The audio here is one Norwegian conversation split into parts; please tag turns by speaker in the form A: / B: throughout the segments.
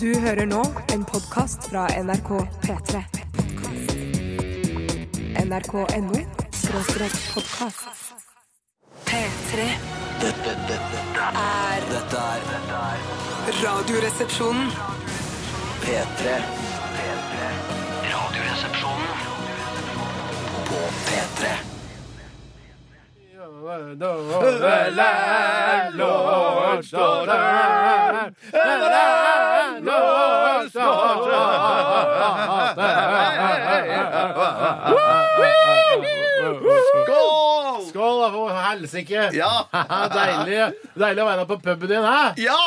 A: Du hører nå en podkast fra NRK P3. NRK.no skråstrek podkast. P3
B: Dette, dette, dette,
A: er
B: dette er dette er
A: Radioresepsjonen.
B: P3. P3. Radioresepsjonen på P3.
C: Lord står der. Lord står Skål! Skål, da, for helsike.
D: Ja.
C: deilig, deilig å være på puben din, hæ?
D: Ja!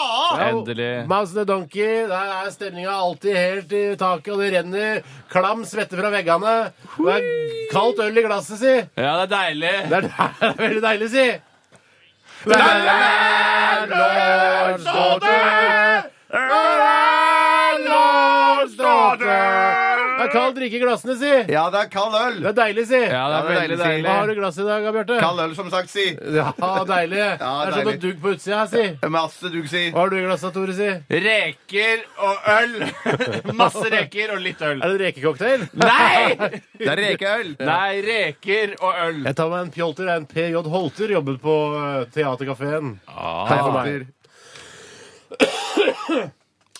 E: Endelig.
C: Mouse the Donkey, der er stemninga alltid helt i taket, og det renner klam svette fra veggene. Det er kaldt øl i glasset, si.
E: Ja, det er deilig.
C: Det er, det er veldig deilig, si. Det er Lord Ståte! Det er kald drikke i glassene, si.
D: Ja, det er kald øl.
C: Det er deilig, si.
E: Ja, det er veldig
D: deilig.
C: Hva har du
E: deilig.
C: i glasset i dag, Bjarte?
D: Kald øl, som sagt, si.
C: Ja, deilig. det er sånn
D: deilig.
C: noe dugg på utsida her, si.
D: Masse dugg, si.
C: Hva har du i glasset, Tore, si?
E: Reker og øl. Masse reker og litt øl.
C: Er det en rekecocktail?
E: Nei!
D: Det er rekeøl.
E: Nei, reker og øl.
C: Jeg tar meg en pjolter. En PJ Holter jobbet på eh, Theatercaféen.
E: Ah.
D: Hei,
C: for
D: Petter.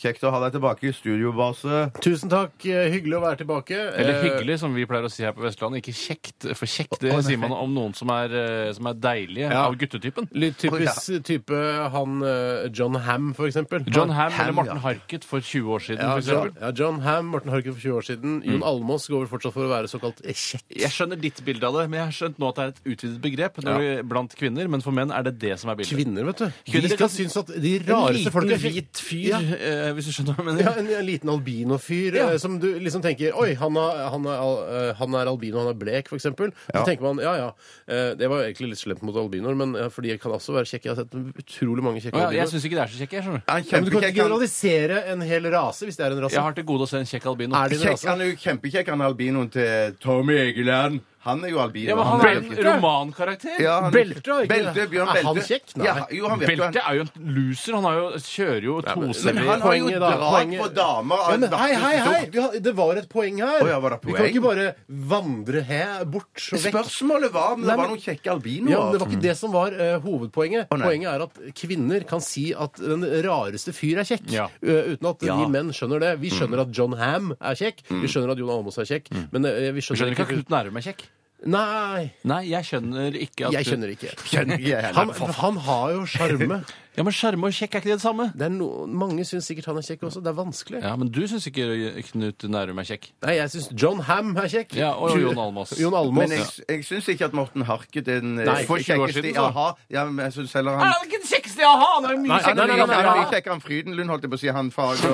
D: Kjekt å ha deg tilbake i studiobase.
C: Tusen takk. eh, Hyggelig å være tilbake.
E: Eller
C: Eh,
E: hyggelig, som vi pleier å si her på Vestlandet. Ikke kjekt, for kjekt det sier man om noen som er, eh, som er deilige
C: Ja.
E: av guttetypen.
C: Litt typisk type han eh, John Ham, for eksempel.
E: John Ham eller
D: Ham,
E: Morten
D: ja.
E: Harket for 20 år siden,
C: Ja, John,
E: for eksempel. Mm.
C: ja, John Ham, Morten Harket for 20 år siden. Jon Almås går vel fortsatt for å være såkalt kjekk.
E: Jeg skjønner ditt bilde av det, men jeg har skjønt nå at det er et utvidet begrep
C: Ja.
E: når vi, blant kvinner. Men for menn er det det som er bildet.
C: Kvinner, vet du.
E: Kvinner
C: de skal
E: kan-
C: synes at de
E: En
C: rareste
E: liten
C: folk er kjekke.
E: hvit fyr,
C: Ja.
E: eh, hvis du skjønner hva jeg mener.
C: Ja, en, en liten albinofyr
E: Ja.
C: eh, som du liksom tenker Oi, han er, han er, al- eh, han er albino, han er blek, for eksempel. Så
D: Ja.
C: tenker man ja ja, eh, det var jo egentlig litt slemt mot albinoer, men eh, for de kan også være kjekke. Jeg har sett utrolig mange
E: Å,
C: kjekke
E: ja, jeg
C: albinoer.
E: syns ikke det er så kjekk, jeg. skjønner du.
D: Han er
C: Ja, men du kan
D: kjempekjekk.
C: ikke
D: Han,
C: generalisere en hel rase hvis det er en rase.
E: Jeg har til gode å se en kjekk albino.
C: Altså, Er det en
D: kjekk,
C: rase?
D: han er jo kjempekjekk, han albinoen til Tommy Egeland. Han er jo albino.
E: Ja, men han er en
C: Belte.
E: romankarakter.
D: Ja, han er-
C: Belte, da, ikke?
D: Belte, Bjørn Belte.
C: Er han kjekk? Nei.
D: Ja, jo, han vet jo
E: Belte
D: han.
E: er jo en loser. Han har jo, kjører jo toser.
D: Men han har jo
C: Poenget da,
D: drag på
C: poenget-
D: damer. altså.
C: Ja, men hei, hei, hei! Vi har, det var et poeng her.
D: Å, ja, var det
C: Vi kan
D: poeng?
C: ikke bare vandre he bort og vekk.
D: Spørsmålet var om
C: Nei,
D: det
C: men-
D: var noen kjekke
C: Ja, men Det
D: albinoer.
C: var ikke det som var eh, hovedpoenget.
D: Mm. nei.
C: Poenget er at kvinner kan si at den rareste fyr er kjekk.
E: Ja.
C: ø, uten at
D: Ja. Mm.
C: vi menn skjønner det. Vi skjønner at John Ham er kjekk. Vi skjønner at Jon Almaas er kjekk. Men eh, vi
E: Jeg
C: skjønner,
E: skjønner ikke at Knut Nærum er kjekk.
C: Nei,
E: Nei, jeg skjønner ikke at
C: jeg skjønner ikke.
D: Skjønner ikke jeg
C: Han,
D: heller.
C: han har jo sjarme.
E: Ja, Men sjarme og kjekk er ikke det det samme?
C: Det er no, mange syns sikkert han er kjekk også. Det er vanskelig.
E: Ja, Men du syns ikke Knut Nærum er kjekk.
C: Nei, jeg syns John Ham er kjekk.
E: Ja, Og Jon Almaas.
C: Jon Almaas.
D: Men jeg, jeg syns ikke at Morten Harket er den eh,
C: Nei,
E: for 20 år siden, så.
D: aha. Ja, men jeg synes heller han
E: Er han ikke den kjekkeste jeg har? Han er jo mye
C: Nei,
D: han
E: kjekkere.
D: er
C: nei,
D: mye-
C: nei,
D: han er
C: nei.
D: mye kjekkere enn Frydenlund, holdt jeg på å si. Han fag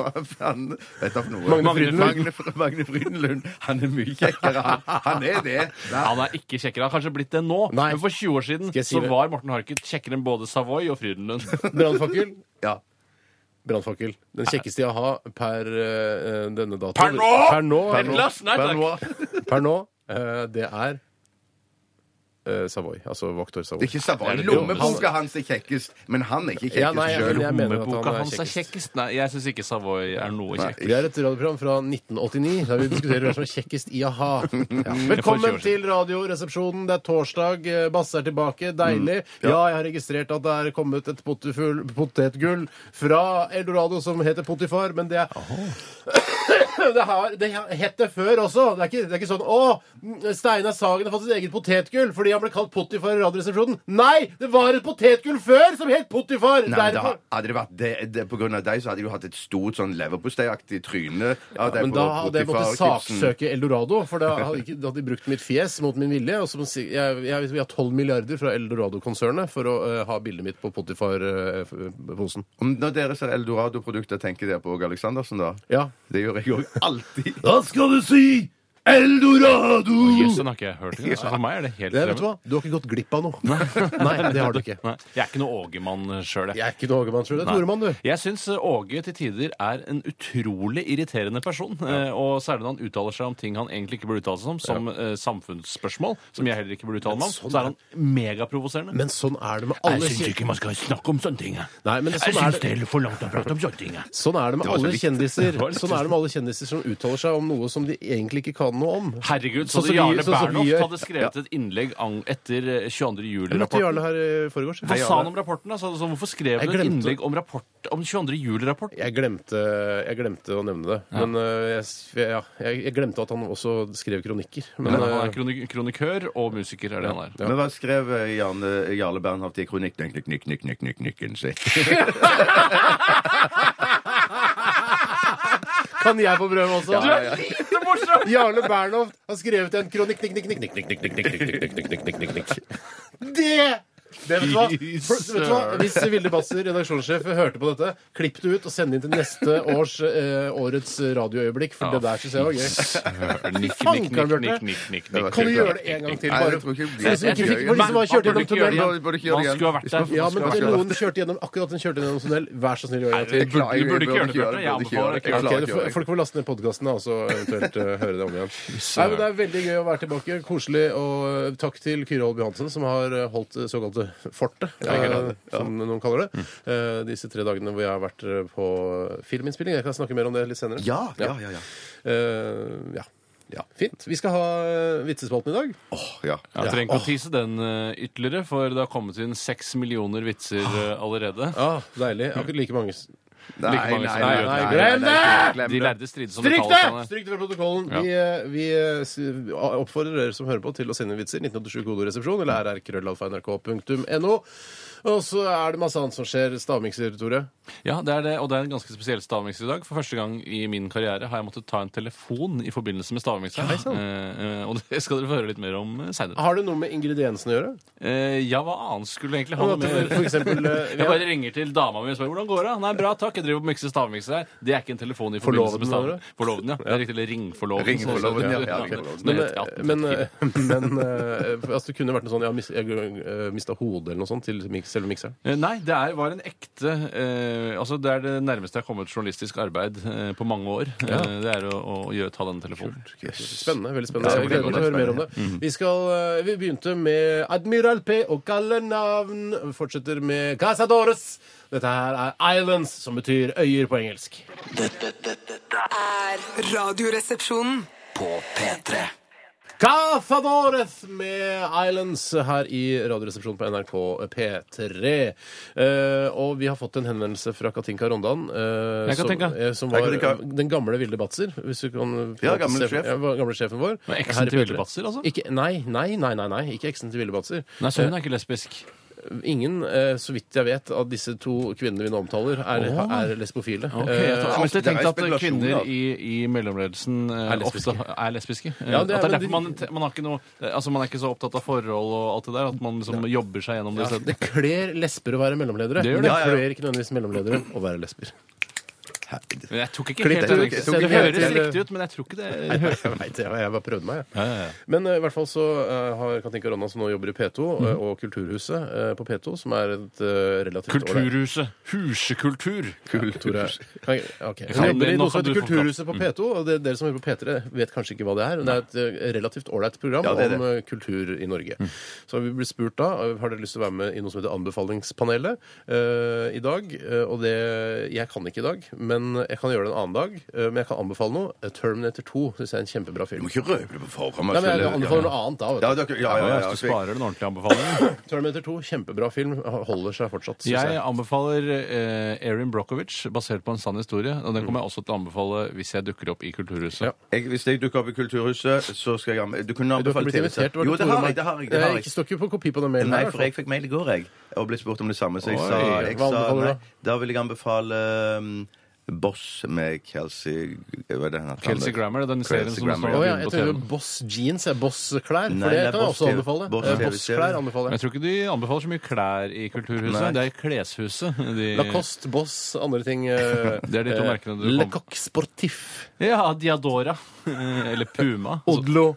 D: han, vet du noe?
C: Magne Frydenlund.
D: Magne, Fr- Magne Frydenlund. Han er mye kjekkere, han. Han er det. Nei.
E: Han er ikke kjekkere. Han har kanskje blitt det nå,
C: Nei.
E: men for 20 år siden
C: Skal jeg si
E: så
C: det?
E: var Morten Harket kjekkere enn både Savoy og Frydenlund.
C: Brannfakkel.
D: Ja.
C: Brannfakkel. Den kjekkeste jeg har per eh, denne dato.
E: Per nå?
C: Per nå,
E: Per nå. Glass, nei, takk.
D: Benoit.
C: Per nå, eh, det er eh, Savoy. Altså Vaktor
D: Det
C: Savoy.
D: er ikke Savoy.
E: det
D: Lommeboka hans er kjekkest, men han er ikke
C: Ja, nei,
D: kjekkest
C: jeg-
D: sjøl.
C: jeg mener at han
E: Lommeboka
C: er
E: hans er
C: kjekkest.
E: kjekkest. Nei, jeg syns ikke Savoy er noe kjekk.
C: Vi er et radioprogram fra 1989 der vi diskuterer hvem som er kjekkest i a-ha. Ja. Velkommen til Radioresepsjonen. Det er torsdag. eh, Basse er tilbake. Deilig. Ja, jeg har registrert at det er kommet et potefull- potetgull fra Eldorado som heter Potifar, men det er Det har det har hett det før også. Det er ikke, det er ikke sånn 'Å, Steinar Sagen har fått sitt eget potetgull fordi han ble kalt Potifar i Radioresepsjonen'. Nei! Det var et potetgull før som het Potifar!
D: Nei, da
C: Derfor
D: hadde det vært det, det, På grunn av deg så hadde du hatt et stort sånn leverposteiaktig tryne. av deg
C: Men
D: på
C: da hadde jeg måttet
D: Potifar-kidsen.
C: saksøke Eldorado, for da hadde, ikke, da hadde de brukt mitt fjes mot min vilje. Og så må si, jeg, jeg, vi har 12 milliarder fra Eldorado-konsernet for å eh, ha bildet mitt på eh, Potifar-posen.
D: Om Når dere ser Eldorado-produkter, tenker dere på Åge Aleksandersen, da?
C: Ja.
D: Det gjør jeg òg alltid.
C: Hva skal du si?
D: Eldorado!
E: Jøss, den har ikke jeg hørt engang. Så for meg er det helt
C: Det, vet du
E: fremmed.
C: hva? Du har ikke gått glipp av noe. Nei, det har du ikke.
E: Nei, jeg er ikke noe Åge-mann eh, sjøl,
C: Jeg er ikke noe Ågemann, sjøl. Du er Nordmann, du.
E: Jeg syns eh, Åge til tider er en utrolig irriterende person. eh, Og særlig når han uttaler seg om ting han egentlig ikke burde uttale seg om, som eh, samfunnsspørsmål, som jeg heller ikke burde uttale meg om.
C: sånn
E: Så er han megaprovoserende.
C: Men sånn er det med alle kjen-
E: ikke man skal snakke om sånne ting. jeg.
C: Nei, men sånn er det.
E: er for langt å prate om sånne ting. jeg.
C: Sånn er det med
D: var så
C: alle
D: likt.
C: kjendiser
E: var litt
C: Sånn er det med alle kjendiser som uttaler seg om noe som de egentlig ikke kan noe om.
E: Herregud, så
C: Sånn som
E: hadde
C: vi-
E: Jarle
C: sånn som vi
E: Bernhoft
C: gjør.
E: hadde skrevet et innlegg ang- etter
C: Jeg
E: eh, 22.
C: møtte
E: juli-rapporten.
C: Jarle her eh, i forgårs.
E: Hva sa han om rapporten? da? Så, så hvorfor skrev
C: Jeg
E: du et
C: glemte-
E: innlegg om, rapport, om 22. juli-rapport?
C: Jeg glemte, jeg glemte å nevne det. Men øh, jeg, s- ja, jeg, jeg glemte at han også skrev kronikker. Men,
E: Men eh, han er
C: øh,
E: kronik kronikør og musiker, er det han er.
D: Men hva skrev eh, Jarle, Jarle Bernhoft i kronikken knikk, knikk, knikk, knikk, knikk, knikken sin?
C: kan jeg få prøve også?
E: er lite morsom!
C: Jarle Bernhoft har skrevet en kronikk nikk, nikk, nikk, nikk, nikk, nikk, nikk, nikk, nikk, nikk, nikk, nikk, nikk, nikk. Det! Det vet du hva?
E: Fy
C: For, vet du hva?
E: søren.
C: Hvis Vilde Basser, redaksjonssjef, hørte på dette, klipp det ut og send det inn til neste års, eh, årets radioøyeblikk, for det der syns jeg var gøy.
E: Nikk,
C: Faen,
E: nikk,
C: kan
E: nikk,
C: du
E: nikk,
C: gjøre
E: nikk, nikk,
D: var
E: nikk.
C: Kan du gjøre det en gang til,
D: Nei,
C: bare?
D: jeg tror ikke
C: For de som ikke fikk- for de som har kjørt gjennom tunnel
D: Man burde ikke gjøre det
E: Man
D: igjen.
E: skulle ha vært
C: Ja,
E: der.
C: men
D: Man skulle ha vært
C: noen kjørte gjennom akkurat den kjørte gjennom tunnel. Vær så snill, gjør det en
D: Jeg
C: til.
E: Du
D: klarer- jeg
E: burde
D: burde
E: ikke gjøre det,
D: ikke gjøre det.
E: Bjarte.
D: Jeg burde
E: Jeg
D: ikke
E: anbefaler
D: gjøre
E: det.
D: det.
C: Ok, folk får laste ned podkasten og så eventuelt eh, høre det om igjen. Nei, men det er veldig gøy å være tilbake. Koselig. Og eh, takk til Kyrre Holby Hansen, som har eh, holdt det såkalte fortet, eh, som noen kaller det, eh, disse tre dagene hvor jeg har vært eh, på filminnspilling. Jeg kan snakke mer om det litt senere.
D: Ja, ja, ja. ja.
C: Eh, ja. ja. Fint. Vi skal ha eh, vitsespalten i dag.
D: Åh, ja.
E: Jeg trenger ikke å tise den eh, ytterligere, for det har kommet inn seks millioner vitser eh, allerede.
C: Ah, deilig. Akkurat like mange s-
D: Nei,
E: Like mange som gjør det.
C: Glem det!
D: glem
E: De lærde strides om
C: Stryk det!
E: metallstandene.
C: Stryk det fra protokollen.
E: Ja.
C: Vi, eh, vi eh, s- oppfordrer dere som hører på, til å sende inn vitser. 1987 kodoresepsjon eller rrkrøllalfa.nrk.no. Og så er det masse annet som skjer. Stavmikser, Tore.
E: Ja, det er det, og det er en ganske spesiell stavmikser i dag. For første gang i min karriere har jeg måttet ta en telefon i forbindelse med stavmikseren. Eh, eh, og det skal dere få høre litt mer om eh, senere.
C: Har det noe med ingrediensene å gjøre?
E: Eh, ja, hva annet skulle egentlig ha
C: Sånn at
E: noe med
C: du For eksempel eh, vi
E: Jeg
C: har-
E: bare ringer til dama mi og spør hvordan går det Nei, bra, takk. Jeg driver og mikser stavmikser her. Det er ikke en telefon i
C: Forloveden,
E: forbindelse med
C: mener
E: stavmikser.
C: du?
E: Forloveden, ja. Det er riktig. Eller ringforloven.
D: Ringforloven,
E: sånn
D: ja,
E: som det
D: ja,
E: heter.
D: ringforloven.
E: Nå
C: Men,
E: heter det
C: eh,
E: 1854.
C: men, eh, men eh, altså, det kunne vært noe sånn Jeg, har mis- jeg mista hodet eller noe sånt til mik- selve mikseren.
E: Eh, Nei, det er, var en ekte eh, Altså, det er det nærmeste jeg har kommet journalistisk arbeid eh, på mange år. Eh, det er å, å gjøre, ta denne telefonen.
C: Spennende. veldig spennende.
D: Ja,
C: Jeg gleder meg til å høre mer om det. Vi, skal, eh, vi begynte med Admiral P og kallenavn. Vi fortsetter med Casadores. Dette her er Islands, som betyr øyer på engelsk.
B: Dette, dette, dette er
A: Er Radioresepsjonen.
B: på P3.
C: Casadores med Islands her i Radioresepsjonen på NRK P3. Eh, og vi har fått en henvendelse fra Katinka Rondan, eh,
E: Hei,
C: som,
E: Katinka.
C: eh, som
D: Hei,
C: var
D: Katinka.
C: eh, den gamle Vilde Batzer. Hvis du kan
D: Ja, gamle sjef.
C: Ja, gamle sjefen vår.
E: Men eksen
C: Her i
E: til
C: P3.
E: Vilde Batzer, altså?
C: Ikke, nei, nei, nei, nei, nei. Ikke eksen til Vilde Batzer.
E: Nei, så hun er ikke lesbisk.
C: Ingen, eh, så vidt jeg vet, av disse to kvinnene vi nå omtaler, er, er lesbofile.
E: Ok, jeg
C: Eh,
E: har
D: altså,
E: alltid
D: det er
E: tenkt at
D: spekulasjon,
E: kvinner
D: da.
E: i, i mellomledelsen eh,
C: Er lesbiske.
E: ofte er lesbiske. Eh,
C: Ja, det er
E: at det er
C: vel
E: derfor man, man, har ikke noe, altså, man er ikke så opptatt av forhold og alt det der. At man liksom jobber seg gjennom det
C: ja, altså,
E: isteden.
C: det kler lesber å være mellomledere.
E: Det gjør det.
C: men det
D: Ja, ja, ja.
C: kler ikke nødvendigvis mellomledere å være lesber.
E: Men Jeg tok ikke
C: Klipp
E: helt
C: det
E: den.
C: ut.
E: Det
C: Send det
E: høres
C: videre til-
E: riktig ut, men jeg tror ikke det
C: Jeg vet det, jeg bare prøvde meg. jeg.
E: Ja, ja, ja.
C: Men eh, i hvert fall så eh, har Katinka Ronna, som nå jobber i P2, eh, og Kulturhuset eh, på P2, som er et eh, relativt ålreit-
E: Kulturhuset. Husekultur.
C: Tore, kan jeg- ok.
E: kan-
C: Hun jobber i
E: nå
C: noe som
E: kan du
C: heter
E: få
C: Kulturhuset på P2, og det, dere som hører på P3, vet kanskje ikke hva det er. men Det er et eh, relativt ålreit program
D: Ja, det er det. Mm.
C: om eh, kultur i Norge. Så vi ble spurt da eh, har dere lyst til å være med i noe som heter Anbefalingspanelet eh, i dag. Eh, og det Jeg kan ikke i dag, men jeg kan gjøre det en annen dag. Eh, men jeg kan anbefale noe. Eh, Terminator 2 syns jeg er en kjempebra
D: Du
C: film.
D: må ikke røpe det på forhånd.
C: Nei, men jeg
D: Marcel.
C: anbefaler noe annet da. Vet du.
D: Ja, dere- ja, altså, ja, ja,
E: Hvis du
D: ja.
E: sparer den ordentlige anbefalingen.
C: Terminator 2, kjempebra film. Holder seg fortsatt, syns
E: Jeg
C: jeg.
E: anbefaler eh, Erin Brockovich, basert på en sann historie. Og den kommer jeg også til å anbefale hvis jeg dukker opp i Kulturhuset.
C: Ja.
D: Jeg, hvis jeg dukker opp i Kulturhuset, så skal jeg anbe- Du kunne
C: Du
D: anbefale
C: har ikke blitt invitert? var
D: Jo, det
C: Tore
D: har
C: Mark?
D: jeg. det har jeg, det har
C: Jeg
D: jeg.
C: står ikke på kopi på den mailen.
D: Nei,
C: her, i hvert
D: for jeg fikk mail i går, jeg, og ble spurt om det samme. Så jeg
E: Oi,
D: sa, jeg
C: hva
D: sa
C: anbefaler du
D: nei,
C: da?
D: Da vil jeg anbefale um, Boss med Kelsey Hva er det han heter?
E: Kelsey Grammer, den serien
D: Kelsey
E: som det
C: Å
E: står- Ja,
C: ja,
E: vi
C: jeg
E: på
C: tror
E: TV.
C: Boss jeans er
D: Nei,
C: Boss-klær. For det
D: det er
C: kan jeg
D: Boss
C: også
D: TV.
C: anbefale.
D: Boss
C: Eh,
D: TV.
C: Boss-klær anbefaler jeg.
E: Men Jeg tror ikke de anbefaler så mye klær i Kulturhuset.
D: Nei.
E: Det er i Kleshuset. De...
C: Lacoste, Boss, andre ting. Det
E: er de to merkene du kom-
C: Le Coq Sportif.
E: Ja, Diadora. Eller Puma.
C: Odlo.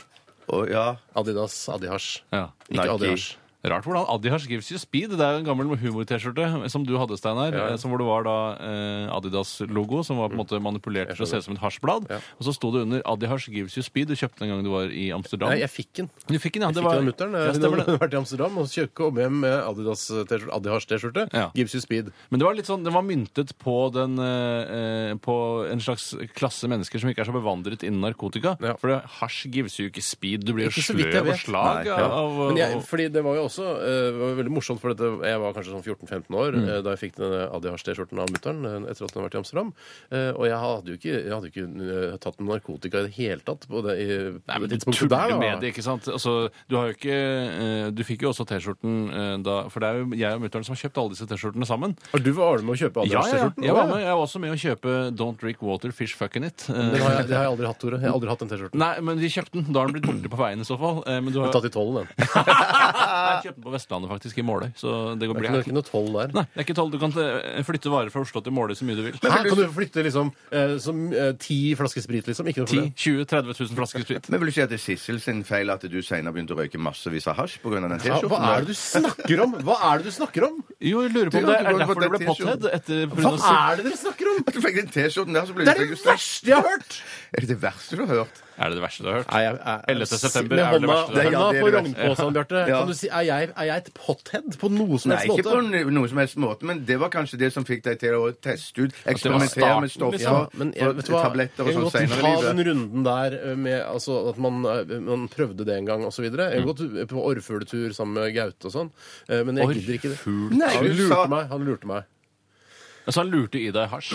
D: Å, ja.
C: Adidas, Adihash.
E: Ja.
C: Ikke
D: Nike.
C: Adihash.
E: Rart hvordan Adidas gives you speed. Det er jo en gammel humor-T-skjorte som du hadde, Steinar. eh, Som hvor det var da eh, Adidas-logo som var på en
C: Mm.
E: måte manipulert til å se ut som et hasjblad. Og så sto det under Adidas gives you speed. Du kjøpte den en gang du var i Amsterdam.
C: Nei, jeg fikk den.
E: Du fikk den, ja.
C: Jeg
E: Det
C: fikk
E: var...
C: den av mutter'n. eh,
E: Ja,
C: Hun
E: stemmer det.
C: hadde vært i Amsterdam og kjøpte kom hjem med Adidas-T-skjorte. Adihash-T-skjorte.
E: Ja.
C: Gives you speed.
E: Men det var litt sånn, den var myntet på, den, eh, eh, på en slags klasse mennesker som ikke er så bevandret innen narkotika.
C: Ja.
E: For det- hasj gives jo ikke speed. Du blir jo
C: Ikke så vidt jeg
E: sløv og
C: vet.
E: slag
D: Nei, ja.
E: av
C: Men jeg,
E: av-
C: fordi det var jo også eh, det var veldig morsomt, for dette, jeg var kanskje sånn 14-15 år
E: Mm.
C: eh, da jeg fikk denne Adihash-T-skjorten av mutter'n eh, etter at hun hadde vært i Amsterdam. Eh, og jeg hadde jo ikke, jeg hadde jo ikke eh, tatt noe narkotika i det hele tatt på det i,
E: Nei,
C: på
E: men Du
C: tidspunktet
E: tuller
C: da.
E: med det, ikke sant? Altså, du, har jo ikke, eh, du fikk jo også T-skjorten eh, da For det er jo jeg og mutter'n som har kjøpt alle disse T-skjortene sammen.
C: Og du var med å kjøpe
E: Ja, ja, ja.
C: Adihash-T-skjorten?
E: Jeg var
C: Å,
E: med, jeg var også med å kjøpe Don't Drink Water, Fish Fucking It. Eh,
C: Den har jeg, det har jeg aldri hatt, Tore. Jeg har aldri hatt den T-skjorten.
E: Nei, men vi kjøpte den. Da har den blitt borte på veien i så fall. Eh, Men du har
C: Tatt i tollen, den.
E: Nei, jeg kjøpte den på Vestlandet, faktisk, i Måløy. Så det går
C: Det
E: bra.
C: er ikke noe toll der.
E: Nei, det er ikke toll. Du kan eh, flytte varer fra Oslo til Måløy så mye du vil.
C: Hæ, kan du flytte liksom eh, som eh, ti flasker sprit, liksom? Ikke noe
E: 10
C: problem.
E: 20 30 000 flasker sprit.
D: Men vil du si at det er Sissel sin feil at du senere begynte å røyke massevis av hasj pga. den
C: Ja,
D: T-skjorten?
C: hva er det du snakker om?! Hva er det du snakker om?!
E: Jo, jeg lurer på om
D: Du,
E: det
D: du
E: er
D: går
E: derfor
D: på
E: du ble
D: den
E: pothead. Etter, på
C: Hva
E: grunn av sitt-
C: er det dere snakker om?!
D: Du fikk den T-skjorten der, så ble
C: Det
D: du
C: er det
D: frustrert.
C: verste jeg har hørt!
D: Er det det verste du har hørt?
E: er det det verste du har hørt?
C: Nei, jeg, jeg,
E: 11. september
C: med
E: er vel det
C: hånda,
E: verste.
D: Det er- ja,
C: hånda
D: det er
C: på
D: det
C: rognposen, Bjarte.
D: Ja.
C: Kan du si, er jeg, er jeg et pothead på noe som
D: Nei,
C: helst
D: ikke
C: måte?
D: på no- noen som helst måte, men det var kanskje det som fikk deg til å teste ut, eksperimentere
E: starten,
D: med stoffer,
C: Ja, men jeg, vet du hva?
D: tabletter og
C: jeg kan
D: sånn
C: godt
D: senere
C: ta
D: i
C: den
D: livet.
C: runden der eh, med altså, at man, eh, man prøvde det en gang osv. Jeg kan godt eh, på orrfugletur sammen med Gaute og sånn, eh, men jeg gidder ikke det.
E: Orrfugl.
D: Nei,
C: Han
D: du
C: lurte
D: sa-
C: meg. Han lurte meg.
E: Så Altså, han lurte i deg hasj?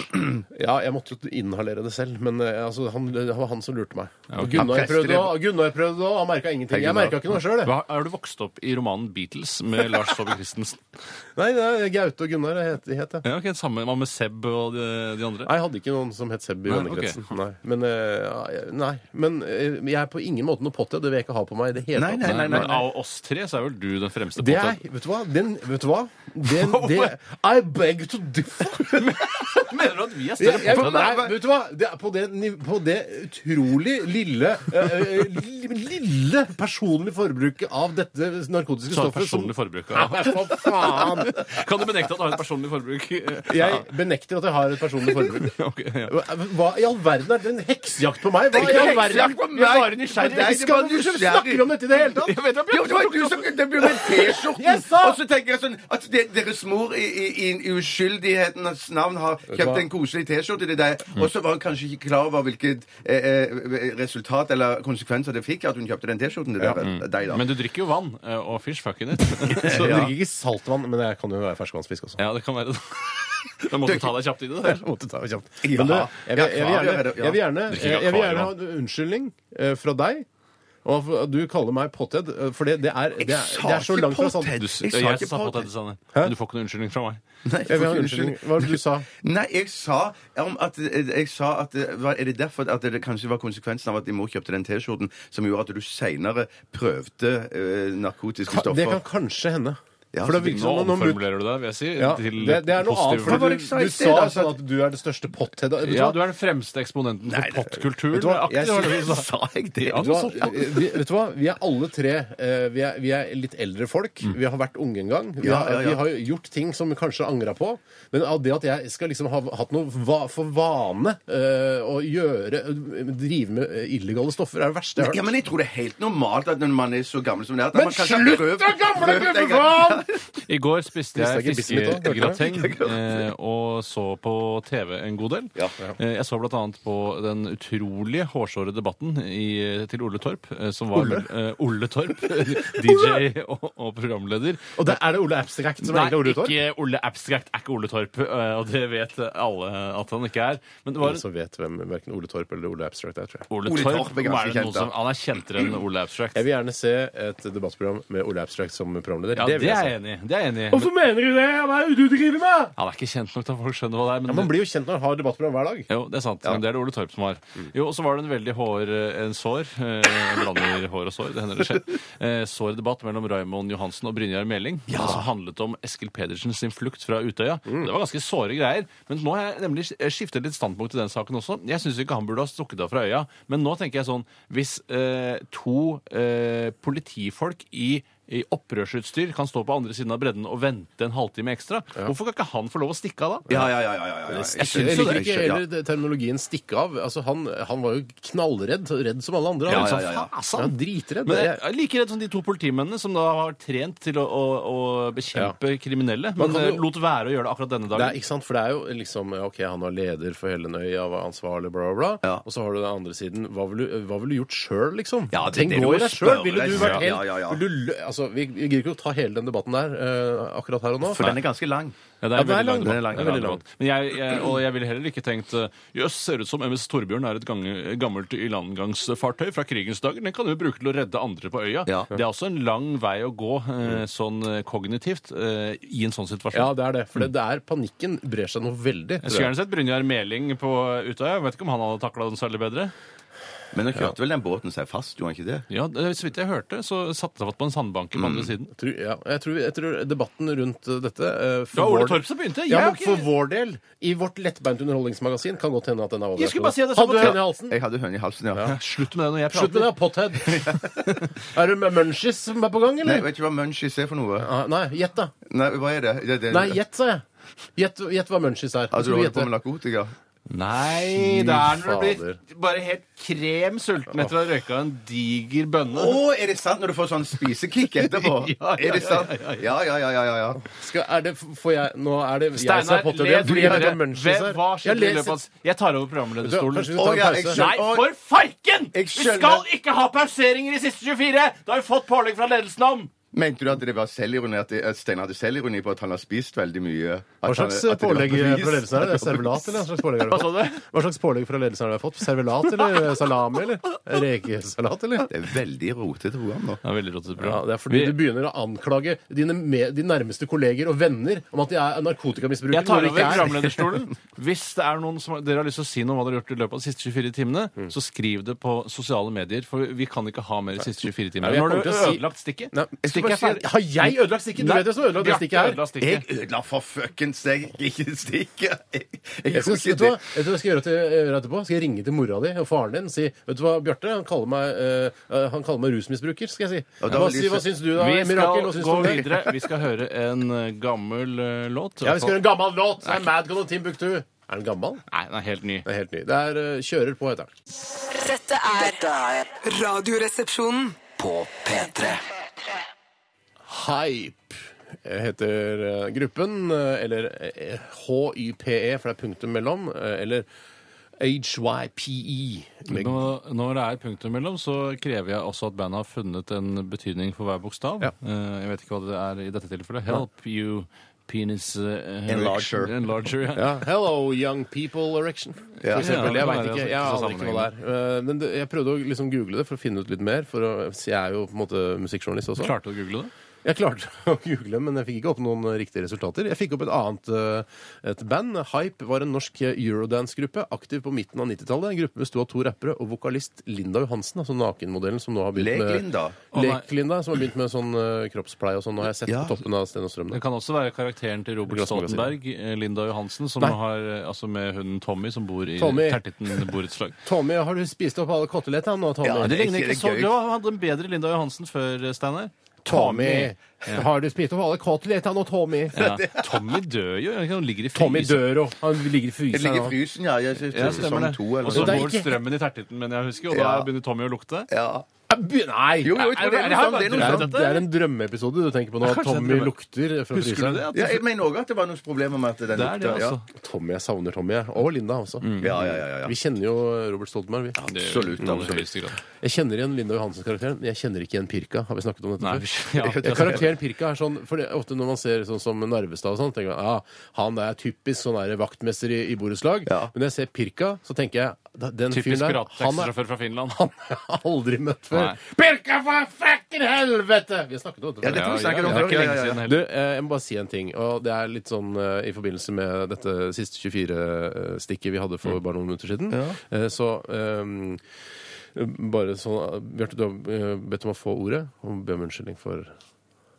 C: Ja, jeg måtte jo inhalere det selv, men eh, altså, han, det var han som lurte meg.
E: Ja, ok.
C: Gunnar
D: Han presser
C: prøvde òg, Gunnar prøvde òg, han merka ingenting.
D: Hei,
C: Jeg
D: Gunnar.
C: merka ikke noe sjøl, jeg.
E: Hva, er du vokst opp i romanen Beatles med Lars Saabye Christensen?
C: Nei, det er Gaute og Gunnar jeg het, de het jeg.
E: Ja, ok, samme Hva med Seb og de, de andre?
C: Nei, jeg hadde ikke noen som het Seb i
E: Nei,
C: vennekretsen.
E: ok.
C: Nei. Men, eh, ja, jeg- nei. Men eh, jeg er på ingen måte noe potty, og det vil jeg ikke ha på meg i det hele
D: Nei,
C: tatt.
D: nei, nei, nei,
E: Men
D: nei.
E: av oss tre så er vel du den fremste
C: Det
E: pothead?
C: er, vet du hva? Den, vet du hva? Den, det, I beg to differ.
E: Mener du at vi er
C: Jeg,
E: større
C: jeg,
E: pothead?
C: nei, vet du hva? Det er på, det, niv- på det utrolig lille eh, eh, li- lille personlige forbruket av dette narkotiske
E: Så har
C: stoffet
E: du
C: som
E: personlig forbruk. ja.
C: Nei, for faen!
E: Kan du benekte at du har et personlig forbruk?
C: Jeg benekter at jeg har et personlig forbruk.
E: Ok, ja.
C: Hva i all verden er det en heksejakt på meg? Hva
D: Det er
C: i
D: ikke
C: all verden?
D: heksejakt på meg.
C: Jeg er bare nysgjerrig.
D: Det er
C: Ikke
D: ikke
C: skal
D: bare
C: du
D: nysgjerrig.
C: snakke om dette i det hele tatt?
D: Jo, det var jo du som det ble med T-skjorten!
C: Jeg sa-
D: Og så tenker jeg sånn at de, deres mor i, i, i uskyldighetens navn har kjøpt en koselig T-skjorte til deg, og så var hun kanskje ikke klar over hvilket eh, eh, resultat eller konsekvenser det fikk at hun kjøpte den T-skjorten til deg, deg da.
E: Men du drikker jo vann eh, og fish fucking it.
C: Så
E: Så
C: jeg
E: ja.
C: drikker ikke saltvann, men jeg kan jo være ferskvannsfisk også.
E: ja, det kan være det. Da måtte du ta deg kjapt i det. der.
C: Jeg måtte ta det kjapt.
D: Ja.
C: Men du, jeg, vil- jeg, vil gjerne, jeg vil gjerne,
E: Drikker
C: jeg vil gjerne ha
E: akvarium.
C: en unnskyldning eh, fra deg. Og for at du kaller meg pothead, eh, for det, det, er, det, er, det er så langt fra sant.
D: Jeg
E: Du,
D: sa
E: jeg,
D: ikke
E: jeg sa
D: pothead.
E: på deg, Sanne. Men du får ikke noen unnskyldning fra meg.
D: Nei,
C: Jeg vil ha en
D: unnskyld.
C: unnskyldning. Hva var det du sa?
D: Nei, jeg sa om at, eh, jeg sa at hva, Er det derfor at det kanskje var konsekvensen av at din mor kjøpte den T-skjorten som gjorde at du seinere prøvde eh, narkotiske
C: Ka-
D: stoffer?
C: Det kan kanskje hende.
D: Ja,
C: For det
D: så
C: virker
E: Nå
C: som når- når mut-
E: omformulerer du deg, vil jeg si.
C: ja,
E: til
C: det, det er noe annet.
E: positiv-
D: Hva var
C: Fordi
D: det
C: du,
D: jeg sa i
C: du
D: sted,
C: sa
D: da?
C: sånn at du er det største pothead Vet
E: Ja,
C: hva?
E: du er den fremste eksponenten for
C: Vet du hva?
E: pottkulturen.
C: Jeg
E: aktig, var det du sa.
D: Sa jeg det?
E: Ja,
C: Vet du, hva, eh, vi, vet du hva? Vi er alle tre eh, vi, er, vi er litt eldre folk. Vi har vært unge en gang. Vi
D: Ja,
C: har,
D: ja, ja.
C: vi har jo gjort ting som vi kanskje angra på. Men av det at jeg skal liksom ha hatt noe va for vane eh, å gjøre Drive med eh, illegale stoffer, er det verste jeg
D: Ja,
C: har hørt.
D: men jeg tror det er helt normalt at når man er så gammel som det er at
C: Men
D: man kanskje har
C: slutt
D: prøvd-
C: da, gamle
D: prøvd en gang.
C: gubbefaen!
E: I går
C: Visste
E: spiste
C: jeg
E: jeg
C: ikke bissen litt også, hørte
E: fiskegrateng eh, og så på TV en god del.
D: Ja.
E: Eh, Jeg så bl.a. på den utrolige hårsåre debatten i, til Ole Torp, eh, som var
C: Ole?
E: eh, Ole Torp, DJ og, og programleder.
C: Og det er det Ole Abstract som
E: Nei,
C: egentlig er Ole Torp?
E: ikke Ole Abstract er ikke Ole Torp, eh, og det vet alle at han ikke er. Men det var
C: Ingen som vet hvem verken Ole Torp eller Ole Abstract er, tror jeg.
E: Ole,
D: Ole
E: Torp,
D: Torp er ganske
E: er det noen
D: kjent, da.
E: som, han er kjentere enn Ole Abstract.
C: Jeg vil gjerne se et debattprogram med Ole Abstract som programleder.
E: Ja, det,
C: vil jeg
E: er
C: se.
E: er jeg enig i. Det er jeg enig i. Men-
C: Hvorfor mener du det? Hva er det du driver med?
E: Ja, det er ikke kjent nok til at folk skjønner hva det er. Men
C: Ja, man blir jo kjent når man har debattprogram hver dag.
E: Jo, det er sant. Men det er det Ole Torp som har.
C: Mm.
E: Jo, Og så var det en veldig hår, en sår eh, Jeg blander hår og sår, det hender det skjer. Eh, Sår debatt mellom Raymond Johansen og Brynjar Meling, som handlet om Eskil Pedersen sin flukt fra Utøya.
C: Mm.
E: Det var ganske såre greier. Men nå har jeg nemlig eh, skiftet litt standpunkt i den saken også. Jeg syns ikke han burde ha stukket av fra øya. Men nå tenker jeg sånn Hvis eh, to eh, politifolk i i opprørsutstyr kan stå på andre siden av bredden og vente en halvtime ekstra. Hvorfor kan ikke han få lov å stikke av da?
D: Ja, ja, ja. ja, ja, ja.
E: Jeg
D: Jeg
E: synes
C: Jeg
E: jo
C: liker
E: det.
C: ikke heller det- terminologien 'stikke av'. Altså, han, han var jo knallredd. Redd som alle andre.
E: Ja,
C: Han var
E: ja,
C: liksom,
E: ja, ja.
C: faen, han er dritredd.
E: Men jeg
C: Jeg-
E: er like redd som de to politimennene som da har trent til å, å, å bekjempe kriminelle,
C: Man
E: men
C: kan jo-
E: eh, lot være å gjøre det akkurat denne
C: Det er,
E: dagen.
C: ikke sant? For det er jo liksom ja, OK, han var leder for hele Nøya, var ansvarlig, bla, bla, bla. Og så har du den andre siden. Hva ville du, hva vil du gjort sjøl, liksom?
D: Ja, det er
C: Tenk
D: det du må
C: nå i deg
D: spørre
C: sjøl! Ville du
D: deg
C: vært
D: selv.
C: helt
D: Ja, ja, ja.
C: Ville du lø- altså, vi, vi gidder ikke å ta hele den debatten der eh, akkurat her og nå.
D: For den er ganske lang.
E: Ja,
C: Ja, den er lang,
E: debatt.
C: den er lang,
E: Det er
C: veldig lang.
E: debatt. Men jeg, jeg, og jeg ville heller ikke tenkt eh, Jøss, ser ut som MS Torbjørn er et gange, gammelt ilandgangsfartøy fra krigens dager. Den kan du bruke til å redde andre på øya.
D: Ja.
E: Det er også en lang vei å gå eh, sånn eh, kognitivt eh, i en sånn situasjon.
C: Ja, det er det. For det, det er panikken brer seg noe veldig.
E: Jeg skulle gjerne sett Brynjar Meling på Utøya. Jeg Vet ikke om han hadde takla den særlig bedre.
D: Men nå kjørte vel den båten seg fast, gjorde han ikke det?
E: Ja, det, Så vidt jeg hørte, så satte han fast på en sandbanke på andre siden.
C: Tror, ja, jeg, tror, jeg tror debatten rundt eh, dette eh,
E: Det var Ole
C: vår-
E: Torp som begynte. Jeg
C: Ja, men
E: har ikke-
C: For vår del, i vårt lettbeint underholdningsmagasin, kan godt hende at den er over.
E: Jeg skulle bare si at det
C: Hadde du
E: samme-
C: høne i halsen?
D: Jeg hadde høne i halsen, ja.
E: Slutt med det når jeg prater.
C: Slutt med det, pothead. er det munchies som er på gang,
D: Nei,
C: eller?
D: vet ikke hva munchies er for noe.
C: Ah, Nei, gjett, da.
D: Nei, hva er det? det, det
C: Nei, gjett, sa jeg. Gjett gjett hva munchies er.
D: Altså,
C: Skal
D: du
C: vi
D: holder på
C: gjette?
D: med narkotika?
E: Nei, det er når du
C: fader.
E: blir bare helt krem sulten etter å ha røyka en diger bønne.
D: Å, er det sant når du får sånn spisekick etterpå?
E: Ja, ja,
D: Er det sant? Ja, ja, ja, ja, ja. ja.
C: Skal, er det, får jeg, nå er det jeg som er
E: Steinar,
C: pothead
E: le
C: igjen, fordi jeg
E: videre.
C: vet hva munchies
E: Hvem-
C: er.
E: Hva skjedde i
C: Jeg
E: løpet
C: leser-
E: av Jeg tar over programlederstolen.
C: Kanskje vi
D: Å,
C: tar
D: ja,
C: en
D: jeg
C: pause?
D: skjønner.
E: Nei, for farken!
D: Jeg
E: Vi
D: skjønner.
E: skal ikke ha pauseringer i siste 24! Da har vi fått pålegg fra ledelsen om!
D: Mente du at det var selvironi, at, det- at Steinar hadde selvironi på at han har spist veldig mye? At
C: Hva slags
D: han-
C: eh,
D: at det var
C: pålegg
D: bevis?
C: fra ledelsen er det? Servelat, eller? Hva slags pålegg har du
E: Hva sa
C: fått?
E: du?
C: Hva slags pålegg fra ledelsen har du fått? Servelat eller salami, eller? Rekesalat, eller?
D: Det er veldig rotete program nå.
E: Det er veldig rått
C: Ja, det er fordi du begynner å anklage dine, med, dine nærmeste kolleger og venner om at de er narkotikamisbrukere.
E: Jeg tar
C: når de
E: over
C: ikke er.
E: programlederstolen. Hvis det er noen som dere har lyst til å si noe om hva dere har gjort i løpet av de siste 24 timene, så skriv det på sosiale medier, for vi kan ikke ha mer de siste 24
C: Nei,
E: timene.
C: jeg
E: Nå har
C: kommer
E: du
C: til å si-
E: ødelagt stikket.
C: Nei, jeg skal
E: Stikket
C: bare
E: er ferdig.
C: si- Har jeg ødelagt stikket? Du
E: Nei,
C: vet jo som ødelagt det
E: Bjarte
C: stikket her.
E: ødela stikket.
D: Jeg ødela for fuckings deg ikke stikket! Jeg, jeg,
C: Jeg skal,
D: gjorde ikke
C: vet, du hva,
D: det.
C: vet du hva jeg skal gjøre, til, gjøre etterpå? Skal jeg ringe til mora di og faren din og si Vet du hva, Bjarte, han kaller meg, eh, han kaller meg rusmisbruker, skal jeg si.
D: Ja, da
C: Hva,
D: vil de
C: si, hva
D: se-
C: syns du da,
E: Vi
C: Mirakel?
E: skal
C: Hva syns du
E: gå
C: om det?
E: videre. Vi skal høre en eh, gammel eh, låt.
C: Ja, vi skal gjøre en gammel låt. Det er Madcon og Timbuktu. Er den gammel?
E: Nei, den er helt ny.
C: Det er helt ny. Det er eh, Kjører på, heter den.
F: Dette er Radioresepsjonen.
B: På P3
C: Hype heter eh, gruppen, eh, eller eh, HYPE, E, for det er punktum mellom, eh, eller HYPE. med-
E: Nå, når det er punktum mellom, så krever jeg også at bandet har funnet en betydning for hver bokstav.
C: Ja.
E: Eh, jeg vet ikke hva det er i dette tilfellet. Help you penis eh,
D: Enlarger.
E: erection- Enlarger, ja.
C: Ja, 'Hello, young people erection'. For eksempel,
E: Ja,
C: jeg vet
E: det er
C: ikke,
E: altså
C: jeg
E: ikke så
C: aner ikke hva det er. Eh, Men det, jeg prøvde å liksom google det for å finne ut litt mer. For å, så jeg er jo på en måte musikkjournalist også.
E: Klarte du å google det?
C: Jeg klarte å google, men jeg fikk ikke opp noen riktige resultater. Jeg fikk opp et annet eh, et band. Hype var en norsk eurodance-gruppe, aktiv på midten av 90-tallet. En gruppe besto av to rappere og vokalist Linda Johansen, altså nakenmodellen som nå har begynt med
D: Lek-Linda?
E: Å, nei.
C: Lek-Linda, som har begynt med sånn eh, kroppspleie og sånn. Nå har jeg sett
D: Ja.
C: på toppen av Sten og Strøm.
E: Det kan også være karakteren til Robert
C: Glassmagasin.
E: Stoltenberg, eh, Linda Johansen, som
C: Nei.
E: har, eh, altså med hunden Tommy, som bor i
C: Tommy.
E: Tertitten borettslag.
C: Tommy, har du spist opp alle kotelettene nå, Tommy?
D: Ja,
E: Det
D: det
E: ligner ikke
D: er
E: så
D: gøy.
E: Du hadde en bedre Linda Johansen før, eh, Steinar.
C: Tommy! Har du spist opp alle kotelettene nå, Tommy?
E: Ja. Tommy dør jo. Han ligger i
C: Tommy
E: fryseren.
C: dør jo. Han ligger i
D: Det ligger i
C: fryseren. nå.
D: frysen, ja. Jeg synes det
E: Ja,
D: er sesong
E: stemmer det.
D: to
E: Og
D: eller
E: så
C: Det er
E: går
C: ikke-
E: strømmen i tertitten, men jeg husker, og
D: Ja.
E: da begynner Tommy å lukte.
D: Ja.
C: Nei!
D: Jo, jo, jeg tror det er noe sånt. Det er
C: Det
D: noe
C: er,
D: sånt.
C: det er en drømmeepisode du tenker på nå.
E: Ja,
C: At
E: kanskje det er
C: Tommy
E: drømme.
C: lukter fra
E: Husker
C: fryseren.
E: du det? At
D: Ja, jeg mener også at det var noen problemer med at den
E: Det er det,
D: lukta.
E: altså.
C: Tommy, jeg savner Tommy, jeg. Og Linda også.
D: Ja, ja, ja, Mm. ja, ja.
C: Vi kjenner jo Robert Stoltenberg. Vi.
E: Det er jo
D: Absolutt,
E: i aller
D: absolutt.
E: høyeste grad.
C: Jeg kjenner igjen Linda Johansen-karakteren, men jeg kjenner ikke igjen Pirka. Har vi snakket om dette
E: Nei,
C: før?
E: ja,
C: Ja, Karakteren Pirka er sånn For det, er ofte når man ser sånn som Narvestad og sånn, tenker man ah, han er typisk sånn der vaktmester i, i borettslag.
D: Ja.
C: Men når jeg ser Pirka, så tenker jeg da- den
E: Typisk
C: fyren der, han er
E: pirattaxisjåfør fra Finland.
C: han har jeg aldri møtt før.
E: Nei.
C: heter. Birka fra fucking helvete! Vi har snakket om dette.
D: Ja, det tror jeg snakker om
E: det er ikke
D: Ja, ja,
E: lenge
D: ja.
E: siden heller.
C: Du, eh, jeg må bare si en ting. Og det er litt sånn eh, i forbindelse med dette siste 24-stikket vi hadde
D: Mm.
C: for bare noen minutter siden. Eh, så eh, bare sånn eh, Bjarte, du har eh, bedt om å få ordet, og be om unnskyldning for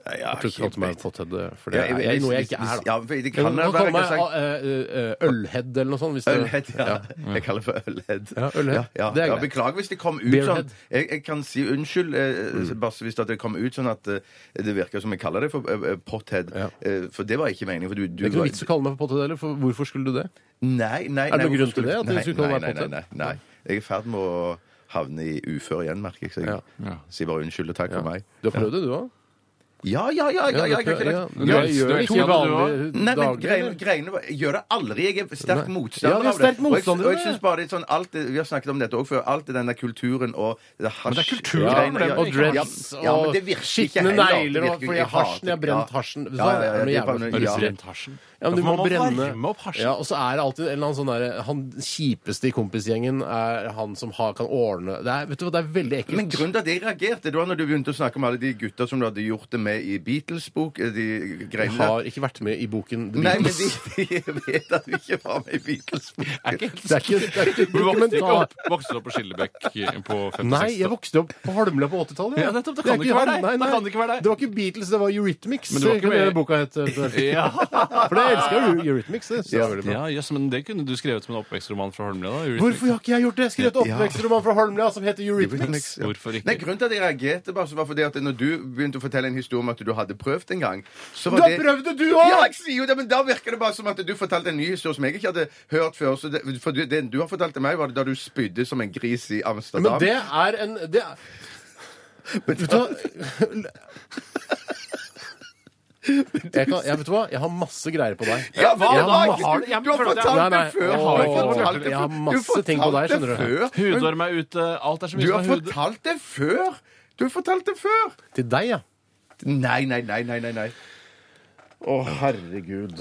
D: Nei, jeg har
C: at du
D: ikke
C: kalte meg
D: bedt.
C: potthead. For
D: Ja,
C: det er jeg, noe jeg ikke er, da.
D: Ja, for det
C: Men
D: kan
C: Du må
D: jeg
C: kalle
D: være
C: meg
D: sagt.
C: eh, eh, ølhead eller noe sånnt. Hvis
D: Ølhead,
C: det,
D: ja. Jeg kaller det for ølhead.
C: Ja, ølhead.
D: Ja, ja.
C: Det er
D: ja,
C: greit.
D: beklager hvis det kom ut
C: Beerhead.
D: sånn. Jeg, jeg kan si unnskyld, eh,
C: Mm.
D: Basse, hvis at det kom ut sånn at eh, det virker som jeg kaller det for eh, eh, pothead.
C: Ja.
D: Eh, for det var ikke meningen. For du, du
C: Det er ikke noe
D: var-
C: vits å kalle meg for potthead heller, for hvorfor skulle du det?
D: Nei, nei, nei,
C: Er det noen grunn
D: hvorfor
C: til det, at du
D: Nei,
C: skulle kalle meg
D: nei, nei,
C: pothead?
D: Nei, nei, nei. Jeg er i ferd med å havne i ufør igjen, merker jeg. Så jeg
C: Ja.
E: Ja.
D: sier bare unnskyld og takk for meg.
C: Du har prøvd det, du òg?
D: Ja, ja, ja! ja, ja, jeg kan ikke lagt-
C: men jeg
E: du
C: gjør
E: er
C: ikke
E: ikke
C: det
E: vanlig,
C: vanlige
D: Nei, men
C: dager,
D: greiene,
C: eller?
D: greiene var- jeg gjør det aldri. Jeg er sterk
C: Nei.
D: motstander
C: Ja, du er sterk
D: av det. Og jeg- Og
C: motstander,
D: jeg,
C: ja.
D: synes bare litt sånn alt det, Vi har snakket om dette òg før. Alt det den der kulturen og det hasj...
E: det er kultur,
C: Ja,
E: greiene,
C: men-
E: ja.
C: og
D: ja,
C: dreads
D: ja, men
C: og
D: det virker ikke
C: skitne
D: heller. Det
C: negler
D: virker
C: og fordi
D: ikke-
C: jeg hasjen, jeg har brent
D: Ja.
C: hasjen. Så
D: Ja, ja, ja,
C: er det
D: det er
C: jævla-
D: bare-
E: Har du
D: Ja.
E: brent hasjen?
C: Ja, men du
E: for
C: må
E: man
C: brenne
E: varme opp hasjen.
C: Ja, Og så er det alltid en eller annen sånn derre Han kjipeste i kompisgjengen er han som har, kan ordne det er, Vet du hva, det er veldig ekkelt.
D: Men grunnen til at jeg reagerte, det var når du begynte å snakke om alle de gutta som du hadde gjort det med i Beatles-bok. eh, De
C: Jeg
D: greiene der.
C: har ikke vært med i boken The
D: Nei, men
C: Beatles.
D: de, de vet at du ikke var med i Beatles-bok.
C: Det er ikke, det er ikke
E: Du vokste ikke
C: dokumentar.
E: opp, vokste opp på Skillebekk eh, på 50
C: Nei, jeg vokste opp på Holmlia på 80-tallet. jeg.
E: Ja, nettopp, det kan
C: er
E: det ikke
C: han-
E: være deg. Det kan det ikke være deg.
C: Det var ikke Beatles, det var Eurythmics.
E: Men du var ikke
C: kunne
E: med-
C: denne boka het. eventuelt.
E: Ja,
C: For det elsker jeg jo Eurythmics. Det synes jeg er veldig bra.
E: ja jøss, men det kunne du skrevet som en oppvekstroman fra Holmlia, da. Ulrik.
C: Hvorfor har ikke jeg gjort det? Jeg skrev et oppvekstroman fra Holmlia som heter Eurythmics.
D: Ja.
E: Hvorfor ikke?
D: Nei, grunnen til at jeg reagerte, bare, så var fordi at når du begynte å fortelle en historie om at du hadde prøvd en gang så var
C: Du har
D: det-
C: prøvd det, du også!
D: Ja, jeg sier jo det, men da virker det bare som at du fortalte en ny historie som jeg ikke hadde hørt før. Så det, for du- det du har fortalt til meg, var det da du spydde som en gris i Amsterdam.
C: Men det er en det er, Vet du hva? Jeg, kan, jeg, vet du hva? jeg har masse greier på deg.
D: Ja, hva
C: Jeg
D: da?
C: har
D: Du,
C: ma-
E: har- jeg
D: du har
E: føler at jeg-
D: fortalt
C: Nei,
D: det
C: nei,
D: før!
C: jeg
D: Du
C: har-
D: har fortalt det
C: jeg har
D: før. Du
C: masse ting på deg,
D: fortalte
C: skjønner du.
D: før.
E: Hudorm er ute, alt er så mye
D: Du har
E: som er hud...
D: fortalt det før! Du har fortalt det før!
C: Til deg, ja.
D: Nei, nei, nei, nei, nei. nei.
C: Å, herregud.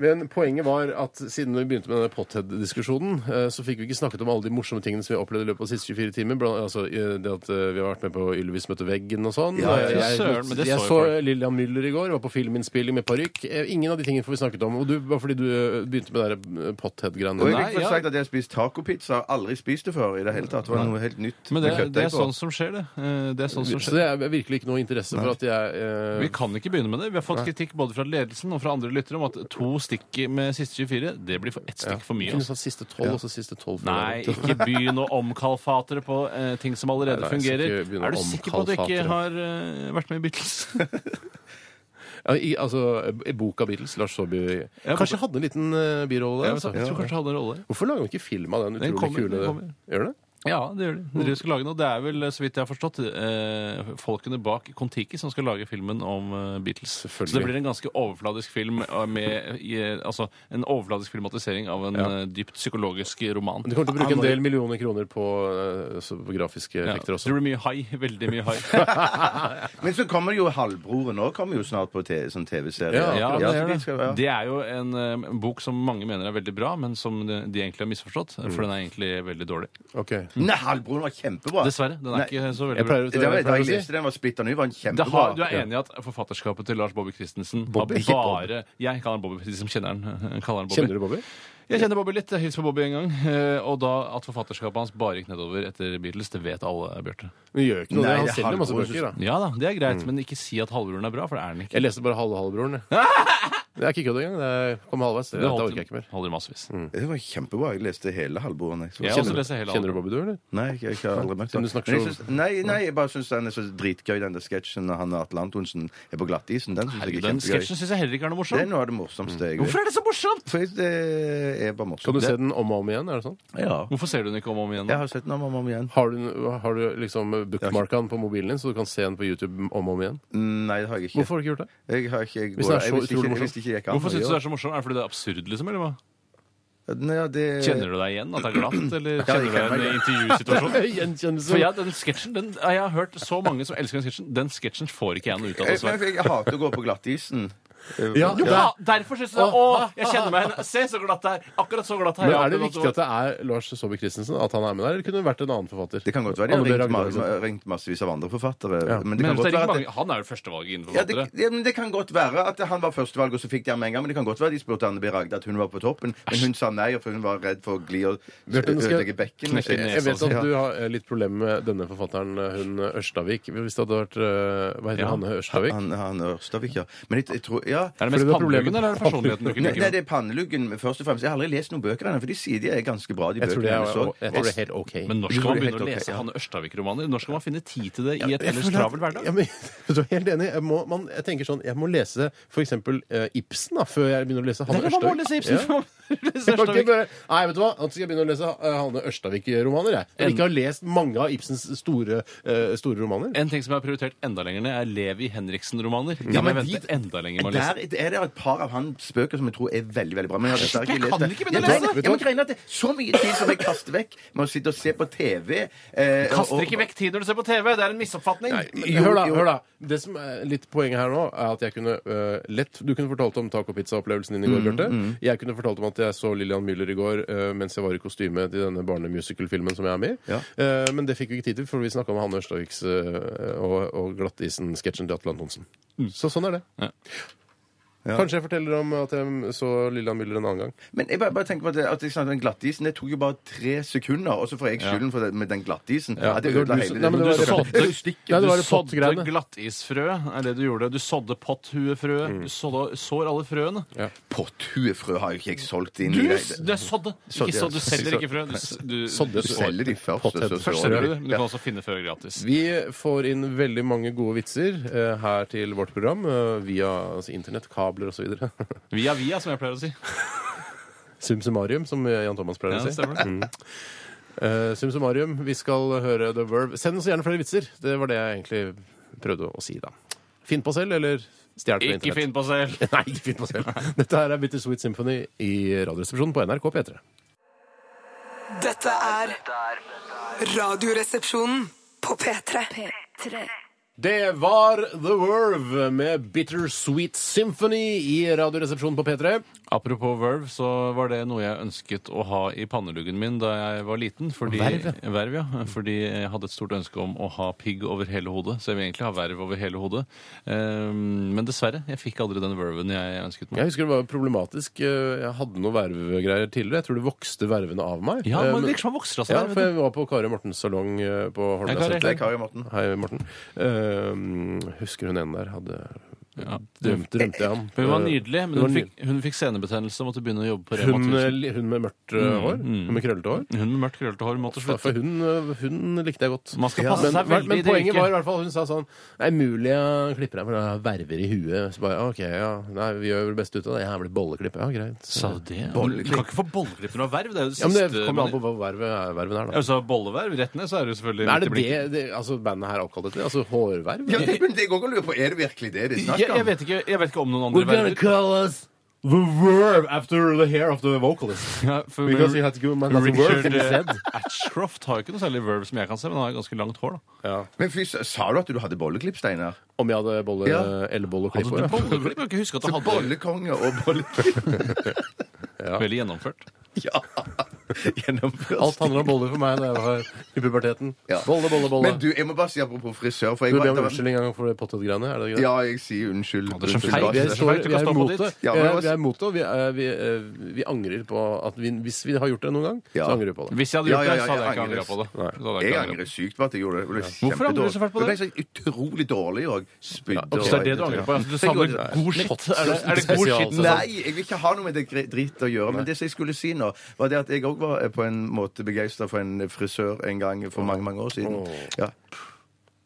C: Men poenget var at siden vi begynte med denne Pothead-diskusjonen, eh, så fikk vi ikke snakket om alle de morsomme tingene som vi opplevde i løpet av de siste 24 timer. Blant, altså, eh, det at eh, vi har vært med på Ylvis møtte veggen og sånn.
D: Ja, ja,
C: Eh,
D: ja.
C: jeg,
E: Søren, men det
C: jeg
E: så jo
C: så
E: folk.
C: Lillian Müller i går, var på filminnspilling med parykk. Eh, Ingen av de tingene får vi snakket om. Og du, bare fordi du eh, begynte med det der, eh,
D: Og
C: Pothead-greiene.
D: jeg
E: Nei,
D: fikk
E: ja.
D: først sagt at jeg har spist tacopizza. Aldri spist det før i det hele tatt. Det var noe helt nytt.
E: Men det,
D: med kjøttdeig
E: det er
D: på.
E: sånn som skjer, det. Eh, Det er sånn som
C: Så det
E: skjer.
C: er virkelig ikke noe interesse for at jeg eh,
E: Vi kan ikke begynne med det. Vi har fått kritikk både fra ledelsen og fra andre lyttere om at to stikk med siste 24, det blir for ett stikk for mye.
C: kunne
E: Altså.
C: sagt siste tolv, og så siste tolv. for
E: Nei,
C: meg.
E: ikke begynn å omkalfatre på eh, ting som allerede
C: Nei, nei, jeg skal
E: fungerer.
C: ikke begynne å
E: Er du sikker på at du ikke
C: omkalfatre.
E: har eh, vært med i Beatles?
C: Ja, i, altså, i boka Beatles, Lars Saabye
E: Ja,
C: Kanskje jeg hadde en liten eh, birolle der.
E: Jeg
C: altså.
E: tror kanskje du hadde en rolle.
C: Hvorfor lager vi ikke film av den
E: Den
C: utrolig
E: kommer,
C: kule
E: den kommer.
C: Gjør det?
E: Ja, det gjør de.
C: Mm.
E: Dere skal lage noe. Det er vel, så vidt jeg har forstått, eh, folkene bak Kon-Tiki som skal lage filmen om eh, Beatles. Så
C: Selvfølgelig.
E: det blir en ganske overfladisk film eh, med i, eh, Altså en overfladisk filmatisering av en eh, dypt psykologisk roman.
C: Du kommer til å bruke en del millioner kroner på, eh, så på grafiske
E: Ja.
C: effekter
E: Så
C: også.
E: det blir mye hai. Veldig mye hai.
D: Men så kommer jo Halvbroren òg kommer jo snart på te- som TV-serie.
C: Ja,
E: Ja, det,
D: så
E: er
D: de skal- ja.
E: det. det er jo en, eh, en bok som mange mener er veldig bra, men som de de egentlig har misforstått.
C: Mm.
E: For den er egentlig veldig dårlig.
C: Ok.
D: Nei, Halvbroren var kjempebra!
E: Dessverre. Den er
D: Nei.
E: ikke så
C: Ah. Jeg
E: veldig bra.
C: pleier, å-
D: Det var,
C: jeg
D: da
C: pleier
D: jeg
C: å si
D: leste den, var splitter ny, var den
E: Det har,
D: kjempebra.
E: du er enig i at forfatterskapet til Lars Bobby Christensen
C: Bobby?
E: har bare Jeg kaller han Bobby, de som kjenner han. Kaller han Bobby.
C: Kjenner du Bobby?
E: Jeg kjenner Bobby litt. Jeg hilste på Bobby en gang. eh, Og da at forfatterskapet hans bare gikk nedover etter Beatles, det vet alle, Bjarte. Mm.
C: Men gjør jo ikke noe,
D: Nei,
C: det. han
D: det er
C: selger masse
D: halvbror,
C: bøker. da
E: Ja da, det er greit, men ikke si at halvbroren er bra, for det er han ikke.
C: Jeg leste bare halve halvbroren. jeg. Det er ikke kødd engang. Det kom halvveis. Det, det
E: holdt-
C: orker jeg ikke mer.
E: holder i massevis.
D: Det var kjempebra. Jeg leste hele Halvbroren. Jeg. Så-
E: Jeg har
D: Kjenner
E: også
D: du-
E: lest hele
C: Kjenner du Bobby, du, eller?
D: Nei, jeg, jeg har aldri møtt
C: Siden
D: ham.
C: du snakker
D: Men jeg
C: så-
D: synes- Nei, nei, jeg bare syns den er så dritgøy, den der sketsjen når han og Atle Antonsen er på glattisen. Den synes jeg
E: Herregud,
D: er
E: den sketsjen
D: kjempegøy.
E: syns jeg heller ikke er noe
D: Det er
E: morsom.
D: noe av det morsomste jeg
E: Hvorfor er det så morsomt?!
D: For det er bare morsomt.
C: Kan du
D: Det-
C: se den om og om igjen? er det sånn?
D: Ja.
E: Hvorfor ser du den ikke om og om
D: Jeg
E: igjen? da?
D: har sett den om og om igjen.
C: Har du, har du liksom bookmarka den på mobilen din, så du kan se den på YouTube om og om igjen?
D: Nei, det har jeg ikke.
C: Hvorfor har du ikke gjort det?
D: Jeg har ikke, jeg,
C: Hvis den er
D: går- jeg
C: så
D: visste ikke,
C: utrolig
D: jeg
C: morsom.
D: visste ikke jeg kan
E: Hvorfor syns
D: gjøre
E: du det er så morsomt? Er det fordi det er absurd, liksom? eller hva?
D: det. Nei, ja, det...
E: Kjenner du deg igjen? At det er glatt? Eller
D: Ja, jeg kjenner
E: kjenner du deg igjen i
D: meg.
E: intervjusituasjonen? For
C: Gjenkjennelse.
E: ja, den sketsjen, den, jeg har hørt så mange som elsker den sketsjen. Den sketsjen får ikke jeg noe ut av,
D: Jeg,
E: dessverre.
D: jeg, jeg hater å gå på glattisen.
C: Ja,
E: Jo,
C: det er-
E: ha, derfor syns du det. Å, jeg kjenner meg igjen. Se, så glatt det er. Akkurat så glatt er
C: Men
E: jeg.
C: er det
E: Akkurat så-
C: viktig at det er Lars Saabye Christensen at han er med der, eller kunne det vært en annen forfatter?
D: Det kan godt være de har
C: Anne Bø
D: ringt,
C: Ragde, for
D: ma-
C: eksempel.
D: ringt massevis av andre forfattere. Men det kan
E: Men hvis det
D: godt
E: er
D: være
E: ikke
D: at
E: mange, han er jo førstevalget innenfor
D: ja,
E: forfattere.
D: det, ja, men det kan godt være at han var førstevalg, og så fikk de ham med en gang. Men det kan godt være de spurte Anne B. Ragde at hun var på toppen, men hun sa nei, for hun var redd for å gli og
C: Bjørte, nå skal jeg
D: ødelegge bekkenet.
E: knekke
C: Jeg
E: nesa altså.
C: vet at
D: Ja.
C: du har eh, litt problemer med denne forfatteren, eh, hun Ørstavik. Hvis det hadde vært eh, Hva heter
E: Ja.
C: Hanne Ørstavik?
D: Han, han Ørstavik, ja. Men jeg, jeg tror Ja.
E: Er
C: Fordi
E: det mest
C: det er problemet-
E: panneluggen, eller er det personligheten du ikke
D: Nei, nei,
E: liker?
D: det er panneluggen først og fremst. Jeg har aldri lest noen bøker ennå, for de sier de er ganske bra, de
C: Jeg
D: bøkene
C: tror det
D: jeg så.
C: er, jeg tror det er helt OK.
E: Men når
D: Jo, det er
E: skal man begynne å
D: helt ok,
E: lese
D: ja.
E: Hanne Ørstavik-romaner? Når skal man finne tid til det i et
C: Jeg
E: ellers
C: føler at-
E: travel hverdag?
C: Ja, men, du er helt enig. Jeg, må, man, jeg tenker sånn, jeg må lese f.eks. Uh, Ibsen da, før jeg begynner å lese
E: Det
C: Hanne
E: er det man må
C: Ørstavik.
E: lese Ibsen
C: Ja.
E: for. Lese
C: Jeg kan ikke
E: Ørstavik.
C: bare, nei, vet du hva? Nå skal jeg begynne å lese eh, Hanne Ørstavik-romaner. Jeg. Når jeg ikke har lest mange av Ibsens store, eh, store romaner.
E: En ting som jeg har prioritert enda lenger ned, er Levi Henriksen-romaner. De
D: Ja,
E: må jeg
D: men
E: vente
D: de-
E: enda lenger med å
D: Der
E: lese.
D: er det et par av hans bøker som jeg tror er veldig veldig bra. Men jeg har dessverre
E: Jeg
D: ikke
E: kan
D: lest det.
E: ikke begynne å
D: Ja,
E: lese
D: nei,
E: det.
D: ja, men greien er at det er så mye tid som jeg kaster vekk med å sitte og se på TV. eh, og-
E: Kaster ikke vekk tid når du ser på TV! Det er en misoppfatning.
D: Jo,
C: Hør da,
D: jo.
C: hør da. Det som er litt poenget her nå, er at jeg kunne eh, lett Du kunne fortalt om taco-pizza-opplevelsen din i går,
D: Mm,
C: Bjarte. Jeg kunne fortalt om at jeg så Lillian Müller i går eh, mens jeg var i kostyme til denne barnemusical-filmen som jeg er med i.
D: Ja.
C: Eh, men det fikk vi ikke tid til, for vi snakka om Hanne Ørstaviks eh, og, og Glattisen-sketsjen til Atle Antonsen. Så sånn er det.
E: Ja.
D: Mm. Ja.
C: Kanskje jeg forteller om at jeg så Lillian Müller en annen gang.
D: Men jeg bare, bare tenker på at, sånn at jeg snakket om den glattisen. Det tok jo bare tre sekunder, og så får jeg skylden for det med den glattisen.
C: Ja,
D: at jeg
C: det
D: ødela
C: var du
D: hele
C: som-
D: det.
C: Nei, men det
E: var-
D: Det er jo stikket.
C: Nei, det
E: Du
C: var det
E: sådde
C: pottgreiene.
E: glattisfrø, er det du gjorde. Du sådde potthuefrø.
D: Mm.
E: Du sådde, sår alle frøene.
D: Potthuefrø har jo ikke jeg solgt inn
E: Du,
D: i
E: det er sådde!
D: Sådde,
E: Ikke
D: ja.
E: så, du selger ikke frø. Du, s- du,
C: Sådde,
E: du
D: Du
E: sår.
D: selger de først. og så-
E: Først
D: så-
E: selger du det, men du kan også finne frø gratis.
C: Vi får inn veldig mange gode vitser eh, her til vårt program eh, via altså, internett, kabler osv.
E: Via via, som jeg pleier å si.
C: Sumsumarium, som Jan Thomas pleier
E: Ja,
C: å
E: det
C: si. Mm,
E: stemmer det.
C: Eh, Sumsumarium, vi skal høre The Verb. Send oss gjerne flere vitser. Det var det jeg egentlig prøvde å si, da. Finn på selv, eller stjel på
E: Ikke
C: internett.
E: finn på selv!
C: Nei, ikke finn på selv. Dette her er Bittersweet Symphony i Radioresepsjonen på NRK P3.
F: Dette er Radioresepsjonen på P3. P3.
C: Det var The Verve med Bittersweet Symphony i Radioresepsjonen på P3.
E: Apropos verv, så var det noe jeg ønsket å ha i panneluggen min da jeg var liten. Fordi,
C: Verv,
E: verv, ja. Fordi jeg hadde et stort ønske om å ha pigg over hele hodet. Så jeg vil egentlig ha verv over hele hodet. Ehm, men dessverre, jeg fikk aldri den verven jeg ønsket meg.
C: Jeg husker det var problematisk. eh, Jeg hadde noe vervegreier tidligere. Jeg tror det vokste vervene av meg.
E: Ja,
C: Eh,
E: men det virker som han vokser av seg.
C: ja,
E: der,
C: for
E: vet
C: jeg var på Kari Mortens salong eh, på
E: Hei,
C: Holmlia
E: Kari.
D: Det er
C: senter.
D: Kari Morten.
C: Hei, Morten. Eh, husker hun ene der hadde
E: du. ja.
C: drømte, drømte jeg om.
E: For Hun var
C: Eh,
E: nydelig,
C: hun
E: men
C: var
E: hun fikk, hun fikk senebetennelse og måtte begynne å jobbe på Rema
C: Hun,
E: 1000.
C: eh, hun med mørkt eh, hår? Hun med krøllete hår?
E: Mm, Hun med mørkt, krøllete hår måtte
C: For
E: slutte.
C: hun, eh, hun likte jeg godt.
E: Man skal passe
C: men,
E: seg veldig
C: men
E: i det
C: poenget
E: yrket.
C: var i hvert fall hun sa sånn Det er mulig jeg klipper deg, for jeg har verver i huet. Så bare, OK, ja. Nei, vi gjør vel det beste ut av det. Jeg her blir bolleklipp. Ja, greit.
E: Sa du det? Du kan ikke få bolleklipp når du har verv. Det er jo det
C: Ja, men
E: siste.
C: det kommer an på hva vervet er, verven er, da.
E: Altså, bolleverv, rett ned, så er det jo selvfølgelig
C: Er det
E: litt i
C: det, det altså bandet her er oppkalt etter? Altså hårverv?
D: Ja, det, men det går ikke å lure på. Er det virkelig det de
E: blikk.
D: snakker
E: jeg,
D: om?
E: jeg, vet ikke, jeg vet ikke om noen andre verver.
C: call us the verb after the hair of the vocalist.
E: Ja, for
C: Because he had to go, man, that's a verb
E: Richard eh,
C: instead.
E: Ashcroft har jo ikke noe særlig verb som jeg kan se, men han har ganske langt hår. da.
C: Ja.
D: Men fy, sa- sa du at du hadde bolleklipp, Steinar?
C: Om jeg hadde bolle,
D: Ja.
C: ellebolle og
E: Hadde
C: klippår?
E: Altså, du
C: Ja.
E: bolleklipp? Jeg kan ikke huske at
D: Så
E: han hadde det.
D: bollekonge og bolleklipp.
E: Veldig gjennomført.
D: Ja. Gjennomført.
C: Alt handler om boller for meg da jeg var i puberteten.
D: Ja.
C: Bolle, bolle, bolle.
D: Men du, jeg må bare si apropos frisør, for jeg
C: Du
D: var
C: ber om unnskyld en gang for det pottetgreiene? Er det greit?
D: Ja, jeg sier unnskyld.
E: det er så
D: Unnskyld,
E: feil.
D: Lars.
C: Vi
E: Det
C: er,
E: er så
C: står,
E: feil, du
C: vi
E: kan
C: er
E: stå på
C: imot
E: ditt.
C: det.
D: Ja,
C: Vi
D: men
C: er-
D: også-
C: vi er imot det, og vi, er- vi, eh, vi angrer på at vi, Hvis vi har gjort det noen gang,
D: Ja.
C: så angrer vi på det.
E: Hvis jeg
D: Ja,
E: hadde gjort
D: ja,
E: det, så
D: ja,
E: hadde jeg ikke
D: jeg
E: angra på det. Så hadde jeg
D: Jeg
E: ikke
D: angrer
E: angret.
D: sykt på at jeg gjorde det. det ble
E: Hvorfor angrer du så fælt på det?
D: Jeg ble så utrolig dårlig òg. Spydde
E: Så det er det du angrer på? Altså, du savner god shit? Er det, er det god
C: Spesial-
E: shit?
D: Nei, jeg vil ikke ha noe med det gre- dritt å gjøre. Men det som jeg skulle si nå, var det at jeg òg var eh, på en måte begeistra for en frisør en gang for mange mange år siden. Ja.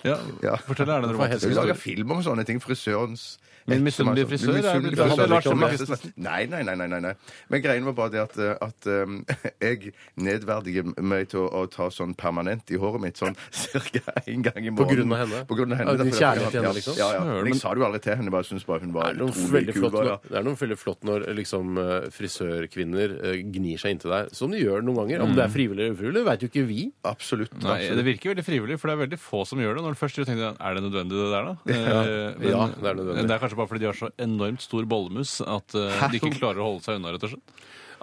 E: Ja,
D: Ja.
E: fortell, er det en romantisk
D: Jeg lager
E: historie?
D: film om sånne ting. Frisørens sånn.
E: Min misunnelige
D: Min
E: frisør er
D: misunnelige
E: vel-
D: frisør.
E: handler Lars om
D: Lars Saabye Nei, nei, nei, nei, nei, nei. Men greien var bare det at, eh, at um, jeg nedverdiger meg til å, å ta sånn permanent i håret mitt sånn ca. én gang i måneden.
C: grunn av henne?
D: På grunn av
C: Ja,
D: henne.
C: din
D: derfor-
C: kjærlighet til henne,
D: ja,
C: liksom?
D: Ja, ja. Men
E: Men-
D: jeg sa det jo aldri til henne. Bare syntes bare hun
C: Det
D: var
C: er noe
D: utrolig
C: veldig
D: kul.
C: flott,
D: Bare, ja.
C: når- det er noe veldig flott når liksom, eh, frisørkvinner eh, gnir seg inntil deg, som de gjør noen ganger. Om
E: Mm.
C: det er frivillig eller ufrivillig, veit jo ikke vi.
D: Absolutt.
E: Nei,
D: absolutt.
E: det virker veldig frivillig, for det er veldig få som gjør det. Når du først tenker, Er det nødvendig, det der, da? Eh, men
C: Ja, det er nødvendig.
E: Det er kanskje kanskje bare fordi de har så enormt stor bollemus at eh, de ikke klarer å holde seg unna, rett og slett.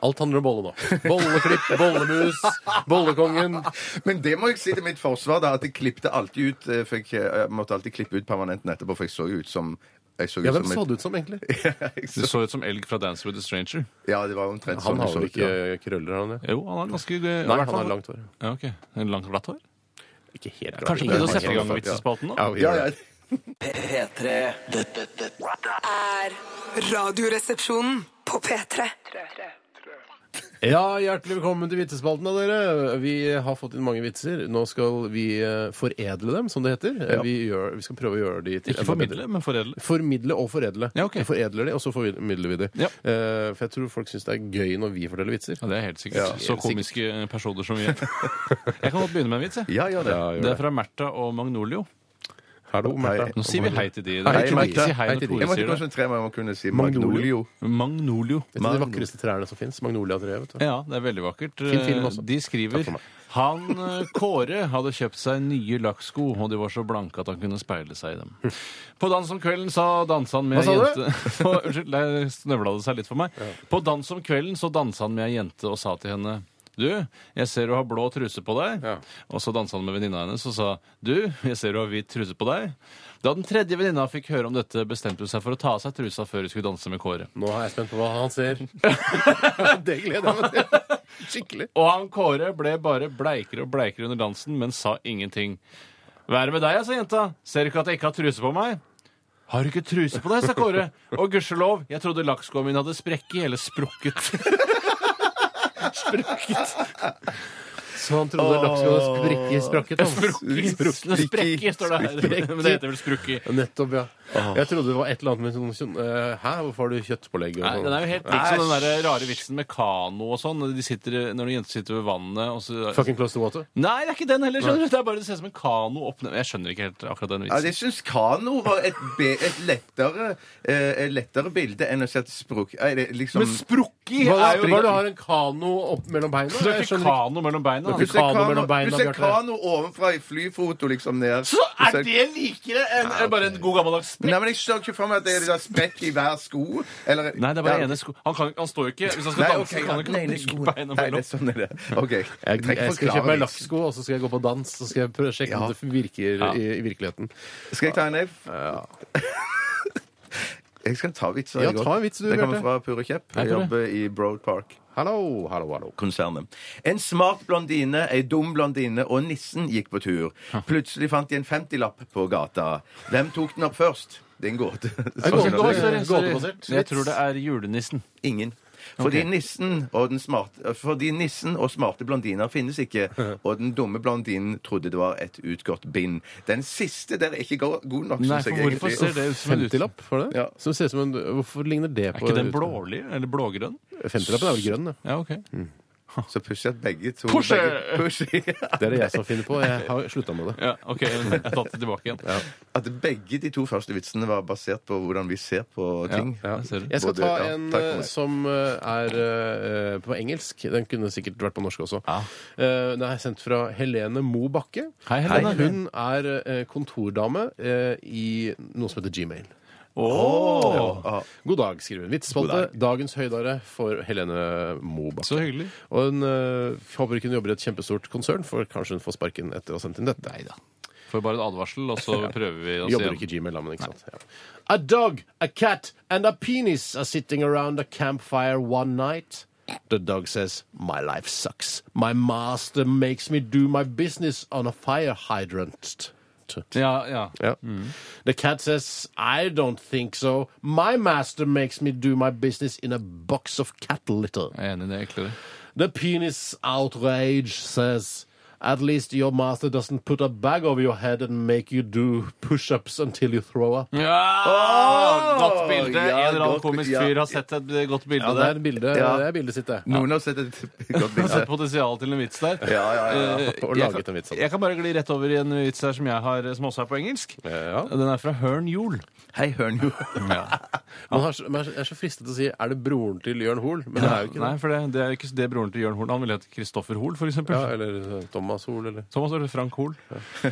C: Alt handler om bolle nå. Bolleklipp, bollemus, bollekongen.
D: Men det må jeg si til mitt forsvar, da, at jeg klippte alltid ut eh, for jeg, eh, måtte alltid klippe ut permanenten etterpå, for jeg så jo ut som jeg så ut
C: Ja, hvem
D: som
C: så
D: et-
C: det ut som, egentlig?
E: Du så ut som elg fra Dance with a Stranger.
D: Ja, det var omtrent sånn
C: Han
D: jeg så
C: har vel
D: ut, ja.
C: ikke krøller, har han det?
E: Jo, han har ganske
C: Nei, han har langt hår.
E: Ja, ok. En Langt, glatt hår?
C: Ikke helt klart.
E: Kanskje vi kunne sette i gang vitsespalten nå?
C: Ja, vi
D: Ja,
C: gjør
D: ja.
C: det.
B: P3 Dette, dette
F: er Radioresepsjonen på P3.
C: Ja, hjertelig velkommen til vitsespalten av dere. Vi har fått inn mange vitser. Nå skal vi eh, foredle dem, som det heter. Eh, Vi, gjør, vi skal prøve å gjøre de til
E: Ikke formidle, men foredle.
C: Formidle og foredle.
E: Ja, ok.
C: Vi Foredler de, og så formidler vi de.
E: Ja.
C: Eh, for jeg tror folk syns det er gøy når vi forteller vitser.
E: Ja, det er helt sikkert.
C: Ja, helt
E: så komiske eh, personer som vi er. Jeg kan godt begynne med en vits. jeg.
D: Ja, gjør det.
C: Ja, gjør
E: Det er fra Märtha og Magnolio.
C: Hallo, Märtha.
E: Nå sier vi hei til de.
C: Hei
E: Dere
C: til
E: må
C: de.
E: ikke si hei
C: Hei til
E: når
C: de.
E: Tore
D: Jeg måtte
E: sier det.
D: konsentrere meg om å kunne si
C: Magnolio.
D: magnolio.
E: Magnolio.
C: Det er de vakreste trærne som fins. Magnoliatreet, vet du.
E: Ja, det er veldig vakkert.
C: Fin film også.
E: De
C: Takk
E: skriver
C: for meg.
E: han eh, Kåre hadde kjøpt seg nye lakksko, og de var så blanke at han kunne speile seg i dem. På dans om kvelden så dansa han med
C: Hm. Hva sa
E: ei
C: du?
E: jente På- Unnskyld, der snøvla det seg litt for meg. På dans om kvelden så dansa han med ei jente og sa til henne du, jeg ser du har blå truse på deg.
C: Ja.
E: Og så dansa han med venninna hennes og sa du, jeg ser du har hvit truse på deg. Da den tredje venninna fikk høre om dette, bestemte hun seg for å ta av seg trusa før hun skulle danse med Kåre.
C: Nå er jeg spent på hva han ser. det gleder jeg meg til. Skikkelig.
E: Og han Kåre ble bare bleikere og bleikere under dansen, men sa ingenting. Hva er det med deg, sa jenta? Ser du ikke at jeg ikke har truse på meg? Har du ikke truse på deg, sa Kåre. Og gudskjelov, jeg trodde lakkskoa mine hadde sprekket eller sprukket.
C: Så han trodde lakkskoene sprakket.
E: Sprukket, Sprekke, står det her. Men det heter vel sprukki.
C: Nettopp, ja. Jeg trodde det var et eller annet med sånn eh, Hæ, hvorfor har du kjøttpålegg? og
E: Nei,
C: sånn?
E: den er jo helt lik som den der rare vitsen med kano og sånn. når De sitter, når de jenter sitter ved vannet og så
C: Fucking close to water.
E: Nei, det er ikke den heller, skjønner du. Det er bare det ser ut som en kano opp ned Jeg skjønner ikke helt akkurat den
D: Ja,
E: vitsen.
D: jeg syns kano var et, be, et lettere, eh, et lettere bilde enn å si at spruk... eh, det er Liksom,
E: Men sprukki
C: Hva
E: er jo
C: er det du har en kano opp mellom beina?
E: Du har
C: Jeg
E: ikke
C: skjønner ikke.
E: kano mellom beina.
C: Du
E: da.
C: har
D: du ser
C: kano
D: kano,
C: mellom beina,
D: du ser
C: Bjarte.
D: kano ovenfra i flyfoto, liksom ned.
E: Så
D: Du
E: er
D: ser-
E: det likere enn enn bare en god gammeldags
D: Nei, men Jeg ser ikke for meg at det er da sprekk i hver sko. Eller,
E: Nei, det er bare
D: Ja.
E: ene sko. Han, kan, han står jo ikke Hvis han skal
D: Nei,
E: danse,
D: ok,
E: kan han ikke
D: nei, nei,
E: legge
D: skoen.
E: beina
D: Nei, det
E: mellom.
D: er sånn er det. OK.
C: Jeg,
D: trenger ikke
C: jeg skal
D: forklare
C: kjøpe meg
D: vitsen.
C: lakksko, og så skal jeg gå på dans. Så skal jeg prøve å sjekke om det virker
E: Ja.
C: i, i virkeligheten.
D: Skal jeg ta en Leif? jeg skal ta vitser.
C: Ja,
D: jeg
C: ta en
D: også.
C: vits du,
D: Den kommer
C: Bjarte.
D: fra Pure Kjepp.
E: Hei,
D: Jeg
E: Pure.
D: jobber i Broad Park.
C: Hallo, hallo, hallo.
D: konsernet. En smart blondine, ei dum blondine og nissen gikk på tur. Plutselig fant de en 50-lapp på gata. Hvem tok den opp først? Det er en gåte.
C: gåte.
D: Sånn at det-
E: Sorry, sorry.
C: Gåtebasert.
E: Jeg tror det er julenissen.
D: Ingen. Fordi, nissen og den smarte, fordi nissen og smarte blondiner finnes ikke, og den dumme blondinen trodde det var et utgått bind. Den siste der er ikke go- god nok,
E: Nei,
D: syns jeg.
E: for hvorfor
D: egentlig.
E: ser det ut som en ut?
C: 50-lapp for det?
D: Ja.
C: Som ser ut som en, hvorfor ligner det
E: Er
C: på
E: ikke den blålig? Eller blågrønn? Mm.
C: 50-lappen er vel grønn, ja.
E: Ja, ok.
D: Så pusher jeg at begge to
E: Pusher!
D: begge- pusher.
C: Det er det jeg som finner på. Jeg har slutta med det.
E: Ja, ok, Jeg tatt det tilbake igjen.
D: At begge de to første vitsene var basert på hvordan vi ser på ting.
E: Ja, jeg ser det.
C: Jeg skal
D: Både-
C: ta
D: ja,
C: en
D: takk for
C: eh,
D: meg.
C: som eh, er eh, på engelsk. Den kunne sikkert vært på norsk også.
E: Ja.
C: Eh, Den er sendt fra Helene Mo Bakke.
E: Hei, Helene.
C: Og Hun er eh, kontordame eh, i noe som heter Gmail.
E: Åh,
D: Ah,
C: God dag, skriver hun. Vitsespalte. Dagens høydare for Helene Mo Bakke.
E: så hyggelig.
C: Og hun eh, håper ikke hun jobber i et kjempestort konsern, for kanskje hun får sparken etter å ha sendt inn dette. Neida.
E: Får bare en advarsel, og så prøver vi oss
C: Jobber ikke
E: igjen.
C: i Gmail, da, men ikke sant. Ja. A dog, a cat and a penis are sitting around a campfire one night. The dog says, My life sucks. My master makes me do my business on a fire hydrant.
E: Ja, ja.
C: Ja. The cat says, I don't think so. My master makes me do my business in a box of cat litter.
E: Jeg er enig i det. Eklere.
C: The penis outrage says, At least your master doesn't put a bag over your head and make you do push ups until you throw up.
E: Ja, godt bilde!
D: ja,
E: en eller annen
D: godt-
E: komisk
D: ja.
E: fyr har sett et godt bilde
C: Ja, det er
E: der.
C: bildet,
D: Ja.
C: det er bildet sitt, det.
D: Noen har sett et godt
E: Har
D: bilde.
E: sett potensial til en vits der.
D: Ja, ja, ja.
E: Eh,
C: Og
E: jeg,
C: laget en
E: kan,
C: vits av det.
E: jeg kan bare gli rett over i en vits her som jeg har, eh, som også er på engelsk.
C: Ja.
E: Den er fra Hørn Jol.
D: Hei, Hørnjo.
C: Man, har, så- man er så fristet til å si 'er det broren til Jørn Hoel', men det er jo ikke
E: Nei,
C: det.
E: for det, det er ikke det broren til Jørn Hoel. Han ville hett Kristoffer Hoel, for eksempel.
C: Ja, eller eh, Thomas Hoel, eller
E: Thomas eller Frank Hoel.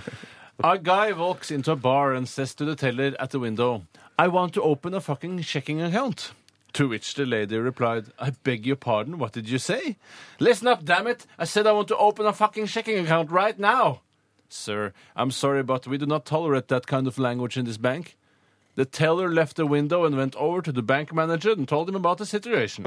E: A guy walks into a bar and says to the teller at the window, I want to open a fucking checking account. To which the lady replied, I beg your pardon, what did you say? Listen up, damn it! I said I want to open a fucking checking account right now! Sir, I'm sorry, but we do not tolerate that kind of language in this bank. The teller left the window and went over to the bank manager and told him about the situation.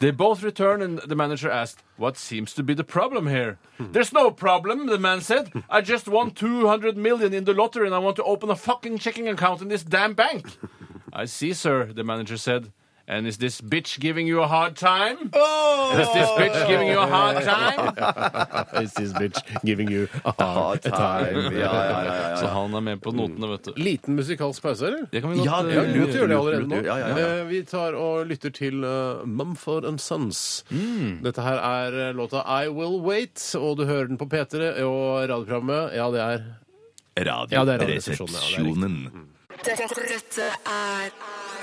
E: They both returned, and the manager asked, What seems to be the problem here? There's no problem, the man said. I just won 200 million in the lottery and I want to open a fucking checking account in this damn bank. I see, sir, the manager said. And is this bitch giving you a hard time? Is this bitch giving you a hard time?
C: Is this bitch giving you a hard
D: Ja,
C: time?
D: ja, ja, ja,
E: Så han er med på notene, vet du.
C: Liten musikalsk pause, eller?
E: Det kan vi godt
D: Ja, det
C: Mm. Ja,
E: eh,
C: lurt å gjøre det allerede nå.
D: Lurt, lurt, ja, ja, ja.
C: Eh, Vi tar og lytter til eh, Mumford and Sons. Dette her er eh, låta I Will Wait, og du hører den på P3 og radioprogrammet. Ja, det er Ja, det er Mm. Radioresepsjonen, ja, det er
F: Dette,
G: Radioresepsjonen.
F: dette er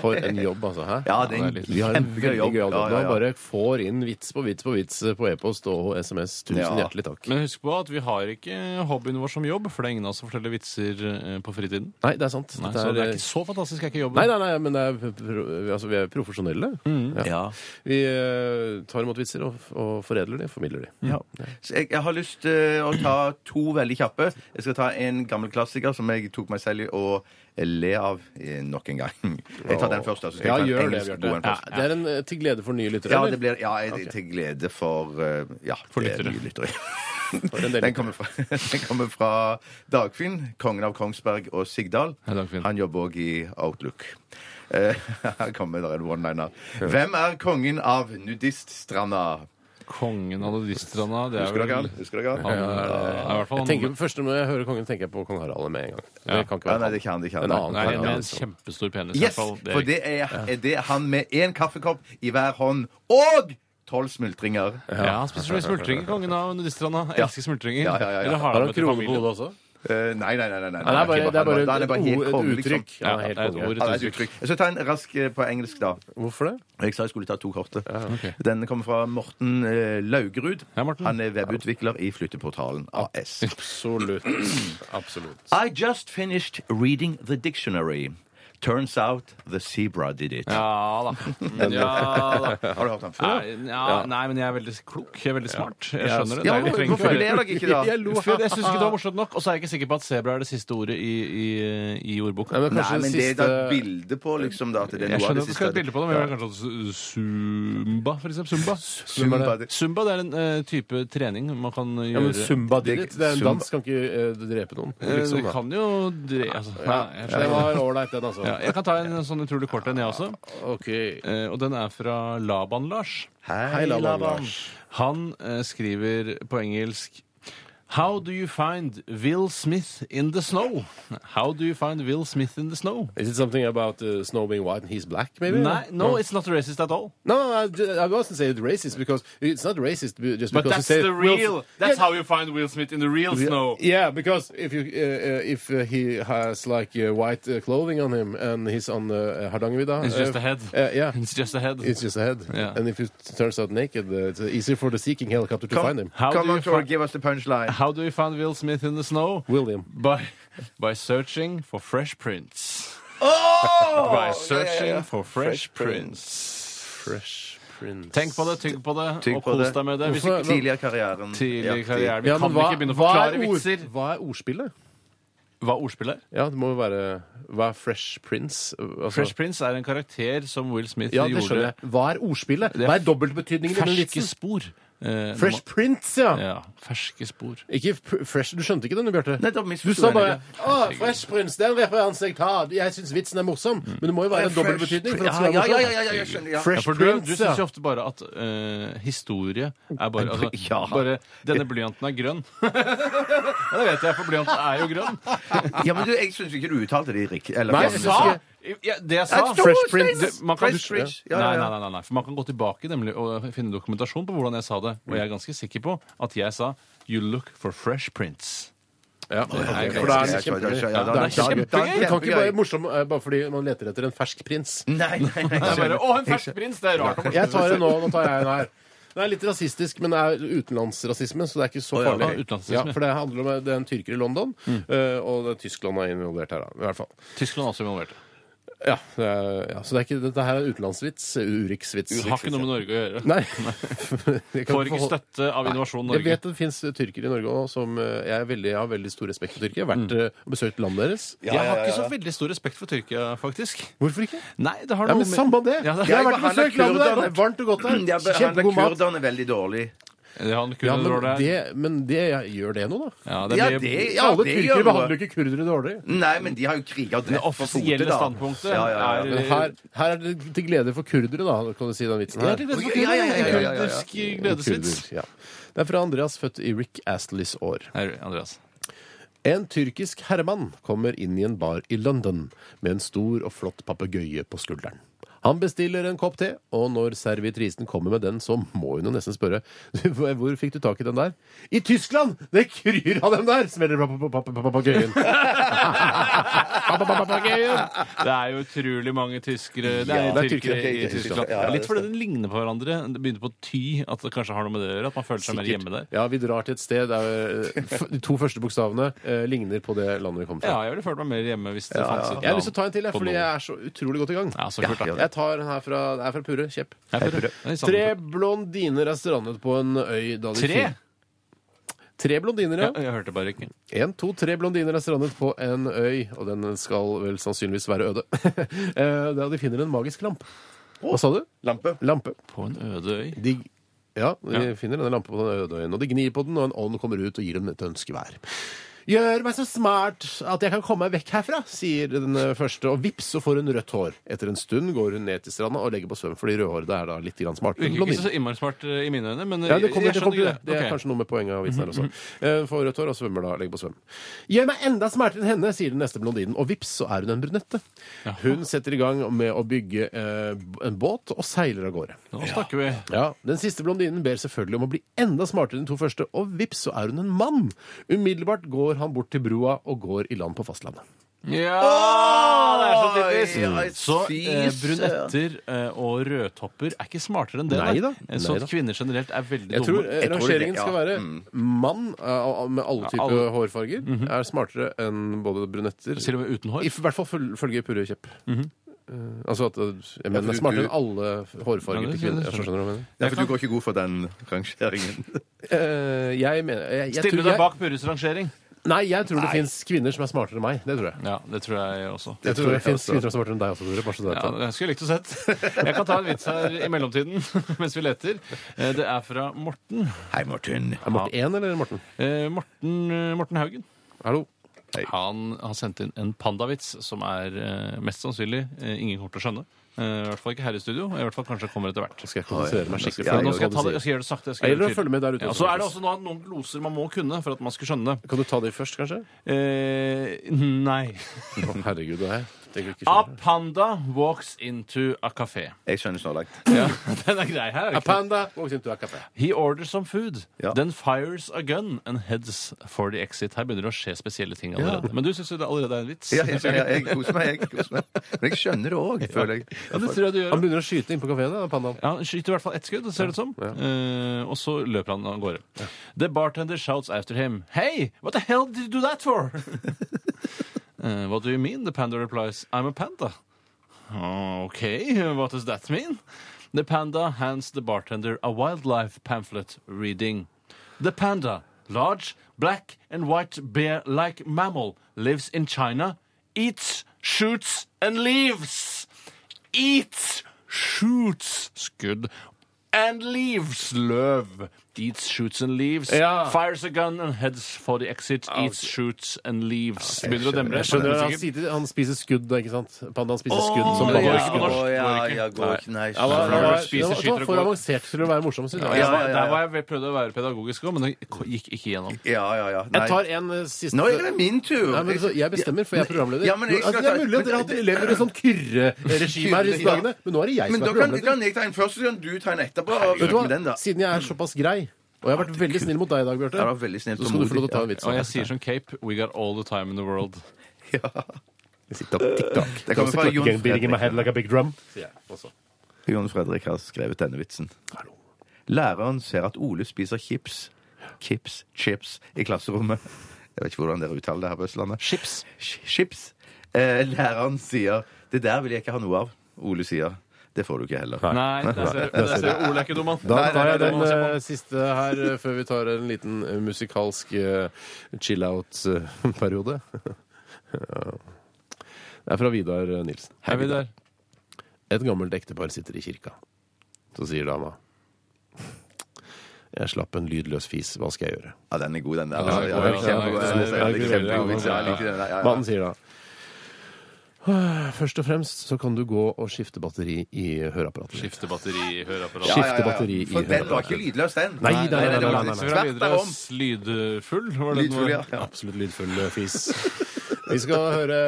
C: For en jobb, altså. Hæ?
D: Ja, det er en
C: litt- vi har en
D: kjempegøy
C: veldig
D: jobb.
C: gøyal jobb
D: Ja, ja,
C: nå.
D: ja.
C: Bare får inn vits på vits på vits på e-post og SMS. Tusen
D: Ja.
C: hjertelig takk.
E: Men husk på at vi har ikke hobbyen vår som jobb, for det er ingen av oss som forteller vitser eh, på fritiden.
C: Nei, det er sant.
E: Nei,
C: Dette
E: så det er
C: eh,
E: ikke så fantastisk, er ikke jobben.
C: Nei, nei, nei, men det er, pro- altså, vi er
E: Mm.
C: profesjonelle. Ja. Vi eh, tar imot vitser og, og foredler de, formidler de.
D: Så Jeg, jeg har lyst til å ta to veldig kjappe. Jeg skal ta en gammel klassiker som jeg tok meg selv i å le av eh, nok en gang. Jeg tar den først, da. Så skal
C: Ja,
D: jeg ta en
C: gjør det,
D: engelsk
C: Bjarte.
D: god en først.
C: Ja, det er en eh, til glede for nye lyttere.
D: Ja,
C: eller?
D: det blir, ja jeg, til glede for eh, Ja,
E: For
D: det er
E: lyttere.
D: nye lyttere.
C: en del
D: Den kommer, fra, den kommer fra Dagfinn, kongen av Kongsberg og Sigdal.
E: Hei, Dagfinn.
D: Han jobber òg i Outlook. Eh, Her kommer det en one-liner. Hvem er kongen av nudiststranda?
E: Kongen av nudistranda, det er
D: Husker
E: vel
D: dere han? Husker dere han?
E: Han er, er i hvert fall
C: Jeg tenker først Når jeg hører kongen, tenker jeg på kong Harald med en gang. Det
D: Ja,
C: kan ikke være
D: nei,
C: han.
D: det kan det ikke.
C: En annen
E: Nei,
C: kong
E: en med en
C: Harald. liksom.
E: kjempestor penis. i
D: Yes!
E: hvert fall. Det er
D: For det er, er det han med én kaffekopp i hver hånd og tolv smultringer.
E: Ja, han spiser mye smultringer, kongen av nudistranda. Jeg Elsker smultringer.
D: Ja, ja, ja, ja.
E: Eller har
C: Har han
E: han med til
C: krone på
E: familien?
C: hodet også?
D: Eh, nei, nei, nei. nei, nei,
C: Nei, det er bare, det er
D: da
C: bare
D: han
C: et,
D: helt
C: ord-
D: konge,
C: et
D: liksom.
C: uttrykk. Ja,
E: Ja,
C: helt
E: det er et
C: konge.
E: ord, et
D: Ja, det er et
E: uttrykk.
D: uttrykk. Jeg skal ta en rask eh, på engelsk, da.
C: Hvorfor det?
D: Jeg sa jeg skulle ta to korte. Den kommer fra Morten eh, Laugrud.
E: Hei, Morten.
D: Han er webutvikler i Flytteportalen AS.
C: Absolutt. Absolutt.
D: I just finished reading the dictionary. Turns out the zebra did it.
E: Ja da. Ja da.
D: Har du hørt den før?
E: Nei, ja, nei, men jeg er veldig klok. Jeg er veldig smart. Jeg skjønner det.
D: Ja,
E: det er- jeg trenger ikke
D: hvorfor
E: være-
D: ler dere ikke da?
C: Jeg lo.
E: Hvorfor? Jeg syns ikke det var morsomt nok. Og så er jeg ikke sikker på at sebra er det siste ordet i, i, i ordboka.
C: Nei, men
D: Nei, men
C: kanskje
D: det
C: det
D: er da
C: siste
D: et bilde på liksom da, at det er
E: Jeg
D: noe av det
E: skjønner at du skal
D: siste.
E: ha et bilde på det, men jeg vil kanskje ha s- Zumba, for eksempel. Zumba.
D: Zumba, det-
E: Zumba det er en eh, type trening man kan gjøre.
C: ja, men Zumba dit.
D: Det-
C: Det er en
D: Zumba.
C: dans. Kan ikke eh, drepe noen.
E: Eh,
C: Liksom,
E: Du
C: da.
E: kan jo dre... Altså,
C: Ja,
E: nei, jeg
C: det
E: skjønner.
C: var ålreit, den, altså.
E: Ja, jeg kan ta en sånn utrolig kort en, jeg også.
C: OK.
E: Eh, Og den er fra Laban-Lars.
C: Hei, Laban Lars.
E: Han eh, skriver på engelsk How do you find Will Smith in the snow? How do you find Will Smith in the snow?
C: Is it something about uh, snow being white and he's black, maybe?
E: Nei, no, it's not racist at all.
C: No, no, I, ju- I wasn't saying it's racist because it's not racist be- just
E: But
C: because you say
E: that's the
C: Will-
E: real. That's how you find Will Smith in the real snow.
C: Yeah, because if you uh, uh, if uh, he has like uh, white uh, clothing on him and he's on uh, Hardangervidda,
E: It's just
C: uh,
E: a head.
C: Uh, yeah,
E: It's just a head.
C: it's just a head.
E: Yeah.
C: And if it turns out naked, uh, it's easier for the seeking helicopter to find him.
E: How do
D: Come
E: you
D: on, Tor,
E: fi-
D: give us the punchline. Oh,
E: How do you find Will Smith in the snow?
C: William.
E: By by searching for fresh prints.
D: Oh!
E: By searching for fresh, prints.
C: Fresh Prince.
E: Tenk på det, tygg på det,
D: Tygg
E: og
D: på
E: kos
D: det.
E: deg med det. Hvis
C: Hvorfor-
E: ikke
D: Tidlig i karrieren.
E: Altså, tidlig i
D: Ja,
E: karrieren. Vi
C: Ja, men
E: kan
C: hva,
E: ikke begynne å
C: hva,
E: forklare
C: er ord,
E: vitser.
C: hva er ordspillet?
E: Hva ordspillet er?
C: Ja, det må jo være Hva er Fresh Prince? Altså,
E: Fresh Prince er en karakter som Will Smith
C: ja, det skjønner
E: gjorde
C: jeg. Hva er ordspillet? Hva er dobbeltbetydningen i den
E: ferske
C: vitsen?
E: spor. Eh,
C: Fresh Prince, ja.
E: når man, ja, ferske spor.
C: Ikke pr- fresh, Du skjønte ikke den, Bjarte?
D: Nei, da misforsto
C: Du sa
D: jeg
C: bare
D: det.
C: å, 'Fresh Prince', den referansen jeg tar. Jeg syns vitsen er morsom. Men det må jo være en dobbel betydning. For at det skal være
D: Ja, ja,
E: sånn.
C: morsom.
D: ja, ja, ja, jeg skjønner. Ja.
E: Ja,
C: Fresh
E: for du, du
C: Prince,
E: syns jo
C: ja.
E: ofte bare at eh, historie er bare, altså,
D: Ja.
E: bare Denne blyanten er grønn. ja, det vet jeg, for blyanten er jo grønn.
D: Ja, men du, jeg syns ikke du uttalte det riktig. eller-
C: Nei,
D: Ja,
E: Jeg
D: men-
E: sa ja, Det jeg sa
D: Nei,
C: Fresh
D: Tor
C: Prince.
D: Steinnes!
E: Du- man kan-
D: Fresh Prince. Ja,
E: Nei,
D: ja,
E: nei,
D: ja.
E: nei, nei, nei, for man kan gå tilbake nemlig og finne dokumentasjon på hvordan jeg sa det. Og jeg er ganske sikker på at jeg sa 'You look for fresh prints'.
C: Ja,
E: ok.
C: For da er den
D: Ja, da-
C: kjempegøy. Det er
D: da- da- da-
E: kjempegøy.
C: Du kan ikke bare morsom eh, bare fordi man leter etter en fersk prins.
D: Nei, nei, nei.
E: Det er bare, Å, en fersk prins! Det er rart. å-
C: Jeg tar en nå, nå tar jeg en her. Det er litt rasistisk, men det er utenlandsrasisme, så det er ikke så
E: ja,
C: farlig.
E: ja, utenlandsrasisme. Mm.
C: for det handler om det er en tyrker i London, eh, og det er Tyskland er involvert her, da. I hvert fall.
E: Tyskland er også involvert.
C: Ja, det er, ja så det er ikke, dette her er utenlandsvits. Urix-vits.
E: Det har ikke noe med Norge å gjøre.
C: Nei. Jeg kan
E: Får ikke
C: forhold-
E: støtte av Innovasjon
C: Jeg
E: Norge.
C: vet det fins tyrkere i Norge òg som eh, jeg, er veldig, jeg har veldig stor respekt for Tyrkia. Jeg har vært,
E: Mm.
C: eh, og besøkt landet deres.
E: Jeg har ikke så veldig stor respekt for Tyrkia, faktisk.
C: Hvorfor ikke?
E: Nei, det har
C: Ja,
E: noe
C: men Samme det!
E: Ja, det-
C: Jeg har vært og
D: behandler
C: besøkt landet der.
D: kurderne-
C: Det er varmt og godt
D: De har
C: der.
D: behandla
C: Kjempegod mat.
D: kurderne veldig dårlig.
E: Det han kunne
C: Ja, men
E: dårlig.
C: det, men det gjør det noe, da.
E: Ja, det
D: Ja,
E: blir-
D: det-
C: Ja, alle
D: det gjør
C: tyrkere
D: noe.
C: behandler jo ikke kurdere dårlig.
D: Nei, men de har jo kriga og
E: Det
D: drept på fote,
E: offisielle
D: da.
E: standpunktet
D: Ja, ja, ja.
E: er
C: Men her, her er det til glede for kurdere, da, kan du si den vitsen
E: Det er
C: her.
E: til glede for
D: Ja, ja, ja, ja, ja,
E: kurdere.
D: ja.
E: En kurdisk gledesvits.
C: Kurder, ja. Det er fra Andreas, født i Rick Astleys år.
E: Her, Andreas.
C: En tyrkisk herremann kommer inn i en bar i London med en stor og flott papegøye på skulderen. Han bestiller en kopp te, og når servitrisen kommer med den, så må hun jo nesten spørre «Du, hvor hvor fikk du tak i den der? I Tyskland! Det kryr av dem der! smeller det på pa- pa- pa- papegøyen. Papegøyen!
E: Det er jo utrolig mange tyskere Det er,
C: Ja, det er
E: tyrkere
C: tyrkere
E: i
C: i
E: Tyskland.
C: Tyskland.
D: Ja, ja,
E: Litt
D: det
E: fordi den ligner på hverandre. Det begynner på ty, at det kanskje har noe med det å gjøre. At man føler seg mer hjemme der.
C: Ja, vi drar til et sted der eh, f- de to første bokstavene eh, ligner på det landet vi kommer
E: Ja,
C: fra.
E: jeg ville følt meg mer hjemme hvis det fantes et
C: Jeg har lyst til å ta en
E: land
C: til, jeg,
E: på
C: fordi
E: noe.
C: jeg er så utrolig godt i gang.
E: Ja, så kult, da.
C: Jeg tar den her fra, det er fra Pure. Kjepp.
E: Jeg prøver. Det er samme.
C: Tre blondiner er strandet på en øy da de
E: Tre?
C: fin- Tre blondiner,
E: Ja,
C: ja.
E: jeg hørte bare ikke.
C: En, to, tre blondiner er strandet på en øy, og den skal vel sannsynligvis være øde. Eh, da de finner en magisk lamp. Hva sa du?
D: Lampe.
C: Lampe.
E: På en øde øy.
C: De, ja, de
E: Ja.
C: finner denne lampen på den øde øyen, og de gnir på den, og en ånd kommer ut og gir dem et ønske hver. Gjør meg så smart at jeg kan komme meg vekk herfra, sier den eh, første, og vips, så får hun rødt hår. Etter en stund går hun ned til stranda og legger på svøm, fordi rødhårede er da litt grann smart.
E: Virker ikke så innmari smart eh, i mine øyne, men eh,
C: Ja, det kommer,
E: jeg
C: det, kommer, til det. det
E: skjønner
C: er
E: Ok. Mm-hmm.
C: kanskje noe med poenget av vitsen her også. Eh, Får rødt hår og svømmer da. Legger på svøm. Gjør meg enda smartere enn henne, sier den neste blondinen, og vips, så er hun en brunette. Hun setter i gang med å bygge eh, en båt og seiler av gårde.
E: Nå snakker vi.
C: Ja, Den siste blondinen ber selvfølgelig om å bli enda smartere enn de to første, og vips, så er hun en mann. Umiddelbart går han bort til brua og går i land på fastlandet.
E: Ja! Det er så typisk! Så eh, brunetter eh, og rødtopper er ikke smartere enn det.
C: Nei
E: da.
C: da,
E: Eh, Så
C: nei
E: at
C: da.
E: kvinner generelt er veldig
C: Jeg tror
E: dumme.
C: eh,
D: Jeg tror det,
C: rangeringen
D: ja.
C: skal være mann eh, med alle Mhm. typer
E: alle.
C: hårfarger er smartere enn både brunetter
E: Til og med uten hår.
C: I hvert fall føl- følge Purre Kjepp. Eh, altså at eh, jeg
D: for
C: mener, det er
D: du-
C: smartere
D: du-
C: enn alle
E: Ja,
C: hårfarger
E: det
C: til kvinner.
E: skjønner jeg.
C: Jeg skjønner hva du mener.
D: Ja, for du går ikke god for den rangeringen.
C: Eh, jeg mener jeg, jeg,
E: Stille
C: tror,
E: deg
C: jeg,
E: bak Purres rangering.
C: nei, jeg tror det fins kvinner som er smartere enn meg. Det tror jeg.
E: Ja, det tror jeg også.
C: Jeg tror
D: tror
C: det
D: jeg
C: finnes
D: også.
C: kvinner som er smartere enn deg også, Tore. Bare så du vet
E: Ja,
C: det.
E: det skulle jeg likt å sett. Jeg kan ta en vits her i mellomtiden mens vi leter. Eh, Det er fra Morten.
D: Hei, Morten.
C: Er Morten én eller Morten?
E: Eh, Morten, eh, Morten Haugen.
C: Hallo?
E: Han har sendt inn en pandavits som er eh, mest sannsynlig eh, ingen kommer til å skjønne. Eh, I hvert fall ikke her i studio. I hvert fall kanskje kommer etter hvert.
C: Nå skal jeg konsentrere meg skikkelig.
D: Ja,
C: for
E: Nå
C: hva
E: skal jeg,
C: du
E: ta det,
C: sier.
E: jeg skal gjøre det sakte. Jeg
C: Ja, gjelder
E: skal gjøre
C: å
E: det tydelig.
C: følge med der ute
E: Ja,
C: også,
E: så er det
C: faktisk.
E: også nå noen gloser man må kunne for at man skal skjønne det.
C: Kan du ta de først, kanskje?
E: Eh, nei.
C: Å, herregud, det er jeg.
E: A panda walks into a café.
D: Jeg skjønner så langt.
E: Den er grei her. er det ikke?
C: Apanda, walks into a cafe.
E: He orders some food,
D: Ja.
E: then fires a gun and heads for the exit. Her begynner det å skje spesielle ting allerede. Men du syns jo det allerede er en vits?
D: Ja, jeg, jeg, jeg koser meg, jeg koser meg. Men jeg skjønner det òg, føler jeg.
E: Ja, det tror jeg du gjør.
C: Han begynner å skyte inn på kafeen, da, pandaen.
E: Ja, han skyter i hvert fall ett skudd, ser det ut som. Eh, og så løper han av gårde. The bartender shouts after him. Hey, what the hell did you do that for? Eh, what do you mean? The panda replies. I'm a panda. Oh, okay, what does that mean? The panda hands the bartender a wildlife pamphlet reading. The panda, large, black and white bear-like mammal, lives in China, eats, shoots and leaves. Eats, shoots, skudd, and leaves, løv. Eats, shoots and leaves.
C: Ja.
E: Fires a gun and heads for the exit. Eats, shoots and leaves. Begynner å demre.
C: Jeg skjønner, han,
E: Sikkert.
C: sitter, han spiser skudd, da, ikke sant? Pandaen spiser skudd. Som
E: men
C: det
E: går
C: går
E: ikke på
C: skudd.
E: norsk.
D: Å, ja, ja, går ikke. Nei, skjønner.
E: det
C: Det
E: var-
C: var,
E: spiser, skyter og
C: for
E: går.
C: avansert til å være morsom. Synes jeg.
E: Jeg
D: ja,
E: var,
D: ja, ja.
E: der var jeg, jeg prøvde å være pedagogisk òg, men det k- gikk ikke gjennom.
D: Ja, ja, ja. Nei.
C: Jeg tar en eh, siste
D: Nå er det min tur.
C: Nei, men så, jeg bestemmer, for jeg er programleder.
D: Ja, men jeg skal
C: altså, det er
D: ta-
C: mulig at dere har hatt elever i sånn kyrreregime her i disse
D: Ja.
C: dagene, men nå er det jeg
D: Men
C: som
D: da
C: er
D: kan,
C: programleder.
D: kan jeg ta en først, så kan du ta en etterpå. og
C: Vet du
D: med den,
C: hva?
D: da.
C: Siden jeg er såpass grei, Og jeg har vært veldig snill mot deg i dag, Bjarte.
D: Ja, du var veldig snill
C: Så skal du få lov til å ta en
D: tålmodig,
C: vits.
E: Og jeg sier som Cape We got all the time in the world.
D: TikTok, TikTok. Det kommer fra Jon Fredrik. Jon Fredrik har skrevet denne vitsen. Læreren ser at Ole spiser chips. Kips, chips i klasserommet. Jeg vet ikke hvordan dere uttaler det her på Østlandet.
E: Chips.
D: Ch- Chips. Eh, læreren sier 'Det der vil jeg ikke ha noe av'. Ole sier 'Det får du ikke heller'.
E: Nei, der ser, der ser du. Ole er ikke dum, han.
C: Da
E: Nei,
C: tar
E: nei,
C: jeg
E: nei,
C: den
E: nei,
C: eh, siste her eh, før vi tar en liten eh, musikalsk eh, chill-out-periode. Det er fra Vidar eh, Nilsen.
E: Hei, Vidar.
C: Et gammelt ektepar sitter i kirka. Så sier dama Jeg slapp en lydløs fis. Hva skal jeg gjøre?
D: Ja, den er god, den der.
E: den er
D: Ja,
E: god,
D: ja,
E: ja,
D: kjempegod.
E: den er god.
D: Ja, det er kjempegod vits. Ja, jeg liker den der. Ja, ja.
C: Mannen sier da Først og fremst så kan du gå og skifte batteri i høreapparatet. ditt.
E: Skifte batteri,
D: Ja, ja, ja,
E: høreapparat
D: ja.
C: Skifte batteri i
D: For den var ikke
C: høreapparatet.
D: lydløs, den.
C: Nei, nei, nei,
D: det var
C: nei, nei,
D: litt
C: nei.
E: Fra
D: tvert
E: videre
D: derom.
E: Lydfull, var det den
D: Lydfull, ja.
E: var?
D: ja.
C: Absolutt lydfull eh, fis. Vi skal høre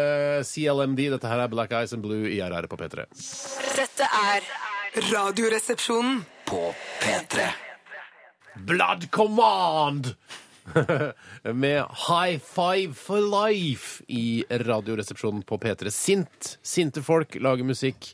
C: CLMD. Dette her er Black Eyes and Blue i RR på P3.
F: Dette er Radioresepsjonen.
B: På P3.
C: Blood Command! Med High Five for Life i Radioresepsjonen på P3. Sint. Sinte folk lager musikk.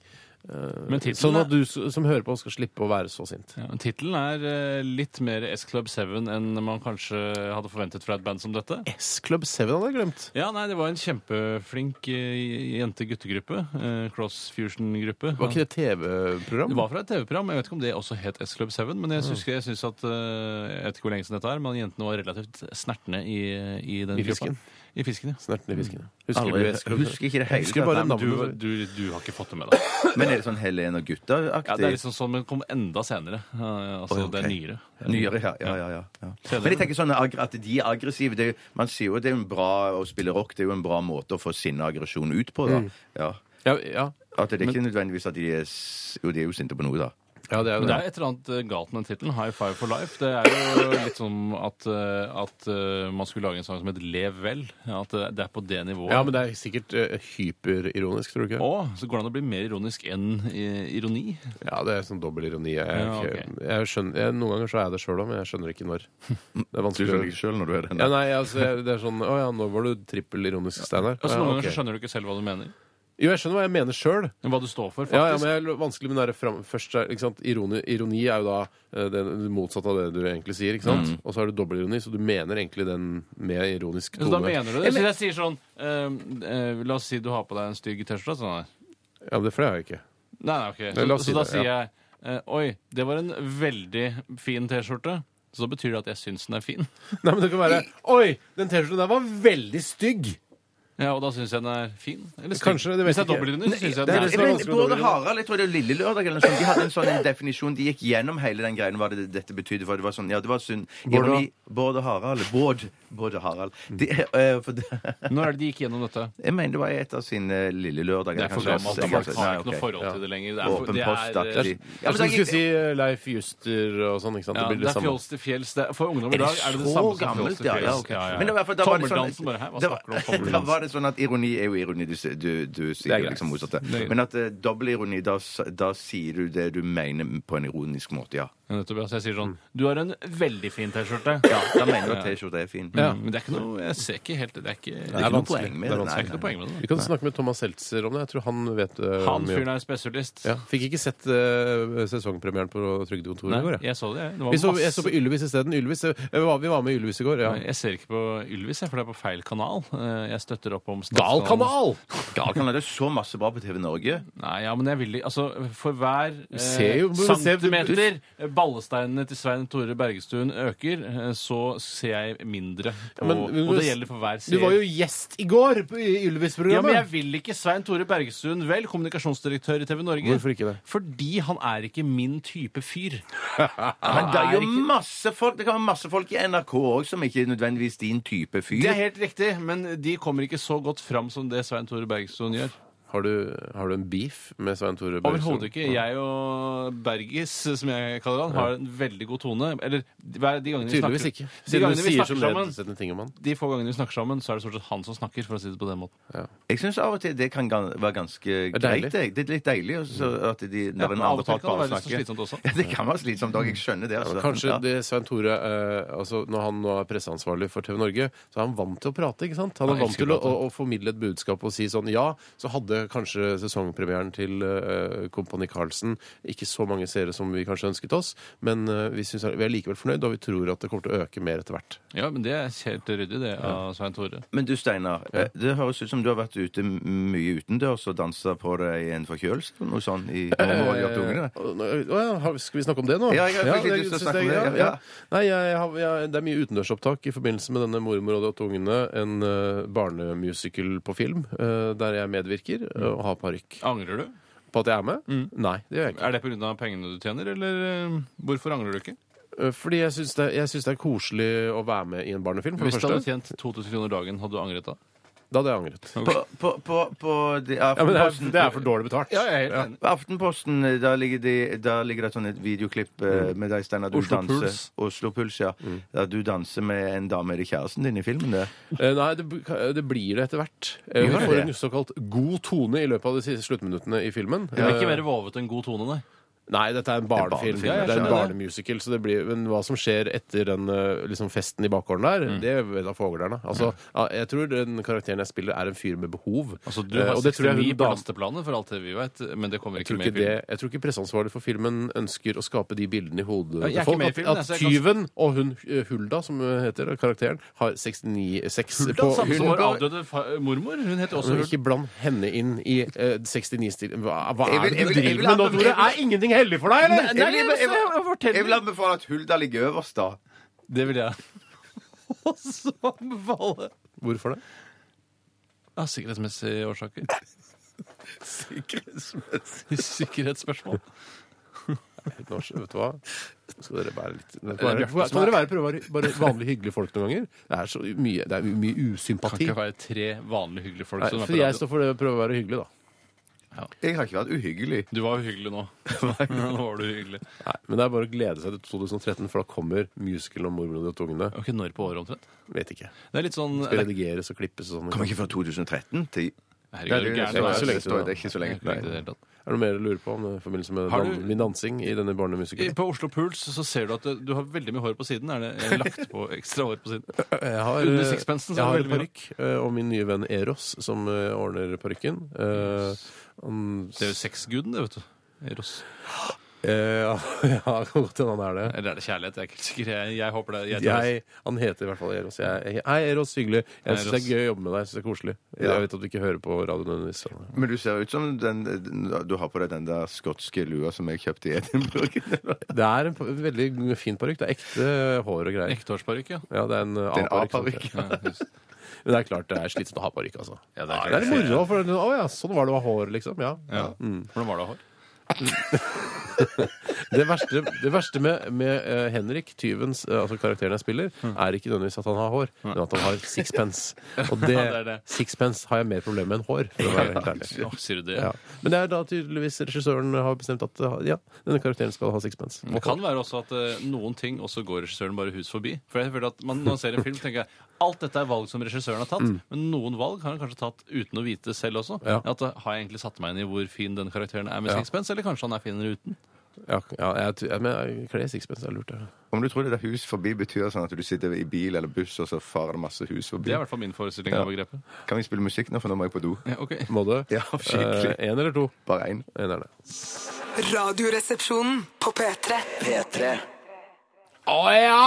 E: Men
C: Sånn
E: tittelen
C: at du s- som hører på, skal slippe å være så sint.
E: Ja, men Tittelen er eh, litt mer S-Club 7 enn man kanskje hadde forventet fra et band som dette.
C: S-Club 7 hadde jeg glemt.
E: Ja, nei, Det var en kjempeflink eh, jente-guttegruppe. eh, Cross Fusion-gruppe.
C: Var ikke det
E: Det
C: TV-program?
E: var fra et TV-program. Jeg vet ikke om det også het S-Club 7. Men jeg husker, jeg synes at, eh, jeg vet ikke hvor lenge siden dette er, men jentene var relativt snertne i, i den
C: I
E: gruppa.
C: fisken.
E: I fisken, ja.
C: Snerten i fisken. Husker du S-Club?
D: Husker ikke det hele
C: Husker bare
D: tatt.
E: Du,
C: navnet.
E: du, du har ikke fått det med deg.
D: Men er det sånn Helene og
E: Ja, det er
D: gutta-aktig?
E: liksom sånn, men kom enda senere. Eh, altså,
D: Oi,
E: Det er
D: ok.
E: nyere.
D: Nyere, ja. ja, ja, ja, ja. Men jeg tenker sånn ag- at de er aggressive. Det er, jo- man sier jo det er jo en bra å spille rock. Det er jo en bra måte å få sinne og aggresjon ut på, da. Ja.
C: Ja, ja.
D: At det er ikke nødvendigvis at de er s- Jo, de er jo sinte på noe, da.
C: ja, det er
E: Men det
C: det.
E: er et eller annet eh, galt med den tittelen. High five for life. Det er jo litt som at, eh, at eh, man skulle lage en sang som het Lev vel. Ja, At eh, det er på det nivået.
C: Ja, men det er sikkert eh, hyperironisk, tror du ikke?
E: Å, så går det an å bli mer ironisk enn eh, ironi.
C: Ja, det er sånn dobbel ironi. Jeg,
E: Ja,
C: jeg, jeg skjønner, jeg, noen ganger så er jeg det sjøl òg, men jeg skjønner ikke når. Det er
D: Du
C: vanskelig
D: skjønner
C: å
D: ikke sjøl når du er den.
C: Ja, nei, altså, jeg- det er sånn Å ja, nå var du trippel ironisk, Steinar.
E: Altså,
C: Ja,
E: noen
C: ok.
E: ganger så skjønner du ikke selv hva du mener.
C: Jo, jeg skjønner hva jeg mener sjøl.
E: Men hva du står for, faktisk.
C: Ja, ja, men jeg er vanskelig med den der fram, først, er- ikke sant? Ironi, ironi er jo da eh, det motsatte av det du egentlig sier, ikke sant?
E: Mm.
C: Og så er det dobbeltironi, så du mener egentlig den med ironisk
E: så
C: tone.
E: da mener du det? Så jeg sier sånn eh, eh, La oss si du har på deg en stygg T-skjorte. Sånn her.
C: Ja, men det for det har jeg ikke.
E: nei, nei, ok.
C: Nei, la
E: Så,
C: oss si
E: så da
C: det,
E: sier
C: ja.
E: jeg eh, Oi, det var en veldig fin T-skjorte. Så da betyr det at jeg syns den er fin.
C: Nei, men det kan være Oi, den T-skjorten der var veldig stygg!
E: Ja, Og da syns jeg den er fin. Eller stygg.
C: Kanskje, det vet
E: Hvis det er
C: jeg ikke.
E: dobbeltdyne, så syns jeg
D: Det
E: den
D: er
E: er
C: så
D: men
C: vanskelig å
D: både
C: dobbeltdynamikk.
D: Harald jeg tror det var Lille Lørdag eller noe sånt, de hadde en sånn en definisjon. De gikk gjennom hele den greien hva det dette betydde. For det var sånn, ja, det var synd.
C: Bård og-
D: Ironi, Bård og Harald. Bård, Bård og Harald. De, eh, for det,
E: Når er det de gikk gjennom dette?
D: jeg mener det var et av sine eh, Lille Lørdager.
E: Det er for
D: kanskje. Jeg-
E: gammelt. Folk har
D: Nei,
E: ikke noe
D: ok.
E: forhold til det lenger. Det er, for-
D: Åpen
E: det
D: post,
E: er,
D: aktig. Ja, men
C: Jeg
E: det
C: trodde du
D: det er-
C: skulle si eh, Leif Juster og sånn, ikke sant? det
E: ja,
C: blir
E: det
C: det
E: er
C: samme.
E: fjols til fjells. Det er, for ungdom i
D: Er
E: dag
D: det
E: er det det
D: så
E: samme som fjols
D: gammelt?
E: til
D: Ja,
E: fjells.
D: ja, ok. Men det var i hvert fall, da var det
E: Tommeldansen
D: sånn-
E: bare her. Hva
D: det
E: snakker du om
D: var- Da var det sånn at ironi er jo ironi. Du, s- du, du sier
C: greit.
D: liksom motsatt.
E: er greit.
D: Men at eh, dobbel ironi, da, s- da sier du det du mener på en ironisk måte, ja.
E: Ja, nettopp, ja. Så jeg sier sånn Du har en veldig fin T-skjorte.
D: Ja, Da mener du at T-skjorta er fin.
E: Ja, Mm, Men det er ikke noe Jeg ser ikke helt Det er ikke, det er
D: Det
E: ikke
D: er
E: noe
D: vanskelig.
E: poeng
D: Det
E: med det.
D: er
E: Det er ikke
D: vanskelig.
E: noe poeng med det.
C: Vi kan snakke med Thomas Seltzer om det. Jeg tror han vet eh,
E: Han
C: mye om
E: fyren er spesialist.
C: Ja, Fikk ikke sett eh, sesongpremieren på Trygdekontoret
E: Nei,
C: i går. Jeg.
E: jeg så det. jeg. Det var
C: Vi så, jeg
E: masse
C: så på Ylvis isteden. Ylvis, eh, vi var- vi var med i Ylvis i går. Ja.
E: Nei, Jeg ser ikke på Ylvis, jeg, for det er på feil kanal. Eh, Jeg støtter opp om
C: Gal
E: statskanalen.
C: kanal!
D: Gal kan det så masse bra på TV Norge.
E: Nei, ja, men jeg vil ikke Altså, for hver
C: ser
E: eh,
C: jo- du ser-
E: centimeter ballesteinene til Svein Tore Bergestuen øker, eh, så ser jeg mindre.
C: Ja,
E: på-
C: men-
E: og det gjelder for hver
C: Du var jo
E: seer.
C: gjest i går på- i
E: Ja, men
C: Ylvis-programmet.
E: jeg vil ikke Svein Tore Bergestuen vel, kommunikasjonsdirektør i TV Norge.
C: Hvorfor ikke det?
E: Fordi han er ikke min type fyr.
D: Men det er jo
E: er ikke-
D: masse folk Det kan være masse folk i NRK òg som ikke er nødvendigvis din type fyr.
E: Det er helt riktig, men de kommer ikke så godt fram som det Svein Tore Bergestuen gjør.
C: Har du, har du en beef med Svein Tore Børresen?
E: Overhodet ikke. Jeg og Bergis, som jeg kaller han, har en veldig god tone. Eller hver- de gangene vi
C: Tydeligvis
E: snakker,
C: ikke.
E: de
C: Siden du
E: gangene vi
C: sier så
E: snakker sammen,
C: nedsettende ting om han.
E: de få gangene vi snakker sammen, så er det stort sett han som snakker, for å si det på den måten.
D: Jeg syns av og til det kan gan- være ganske
C: er
D: greit.
C: deilig.
D: Det det er litt deilig også, at de, når
E: Ja, men
D: en
E: av og
D: andre
E: til
D: part
E: kan det
D: bare
E: være litt så
D: snakker.
E: slitsomt også.
D: Ja, det kan være slitsomt òg. Jeg skjønner det.
C: Ja,
D: Altså.
C: men kanskje
D: Ja.
C: det Svein Tore eh, altså Når han nå er presseansvarlig for TV Norge, så er han vant til å prate. ikke sant? Han
E: Han
C: er vant
E: elsker
C: til å,
E: å prate.
C: å, å formidle et budskap og si sånn Ja, så hadde kanskje sesongpremieren til eh, Kompani Karlsen ikke så mange seere som vi kanskje ønsket oss, men eh, vi, synes, vi er likevel fornøyd, og vi tror at det kommer til å øke mer etter hvert.
E: Ja, men det er helt ryddig, det, av Svein Tore.
D: Men du, Steinar. eh, Det høres ut som du har vært ute m- mye utendørs og dansa på deg i en forkjølelse eller noe sånt i noen år. Gjort ungene.
C: Eh, å, å, ja, har- skal vi snakke om det nå?
D: Ja, jeg har
C: det,
D: veldig lyst til å
C: synes
D: snakke
C: jeg-
D: om det,
C: ja,
D: ja.
C: ja. Nei, jeg, har- jeg, det er mye utendørsopptak i forbindelse med denne 'Mormor og de åtte ungene', en eh, barnemusical på film, eh, der jeg medvirker eh, og har parykk.
E: Angrer du?
C: På at jeg er med?
D: Mm.
C: Nei, det gjør jeg ikke.
E: Er det pga. pengene du tjener, eller eh, hvorfor angrer du ikke?
C: Eh, Fordi jeg syns det, jeg synes det er koselig å være med i en barnefilm. For det
E: Hvis du hadde
C: første,
E: tjent 2000 kroner dagen, hadde du angret da?
C: da hadde jeg angret.
D: På, på, på, på de,
C: Ja, men det er,
D: Aftenposten-
C: det er for dårlig betalt.
E: Ja, jeg er helt enig.
D: På Aftenposten da ligger, de, da ligger det et sånn et videoklipp eh, med deg, Steinar. du
E: Oslo
D: danser-
E: Puls.
D: Oslo Puls, ja. Der du danser med en dame. Er det kjæresten din i filmen? det?
C: Eh, Nei, det, b- ka- det blir det etter hvert. Eh, Vi
D: Gjør det
C: får
D: det?
C: en såkalt god tone i løpet av de siste sluttminuttene i filmen.
E: Det
C: Eh,
E: blir ikke mer våvete enn god tone, nei.
C: Nei, dette er en barnefilm.
D: barnefilm, ja,
C: det
E: jeg
C: er en
E: skjønner det.
C: barnemusical, så det blir, men hva som skjer etter den eh, liksom festen i bakgården der,
E: Mm.
C: det vet da foglerne. Altså, ja, jeg tror den karakteren jeg spiller, er en fyr med behov.
E: Altså, du
C: Eh,
E: har
C: og det tror jeg
E: 69
C: hun
E: på
C: dam-
E: lasteplanet, for alt det vi vet, men det kommer
C: jeg tror,
E: ikke med i
C: ikke
E: filmen.
C: det, jeg tror ikke presseansvarlig for filmen ønsker å skape de bildene i hodet
E: jeg er
C: til
E: ikke
C: folk.
E: med i
C: At,
E: filmen,
C: at
E: jeg, så jeg
C: tyven og hun eh, Hulda, som hun heter karakteren, har 69 6
E: Hulda,
C: på
E: samme som vår
C: Hulda-
E: avdøde fa- mormor. Hun heter også
C: Men
E: Hulda.
C: ikke bland henne inn i eh, 69-stil. Hva, hva
D: Jeg vil-
C: er
D: jeg
C: det du
D: vil- jeg
C: driver
D: vil
C: med nå,
D: anbefale-
C: Tore? Er ingenting hellig for deg, eller?
D: Jeg vil- jeg vil-
E: fortell
D: Jeg vil anbefale at Hulda ligger øverst, da.
E: Det vil jeg også anbefale.
C: Hvorfor det?
E: Av sikkerhetsmessige årsaker. Sikkerhetsmessig Sikkerhetsspørsmål.
C: Nå, skjø- vet du hva? Nå Skal dere være litt Nå
E: er
C: skal dere
E: Bjarte
C: være,
E: som
C: kan dere være, prøve å være bare vanlig hyggelige folk noen ganger? Det er så mye, det er mye
E: Kan
C: usympati.
E: ikke være tre vanlige hyggelige folk
C: Nei,
E: som er på
C: for jeg
E: radio.
C: står for Sånn det å prøve å være hyggelig, da.
D: Jeg har ikke vært uhyggelig.
E: Du var jo hyggelig nå. nå var du hyggelig.
C: Nei, men det er bare å glede seg til 2013, for da kommer musicalen om mormor og de åtte ungene.
E: Ok, Når på året omtrent?
C: Vet ikke.
E: Det er litt sånn
C: Skal redigeres og klippes og sånn.
D: Kom ikke før 2013? Til...
E: Herregud,
C: det er
E: du gæren.
C: så lenge- så lenge
D: det er ikke så lenge.
E: Jeg er ikke i det hele tatt.
C: Er det noe mer du lurer på om det i forbindelse med
E: Har
C: dan
E: du-
C: min dansing i denne barnemusikalen?
E: På Oslo Puls så ser du at det- du har veldig mye hår på siden. Er det er lagt på ekstra hår på siden?
C: Jeg har, eh,
E: Under sixpensen, så
C: jeg
E: er
C: har
E: det
C: en
E: veldig mye.
C: parykk, eh, og min nye venn Eros, som eh, ordner parykken. Eh, han-
E: Det er jo sexguden, det, vet du. Eros.
C: Eh, Ja, ja, det kan godt hende han er det.
E: Eller er det kjærlighet? Jeg er ikke helt sikker. Jeg, jeg håper det. Jeg tror det.
C: jeg, han heter i hvert fall Eros. Jeg, jeg, hei, Eros. Hyggelig. Jeg syns det
E: Eros.
C: er gøy å jobbe med deg. Jeg synes det er koselig. Jeg vet at du ikke hører på radio nødvendigvis. sånn.
D: Men du ser ut som den, du har på deg den der skotske lua som jeg kjøpte i Edinburgh.
C: Det er en pa- veldig fin parykk. Det er ekte hår og greier.
E: Ektehårsparykk, ja.
C: Ja, det er en eh,
D: Det er en
C: A-parykk.
D: A-parykk.
C: sånn. Men det er klart det er slitsomt å ha parykk, altså. det
E: Ja, det er
C: er, moro. For, å ja, sånn var det å ha hår, liksom. Ja.
E: Ja. Hvordan var det å ha hår?
C: Det verste, det verste med, med eh, Henrik, tyvens, eh, altså karakteren jeg spiller,
E: Mm.
C: er ikke nødvendigvis at han har hår, men at han har sixpence. Og det,
E: Ja, det er det.
C: sixpence har jeg mer problemer med enn hår, for å være helt ærlig.
E: Å, sier du det?
C: Ja. Men det er da tydeligvis regissøren har bestemt at uh, ja, denne karakteren skal ha sixpence.
E: Det kan være også at eh, noen ting også går regissøren bare hus forbi. For jeg føler at man, Når man ser en film, tenker jeg alt dette er valg som regissøren har tatt. Men noen valg har han kanskje tatt uten å vite selv også.
C: Mm. Ja.
E: At, eh, har jeg egentlig satt meg inn i hvor fin den karakteren er med
C: Ja.
E: sixpence, eller kanskje han er finere uten?
C: Ja, ja, jeg, t- ja, men jeg kler sixpence, det er lurt. det.
D: Om du tror det der hus forbi betyr sånn at du sitter i bil eller buss, og så farer det masse hus
E: Det
D: forbi.
E: er i hvert fall min forestilling av begrepet.
D: Kan vi spille musikk nå, for nå må jeg på do?
E: Ja, ok.
C: Må du?
D: Ja, skikkelig.
C: Eh, en eller to?
D: Bare én.
C: En er det.
F: Radioresepsjonen på P3.
B: P3.
C: Å ja!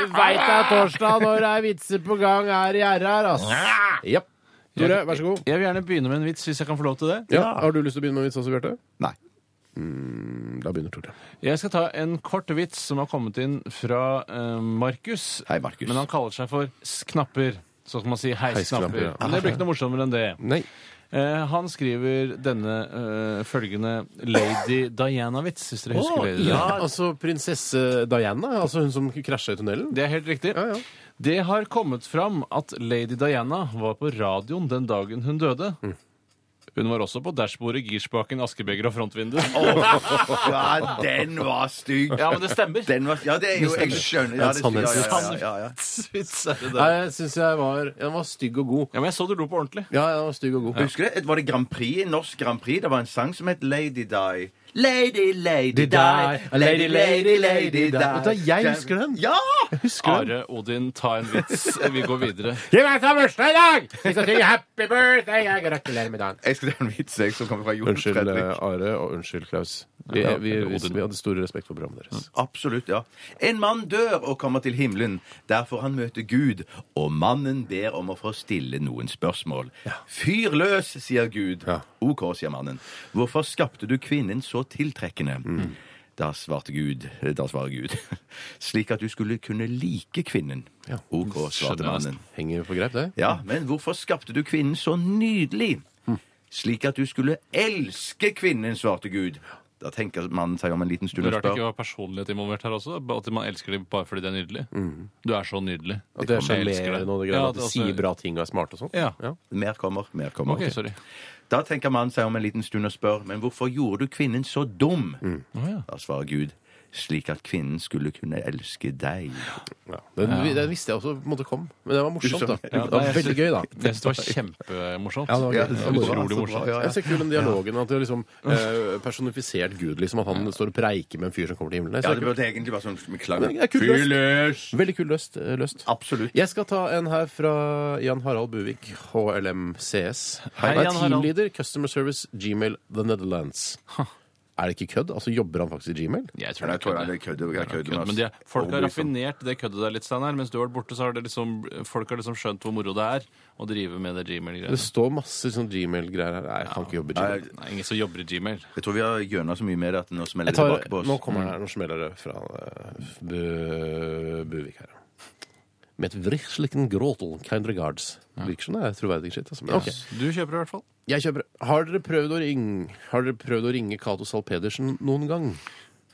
C: Du veit det er torsdag når det er vitser på gang her i RR, ass. Ja. Tore, vær så god.
E: Jeg vil gjerne begynne med en vits, hvis jeg kan få lov til det.
C: Ja, har du lyst til å begynne med en vits også, Bjarte?
D: Nei.
C: Da begynner Tore.
E: Jeg skal ta en kort vits som har kommet inn fra eh, Markus.
D: Hei, Markus.
E: Men han kaller seg for Sknapper. Sånn som man sier hei,
C: Hei, Sknapper,
E: Sknapper.
C: ja.
E: Men det blir ikke noe morsommere enn det.
C: Nei.
E: Eh, han skriver denne eh, følgende Lady Diana-vits, hvis dere husker
C: ja,
E: Lady Diana.
C: altså prinsesse Diana, altså hun som krasja i tunnelen.
E: Det er helt riktig.
C: Ja, ja.
E: Det
C: Mm.
E: har kommet fram at Lady Diana var på radioen den dagen hun døde. Hun var også på dashbordet, girspaken, askebeger og frontvindu.
B: Ja, den var stygg.
E: Ja, men det stemmer.
B: Den var, ja, det er jo Jeg skjønner. Ja, det, ja, ja, ja, ja, ja.
E: Vits er det
C: Nei,
E: der.
C: jeg syns jeg var Den var stygg og god.
E: Ja, men jeg så du lo på ordentlig.
C: Ja, den var stygg og god.
B: Husker du, Var det Grand Prix, norsk Grand Prix? Det var en sang som het Lady Die. Lady, lady,
C: Die,
B: die. Lady, lady, lady, die.
C: Vet du hva, jeg husker den.
B: Ja!
C: Husker du?
E: Are Odin, ta en vits. Vi går videre.
C: Gi meg en bursdag i dag! Vi skal synge happy birthday! Jeg gratulerer med dagen.
B: Jeg skal dra en vits jeg, som kommer fra Jon
C: Unnskyld,
B: Fredrik.
C: eh, Are, og unnskyld, Klaus. Vi,
E: Ja,
C: vi, vi,
E: Odin.
C: vi hadde stor respekt for programmet deres.
B: Absolutt, ja. En mann dør og kommer til himmelen. Der får han møte Gud, og mannen ber om å få stille noen spørsmål. Fyr løs, sier Gud.
C: Ja.
B: OK, sier mannen. Hvorfor skapte du kvinnen så tiltrekkende? Da svarte Gud, da svarer Gud, slik at du skulle kunne like kvinnen. OK, svarte
E: skjønner jeg
B: mannen.
C: Henger på greip, det?
B: Ja, men hvorfor skapte du kvinnen så nydelig? Slik at du skulle elske kvinnen, svarte Gud. Da tenker mannen seg om en liten stund og
E: Rart det
B: spør.
E: ikke var personlighet involvert her også. At man elsker dem bare fordi de er nydelige. Du er så nydelig.
C: Mm. At det er
E: Jeg elsker deg.
C: sjarmerende og det
E: Ja,
C: greiene, at
E: det
C: de
E: er også-
C: sier bra ting og er smarte og sånn?
E: Ja.
B: Mer kommer, mer kommer.
E: OK, sorry.
B: Da tenker mannen seg om en liten stund og spør, men hvorfor gjorde du kvinnen så dum?
E: Å, ja.
B: Da svarer Gud, slik at kvinnen skulle kunne elske deg.
C: Ja. Den, den visste jeg også på en måte kom, men det var morsomt, da.
B: Ja,
C: det var veldig gøy, da.
E: Jeg syns det var kjempemorsomt.
C: Ja, det var gøy.
B: det
C: var
B: var
E: utrolig
B: så
E: morsomt.
B: bra, ja, ja.
C: Jeg ser kul den dialogen, at det er liksom eh, personifisert Gud, liksom. At han står og preiker med en fyr som kommer til himmelen. Jeg
B: Ja,
C: ser
B: det
C: kult.
B: burde egentlig være sånn med klang.
C: Men det er kult løst.
B: Fyllest!
C: Veldig kul løst. eh, løst.
B: Absolutt.
C: Jeg skal ta en her fra Jan Harald Buvik, HLM CS.
E: Hei,
C: han er
E: Jan Harald.
C: teamleader, Customer Service, Gmail, The Netherlands. Er det ikke kødd? Altså Jobber han faktisk i Gmail?
E: Jeg tror
B: Jeg
E: det er
B: tror
E: kødd.
B: det er kødd. jeg kødder med
E: Kødd,
B: oss.
E: Men de, er- folk har
B: Og liksom-
E: raffinert det køddet der litt, Steinar. Mens du har vært borte, så har det liksom, folk har liksom skjønt hvor moro det er å drive med det
C: Det
E: Gmail-greiene.
C: står masse sånn Gmail-greier her. Nei, jeg kan ikke jobbe i Gmail.
B: Nei,
E: Nei, ingen som jobber i Gmail.
B: Jeg tror vi har gjøna så mye med det at nå smeller
C: Jeg
B: det
C: tar,
B: tilbake på oss.
C: nå
E: Mm.
C: kommer det, nå smeller det fra eh, Bu- Buvik her. Med et vrirslikken gråtel, kind regards. Virker som det er troverdig shit. Altså. Men, ok.
E: Du kjøper det i hvert fall.
C: Jeg kjøper det. Har dere prøvd å ringe Har dere prøvd å ringe Cato Zahl Pedersen noen gang?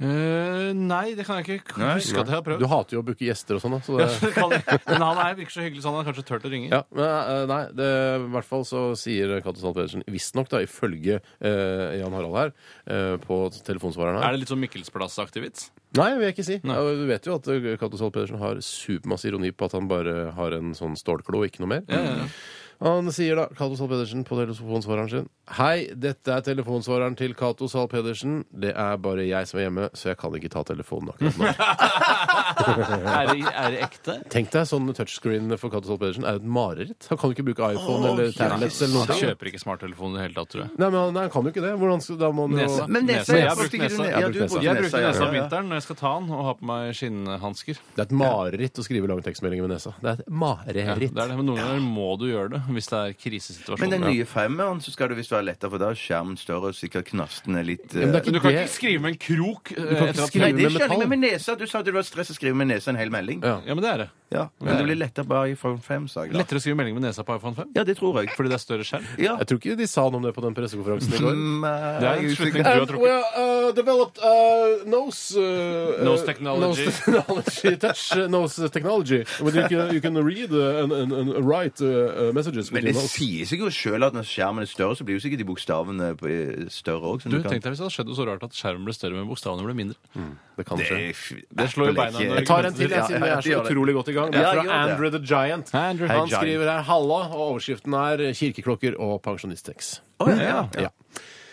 E: Eh, nei, det kan jeg ikke huske at jeg har prøvd.
C: Du hater jo å booke gjester og sånn, da. Så det,
E: Det kan jeg. Men han er virker så hyggelig, så han har kanskje turt å ringe.
C: ja, men eh, nei, det, i hvert fall så sier Cato Zahl Pedersen visstnok, da, ifølge eh, Jan Harald her, eh, på telefonsvareren
E: Er
C: her
E: det litt sånn Mikkelsplass-aktig vits?
C: Nei, vil jeg ikke si. Ja, Du vet jo at eh, Cato Zahl Pedersen har supermasse ironi på at han bare har en sånn stålklo, ikke noe mer. Han sier da, Cato Zahl Pedersen på telefonsvareren sin Hei, dette er telefonsvareren til Cato Zahl Pedersen. Det er bare jeg som er hjemme, så jeg kan ikke ta telefonen akkurat nå.
E: Er det, er det ekte?
C: Tenk deg sånn touchscreen for Cato Zahl Pedersen. Er det et mareritt? Han kan jo ikke bruke iPhone eller tablets eller noe.
E: Han
C: sånt.
E: kjøper ikke smarttelefon i det hele tatt, tror jeg.
C: Nei, men han, nei, han kan jo ikke det. Hvordan skal, da må han jo
E: Nesa.
B: Men nesa,
E: Nesa.
B: ja,
E: Jeg har brukt
B: stikker du
E: nesa.
C: Jeg
B: ned- Ja,
C: har
B: du
C: brukt
B: brukte
C: nesa.
E: Jeg bruker
B: ja,
E: nesa om
B: ja.
E: vinteren når jeg skal ta den, og ha på meg skinnhansker.
C: Det er et mareritt å skrive langtekstmeldinger med nesa. Det er et
E: Ja, det er
C: mareritt.
E: det, men noen ganger må du gjøre det hvis det er krisesituasjoner.
B: Men den nye femmeren så skal det visst være lettere, for da er skjermen større og sikkert knastene litt
C: men det
B: eh,
C: er
E: Men du kan
C: Det-
E: ikke skrive med en krok. eh,
C: kan ikke
E: etter at-
C: skrive-
B: Nei, det
C: med
B: skjønner jeg
C: metall.
B: men med nesa. Du sa at det var stress å skrive med nesa en hel melding.
C: Ja.
E: Ja, men det er det.
B: Ja, Men det blir lettere bare i form fem, sa jeg da.
E: Lettere å skrive melding med nesa på iPhone 5.
B: Ja, det tror jeg.
E: Fordi det er større skjerm.
B: Ja.
C: Jeg tror ikke de sa noe om det på den pressekonferansen i går.
B: Mm, eh,
E: Det er
B: jeg
E: en
B: usikker.
E: slutning du har
C: And we
E: trukket.
C: uh, developed uh, nose, uh,
E: Nose
C: uh,
E: technology.
C: nose technology, touch uh, nose technology, where you can, you can read uh, and, and, and write uh, uh, messages. with
B: Men
C: your
B: det
C: nose.
B: sier seg jo sjøl at når skjermen er større, så blir jo sikkert de bokstavene på- eh, større òg.
E: Du, Tenk deg hvis det hadde skjedd noe så rart at skjermen ble større, men bokstavene ble mindre.
C: Det kan skje.
E: Det slår jo beina under
B: Jeg
C: Tar en til, jeg, siden vi
B: Ja,
C: er så
B: gjør det.
C: utrolig godt i gang. Det
B: Ja,
C: er fra
B: gjør det.
C: Andrew the Giant.
E: Andrew.
B: Hei,
C: Han
B: Giant.
C: skriver her 'halla', og overskriften er eh, 'kirkeklokker og pensjonistteks'.
B: Å, ja, ja.
C: Ja.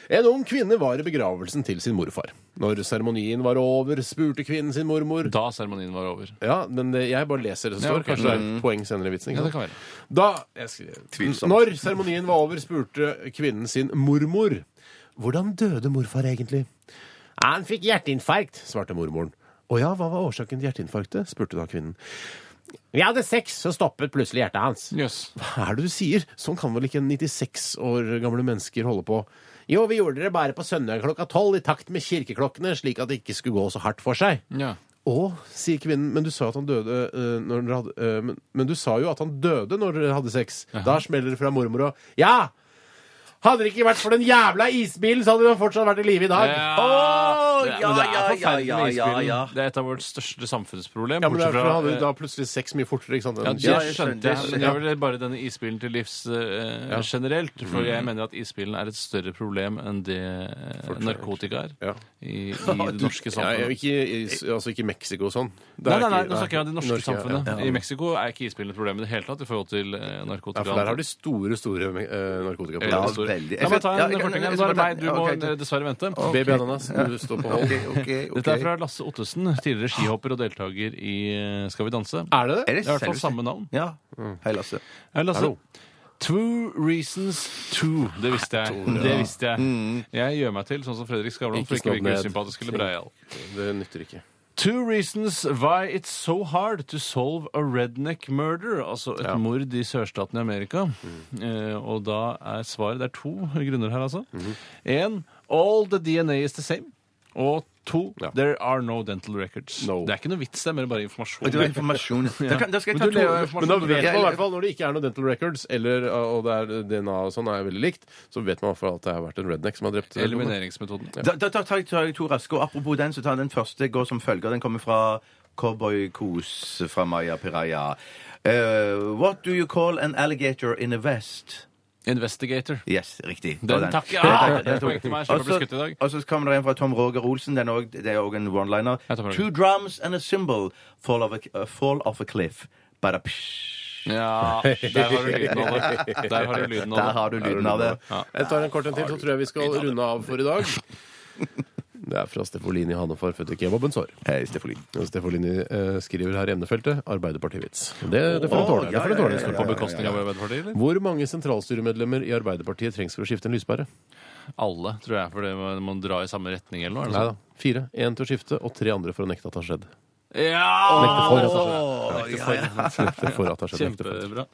C: En ung kvinne var i begravelsen til sin morfar. Når seremonien var over, spurte kvinnen sin mormor
E: Da seremonien var over.
C: Ja, men det, jeg bare leser det som står.
E: Ja, ok. Mm.
C: Kanskje det er et poeng senere i vitsen.
E: Ja,
C: Ikke
E: det
C: sant?
E: kan være.
C: Da, jeg skriver,
B: Tvilsomt.
C: Når seremonien var over, spurte kvinnen sin mormor hvordan døde morfar egentlig. Han fikk hjerteinfarkt, svarte mormoren. Å ja, hva var årsaken til hjerteinfarktet? spurte da kvinnen. Vi hadde sex, så stoppet plutselig hjertet hans.
E: Jøss.
C: Hva er det du sier? Sånn kan vel ikke 96 år gamle mennesker holde på? Jo, vi gjorde det bare på søndag klokka tolv, i takt med kirkeklokkene, slik at det ikke skulle gå så hardt for seg.
E: Ja.
C: Å, sier kvinnen, men du sa at han døde eh, når dere hadde eh, men, men du sa jo at han døde når dere hadde sex. Da smeller det fra mormor og Ja! Hadde det ikke vært for den jævla isbilen, så hadde han fortsatt vært i live i dag.
E: Ja.
C: Å,
E: det, men det er forferdelig med isbilen. Det er et av vårt største samfunnsproblem.
C: Ja, men
E: bortsett
C: Derfor
E: fra,
C: hadde
E: eh,
C: du da plutselig sex mye fortere. ikke sant?
E: ja,
C: enn-
E: det
B: Ja, jeg skjønner,
E: skjønte jeg. Men
B: jeg
E: det er vel bare denne isbilen til livs eh, generelt. For jeg mener at isbilen er et større problem enn det eh, narkotika er
C: Ja.
E: i, i det
C: Ja,
E: norske
C: ja,
E: samfunnet.
C: ikke, i- altså ikke Mexico og sånn. Det
E: Nei,
C: er
E: nei, nei,
C: ikke-
E: nå snakker jeg om det norske
C: Norge, ja.
E: samfunnet.
C: Ja.
E: I Mexico er ikke isbilen et problem i det hele tatt i forhold til eh,
C: Ja,
E: narkotika.
C: for der har de store, store eh,
E: Ja,
C: narkotikaproblemer.
E: det står-
B: veldig.
E: La meg ta en
B: Ja, jeg kan-
E: fortelling.
B: jeg
E: Nå
B: skal
E: er det meg.
B: bare ta-
E: Du
B: ja,
E: må
B: ok,
E: eh, dessverre vente.
C: Baby ananas, du står på hold.
B: Ok, ok, ok.
E: Dette er fra Lasse Ottesen, tidligere skihopper og deltaker i eh, Skal vi danse.
C: Er det det?
B: Er
E: Det er i hvert fall
B: selveste-
E: samme navn.
B: Ja.
E: Mm.
B: Hei, Lasse.
E: Hei, Lasse.
C: Hallo.
E: altså, Two reasons two. Det visste jeg. Det visste jeg. Jeg gjør meg til sånn som Fredrik Skavlan, for
C: Ikke
E: ikke å virke
C: snobb ned.
E: usympatisk eller breial.
C: Det nytter ikke.
E: Two reasons why it's so hard to solve a redneck murder. Altså et mord i sørstaten i Amerika. Eh, og da er svaret Det er to grunner her, altså. Én All the DNA is the same. Og to
C: Ja.
E: There are no dental records.
C: No.
E: Det er ikke noe vits, det er mer bare informasjon.
B: Og det var informasjon. Da, kan, da skal jeg
E: Men
B: ta
E: du lever jo
B: to.
E: informasjon.
C: Men da vet
B: Jeg-
C: man i hvert fall, når det ikke er noe dental records, eller, eh, og det er DNA og sånn, er veldig likt, så vet man i hvert fall at det har vært en redneck som har drept
E: Elimineringsmetoden.
B: Da, da tar jeg- tar jeg to raske. Og apropos den, så tar jeg den første går som følger. Den kommer fra Cowboy Kos fra Maya Piraya. Eh, what do you call an alligator in a vest?
E: Investigator.
B: Yes, riktig. Det var
E: Den, takk! Ja, det er poeng til meg.
B: Og
E: Slapp å bli skutt i
B: så-
E: dag.
B: og så kommer det en fra Tom Roger Olsen. Den er også- det er òg en one-liner.
E: Ja, Tom Roger.
B: Two drums and a symbol fall of a, uh, fall off a cliff. Bada psh.
E: Ja, der har du lyden av det. Der har du lyden av
B: Der
E: det.
B: har du lyden av det.
C: Jeg tar en kort en til, så tror jeg vi skal runde av for i dag. Det er fra Stefolini Hanefar, født i kebabens år.
B: Hei, Stefolin.
C: Stefolini eh, skriver her i emnefeltet Arbeiderpartivits. Det, det får han tåle. Det får han tåle. Det står
E: På
C: på bekostning.
E: bekostning av Arbeiderpartiet, eller?
C: Hvor mange sentralstyremedlemmer i Arbeiderpartiet trengs for å skifte en lyspære?
E: Alle, tror jeg, for det må, må dra i samme retning eller noe. Er det
C: Nei
E: sånn?
C: da. Fire. Én til å skifte, og tre andre for å nekte at det har skjedd.
E: Ja!
C: Nekte for at det har skjedd.
B: Å, ja, ja.
C: Nekte for at det har skjedd. Nekte for.
E: altså. Kjempebra.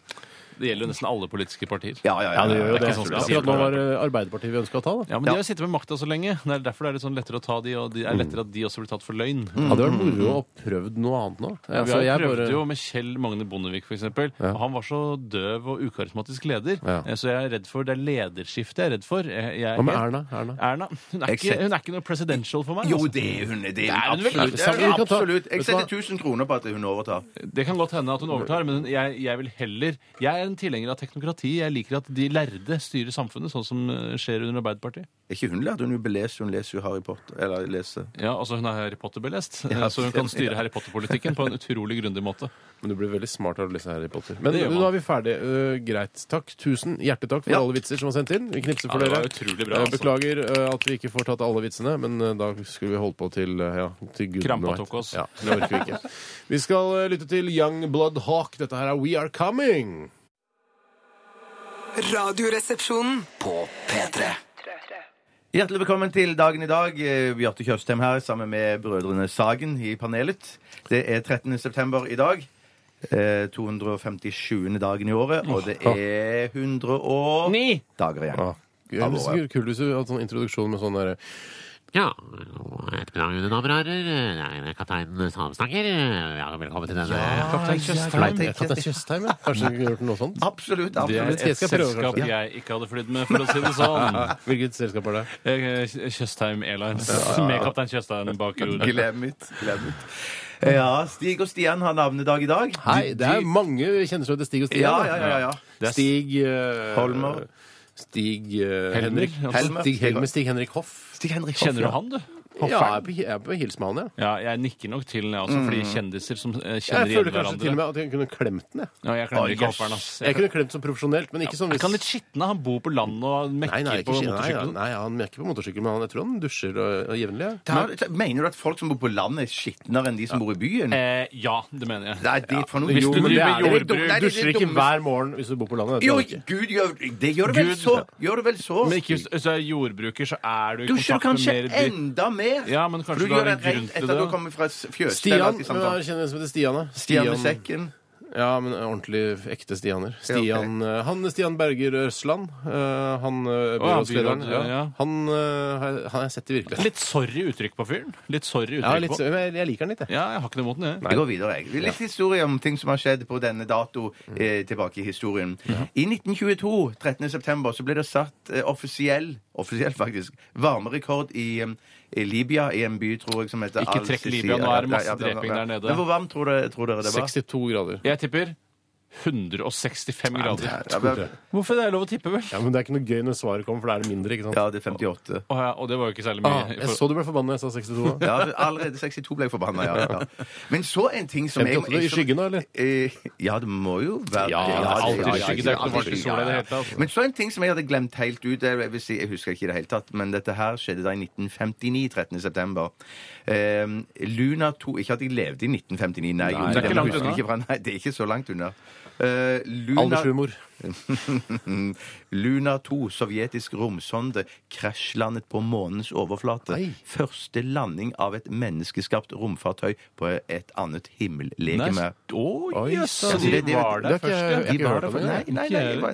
E: Det gjelder jo nesten alle politiske partier.
B: Ja, ja, ja.
C: Ja, det gjør jo
E: Det er
C: det.
E: ikke sånn som jeg sier.
C: Akkurat nå var det Arbeiderpartiet vi ønska å ta, da.
E: Ja, men De har sittet med makta så lenge. Det er derfor det er litt sånn lettere å ta de, og
B: Mm.
E: det er lettere at de også blir tatt for løgn.
C: Hadde vært moro å prøvd noe annet nå.
E: Vi
C: Altså,
E: har jo
C: jeg
E: prøvd
C: bare-
E: jo med Kjell Magne Bondevik, f.eks. eksempel Og Han var så døv og ukarismatisk leder,
C: Ja.
E: eh, så jeg er redd for det er lederskiftet jeg er redd for. Jeg, jeg,
C: Hva med Erna? Erna?
E: Erna hun er,
B: Jeg
E: ikke,
B: ser-
E: hun er ikke noe presidential for meg.
B: Jo,
E: altså.
B: det er hun. Det er
E: Nei,
B: hun
E: men det er vel-
B: absolutt.
C: det er vel-
B: Ja,
C: vi kan ta-
B: absolutt.
C: Vet
B: Jeg
C: du hva?
B: setter 1000 kroner på at hun overtar.
E: Det kan godt hende at hun overtar, men jeg, jeg vil heller Jeg er en tilhenger av teknokrati. Jeg liker at de lærde styrer samfunnet, sånn som eh, skjer under Arbeiderpartiet.
B: Er ikke hun lært? Hun er jo belest. Hun leser jo Harry Potter. Eller leser
E: Ja, altså Hun er Harry Potter-belest, eh, så hun kan styre Harry Potter-politikken på en utrolig grundig måte.
C: Men du blir veldig smart av å lese Harry Potter. Men
E: Det gjør man.
C: nå er vi ferdige. Uh, greit. Takk. Tusen hjertelig takk for alle vitser som var sendt inn. Vi knipser for
E: Ja, det
C: dere.
E: var utrolig bra,
C: Uh,
E: altså.
C: Beklager uh, at vi ikke får tatt alle vitsene, men uh, da skulle vi holdt på til, uh, ja, til gudene
E: Krampa
C: vet.
E: tok oss.
C: Ja, det orker vi ikke. Vi skal uh, lytte til Young Blood Hawk. Dette her er We Are Coming.
F: Radioresepsjonen.
H: På P3.
B: Hjertelig velkommen til dagen i dag. Eh, Bjarte Tjøstheim her sammen med brødrene Sagen i panelet. Det er 13. september i dag. Eh, 257. dagen i året, og det er 109
E: Ni!
B: dager igjen.
C: Ah, det
B: Av året.
C: er kult hvis du hadde sånn introduksjon med sånn derre
G: Ja, ettermiddag, mine damer og herrer. Jeg er kaptein Samstanger. Ja, velkommen til denne
E: Kaptein Tjøstheim.
C: Nei, Kaptein Tjøstheim, ja. Kanskje vi kunne gjort noe sånt?
B: Absolutt.
E: Det er
B: absolutt.
E: et
C: Jeg skal prøve,
E: selskap
C: kanskje.
E: jeg ikke hadde flydd med, for å si det sånn.
C: Hvilket selskap er det?
E: Eh, Tjøstheim Airlines med kaptein Tjøstheim bak roret.
B: Glem it. Glem it. Ja, Stig og Stian har navnedag i dag.
C: Hei, det er mange kjenner seg til Stig og Stian.
B: Ja,
C: da.
B: ja, ja, ja.
E: Det er
C: Stig eh,
B: Holmer.
C: Stig eh,
E: Helmer,
C: Henrik.
E: altså.
B: Helmer.
C: Stig Helmer, Stig Henrik Hoff.
B: Stig Henrik Hoff,
E: Kjenner du
B: ja.
E: han, du?
C: Ja, jeg er på, jeg er på hils med han, ja.
E: Ja, jeg nikker nok til den, jeg også, fordi kjendiser som eh,
C: Mm. Jeg
E: kjenner igjen
C: føler kanskje til og
E: hverandre.
C: med at jeg kunne klemt den. Jeg,
E: Ja, jeg
B: Å,
E: klemmer ikke
B: jøss.
E: hopperen, ass. Jeg
C: jeg kunne klemt så profesjonelt, men ikke sånn
E: Er
C: hvis
E: ikke han litt skitten? da? Han bor på landet og mekker
C: Nei, nei, ikke,
E: på
C: skje- nei, ja,
E: motorsykkelen.
C: nei, han merker på motorsykkel, men han, jeg tror han dusjer og, og jevnlig. Ja.
B: Ta- ta- Mener du at folk som bor på landet, er skitnere enn de som bor i byen?
E: Eh, ja, det mener jeg.
B: Nei, det er for noe
E: Hvis du
B: Jo, men det
E: driver
B: er-
E: jordbruk,
B: det er-
C: Du
B: det er- det er-
C: dusjer ikke hver morgen hvis du bor på landet. det
B: Jo,
C: tror jeg ikke.
B: Gud gjør det. Gjør du vel
E: Gud,
B: så? Gjør du vel så?
E: Men ikke hvis hvis du er jordbruker, så er du i
B: Du skjønner
E: kontakt med
B: kanskje
E: mer dyr.
B: enda mer.
E: Ja, men
B: For
E: kanskje
B: du
E: du har
B: gjør
E: en
B: det
E: grunn
B: rett
E: til
B: etter
E: det.
B: at du kommer fra fjøsstedet.
C: Stian, hvem er det kjenner som heter Stian? da?
B: Stian med sekken.
C: Ja, men ordentlig ekte stianer. Stian, eh, han Stian Berger Ørsland, eh, han eh,
E: ja,
C: byrådslederen,
E: byråd, ja,
C: ja.
E: ja.
C: han eh, har jeg- han har jeg sett i virkeligheten.
E: Litt sorry uttrykk på fyren. Litt sorry uttrykk
C: Ja, litt,
E: på.
C: jeg, jeg liker han litt, jeg.
E: Ja, jeg har ikke noe imot den, jeg.
B: Jeg går videre. jeg. Litt historie om ting som har skjedd på denne dato
E: Mm.
B: eh, tilbake i historien. I 1922, 13. september, så ble det satt eh, offisiell offisielt faktisk, varmerekord i, um, i Libya, i en by, tror jeg, som heter
E: Ikke trekk
B: Al-Sisi.
E: Libya, nå er det masse
B: Ja, ja, ja, ja.
E: dreping der nede.
B: Men hvor varmt tror dere, tror dere det var?
C: 62 grader.
E: Jeg tipper 165 grader.
B: Ja, men-
E: Hvorfor er det lov å tippe, vel?
C: Ja, men det er ikke noe gøy når svaret kommer, for da er det mindre, ikke sant?
B: ja, det er 58.
E: Å ja, og det var jo ikke særlig mye.
C: Ah, jeg så du ble forbanna jeg sa 62. da.
B: Ja, allerede 62 ble jeg forbanna, ja, ja. Men så en ting som jeg,
C: 58 i skyggen, da, eller?
B: Eh, Ja, det må jo være
E: Ja, det er alltid
B: ja, ja,
E: skygge, det er ikke noe
B: alltid
E: varsel i sola i det hele tatt. altså.
B: Men så en ting som jeg hadde glemt helt ut. Jeg, vil si, jeg husker ikke i det hele tatt, men dette her skjedde da i 1959, 13. september. Eh, Luna 2 Ikke at jeg levde i 1959, nei.
E: det er ikke langt unna.
B: Ikke fra, nei, det er ikke så langt unna. Eh, Luna,
C: Aldershumor.
B: Luna 2, sovjetisk romsonde, krasjlandet på månens overflate.
C: Nei.
B: Første landing av et menneskeskapt romfartøy på et annet
E: Nei,
B: himmellegeme.
E: s- Å jøss,
B: Ja,
E: de
B: det- det-
E: var
C: det er
E: der
C: ikke-
E: først, ja.
C: jeg-
B: De var der
C: hørt om
B: for-
C: det,
B: Nei, nei, nei,
E: Ikke-
B: nei,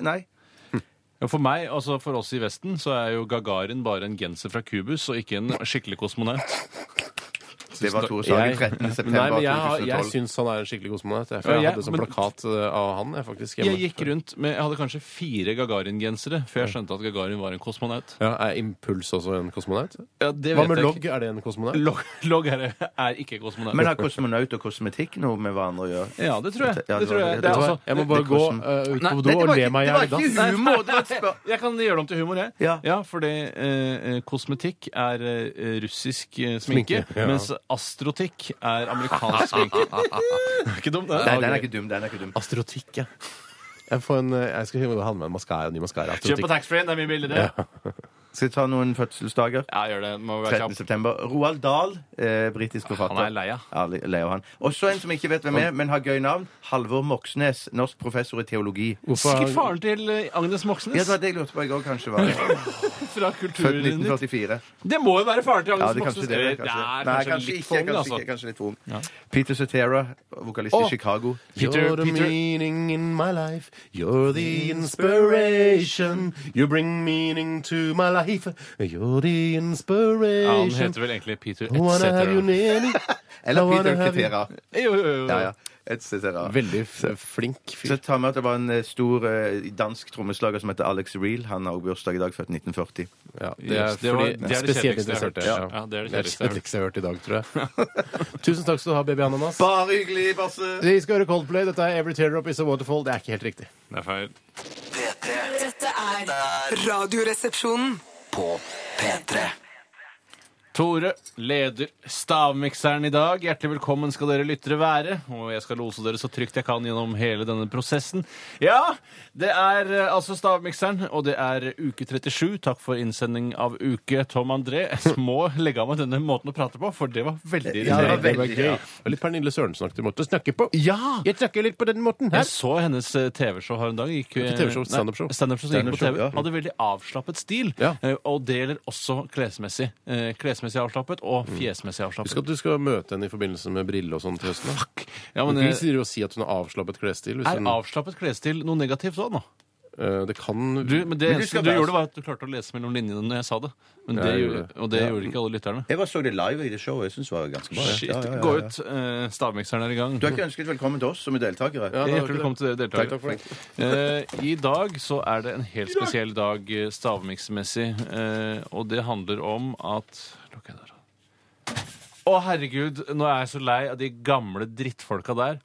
B: nei.
E: Ja, For meg, altså for oss i Vesten, så er jo Gagarin bare en genser fra Cubus og ikke en skikkelig kosmonaut.
B: Det var Tore Sagen
C: Jeg,
B: 13. september
C: nei, men jeg, har- jeg
B: 2012.
C: syns han er en skikkelig kosmonaut. jeg, For jeg
E: Ja, jeg-
C: hadde sånn
E: men-
C: plakat eh, av han jeg faktisk hjemme.
E: Jeg gikk rundt med Jeg hadde kanskje fire Gagarin-gensere før jeg skjønte at Gagarin var en kosmonaut.
C: Ja, Er Impuls også en kosmonaut?
E: Ja, det
C: Hva
E: vet
C: med
E: jeg
C: logg?
E: ikke.
C: Er det en kosmonaut?
E: Logg logg er, er ikke kosmonaut.
B: Men har kosmonaut og kosmetikk noe med hverandre å gjøre?
E: ja, det tror jeg.
B: Ja,
E: Det tror jeg.
B: det-
E: Det
C: Vet
E: er
C: du hva?
E: altså,
C: jeg må
B: det-
C: bare
B: det
C: gå
B: kosmo-
C: eh, ut
E: Nei,
C: på do
B: Nei, det
C: og le
B: var ikke-
C: meg i hjel.
B: Det
C: da.
B: var ikke humor! Det var et spør...
E: Jeg kan gjøre det om til humor, jeg.
B: Ja.
E: fordi eh, kosmetikk er eh, russisk eh, sminke,
C: Sminke, ja.
E: mens astrotikk er amerikansk sminke. Det er ikke dumt, det.
B: Nei, den er ikke dum. Den er ikke dum.
C: Astrotikk, ja. Jeg, får en, eh, jeg skal ha med en mascara, ny mascara.
E: Kjøp på
C: Astrotikk.
E: taxfree-en, det er mye billigere. Ja,
B: Skal jeg ta noen fødselsdager?
E: gjør det. Må være
B: 13.
E: kjapp.
B: september. Roald Dahl, eh,
C: Ah,
B: britisk forfatter.
E: Han er lei av.
B: Ja, le- lei av han. Og så en som ikke vet hvem er, men har gøy navn. Halvor Moxnes, norsk professor i teologi.
C: Hvorfor har
E: Sikkert
C: han-
E: faren til eh, Agnes
B: Ja, det
E: Moxnes
B: var det jeg lurte på i går, kanskje. var det.
E: fra
B: Født
E: Kulturnytt.
B: 1944.
E: Det må jo være faren til
B: Ja,
E: Agnes
B: det er kanskje
E: Moxnes.
B: det.
E: Eller,
B: Kanskje.
E: det er
B: Nei,
E: kanskje
B: kanskje
E: litt for
B: ikke.
E: ung,
B: Kanskje,
E: altså.
B: ikke, kanskje litt for ung.
E: Ja.
B: Peter Cetera, vokalist
C: Å!
B: i Chicago.
C: You're the
E: Peter-
C: meaning in my life. You're the inspiration. You bring meaning to my life. You're the
E: Ja,
C: inspiration.
E: han heter vel egentlig Peter
C: I wanna have you
E: etc.
C: near me. I
B: Eller
C: wanna
B: Peter
C: have you-
B: Cetera.
E: Jo, jo, jo.
B: Ja, ja. Et cetera.
C: Veldig f- flink fyr.
B: Så ta med at det var en eh, stor eh, dansk trommeslager som heter Alex Reel. Han har også bursdag i dag, født 1940.
C: Ja, det er,
E: Yes, det var-
C: fordi,
E: det er det
C: spesielt
E: kjedeligste jeg har hørt.
C: interessert,
E: Ja, ja, det er det kjedeligste jeg har hørt.
C: kjedeligste jeg har hørt i dag, tror jeg. Tusen takk skal du ha, baby Ananas.
B: Bare hyggelig, Basse!
C: Vi skal høre Coldplay. Dette er Every Teardrop Is A Waterfall. Det er ikke helt riktig.
E: Det er feil.
I: P3
F: Dette er Radioresepsjonen.
I: på P3.
E: Tore, leder stavmikseren i dag. Hjertelig velkommen skal dere lyttere være. Og jeg skal lose dere så trygt jeg kan gjennom hele denne prosessen. Ja, det er eh, altså stavmikseren, og det er uke 37. Takk for innsending av uke, Tom André. Jeg må legge av meg denne måten å prate på, for det var veldig
B: Ja, det var
E: irriterende.
B: veldig, ja.
C: Og litt Pernille Sørensen-aktig måte å snakke på.
E: Ja!
C: Jeg snakker litt på den måten
E: Jeg
C: her.
E: så hennes eh, TV-show her en dag. Gikk, eh,
C: Ikke TV-show,
E: nei,
C: standup-show.
E: Standup-show som gikk på
B: Standup-show,
E: TV.
B: ja.
E: Hadde veldig avslappet stil,
C: Ja.
E: eh, og deler også klesmessig. Eh, Klesmessig avslappet og fjesmessig
C: Husk
E: avslappet.
C: at du skal møte henne i forbindelse med brille og sånn til høsten. da.
E: Ja,
C: Du
E: men,
C: kan
E: eh,
C: ikke si- si at hun har avslappet klesstil. Hvis
E: er
C: hun,
E: avslappet klesstil noe negativt òg nå?
C: eh, det kan
E: Du, men det
B: du
E: eneste
B: skal
E: du
B: være-
E: gjorde, var at du klarte å lese mellom linjene når jeg sa det. Men
C: Ja,
E: det
C: jeg
E: gjorde,
C: gjorde det.
E: og det gjorde ikke alle lytterne.
B: Jeg var så det live i det showet. Jeg synes det var ganske bra. ja.
E: Shit.
B: Ja, ja, ja,
E: Gå
B: ja.
E: ut. eh, Stavmikseren er i gang.
B: Du har ikke ønsket velkommen til oss som er
C: Ja,
B: deltakere.
C: det var ikke
E: Hjertelig velkommen til dere
C: Takk,
E: deltakere.
C: takk for det.
E: Eh, I dag så er det en helt spesiell dag eh, stavmiksmessig, eh, og det handler om at Lukk igjen døra. Å, herregud, nå er jeg så lei av de gamle drittfolka der.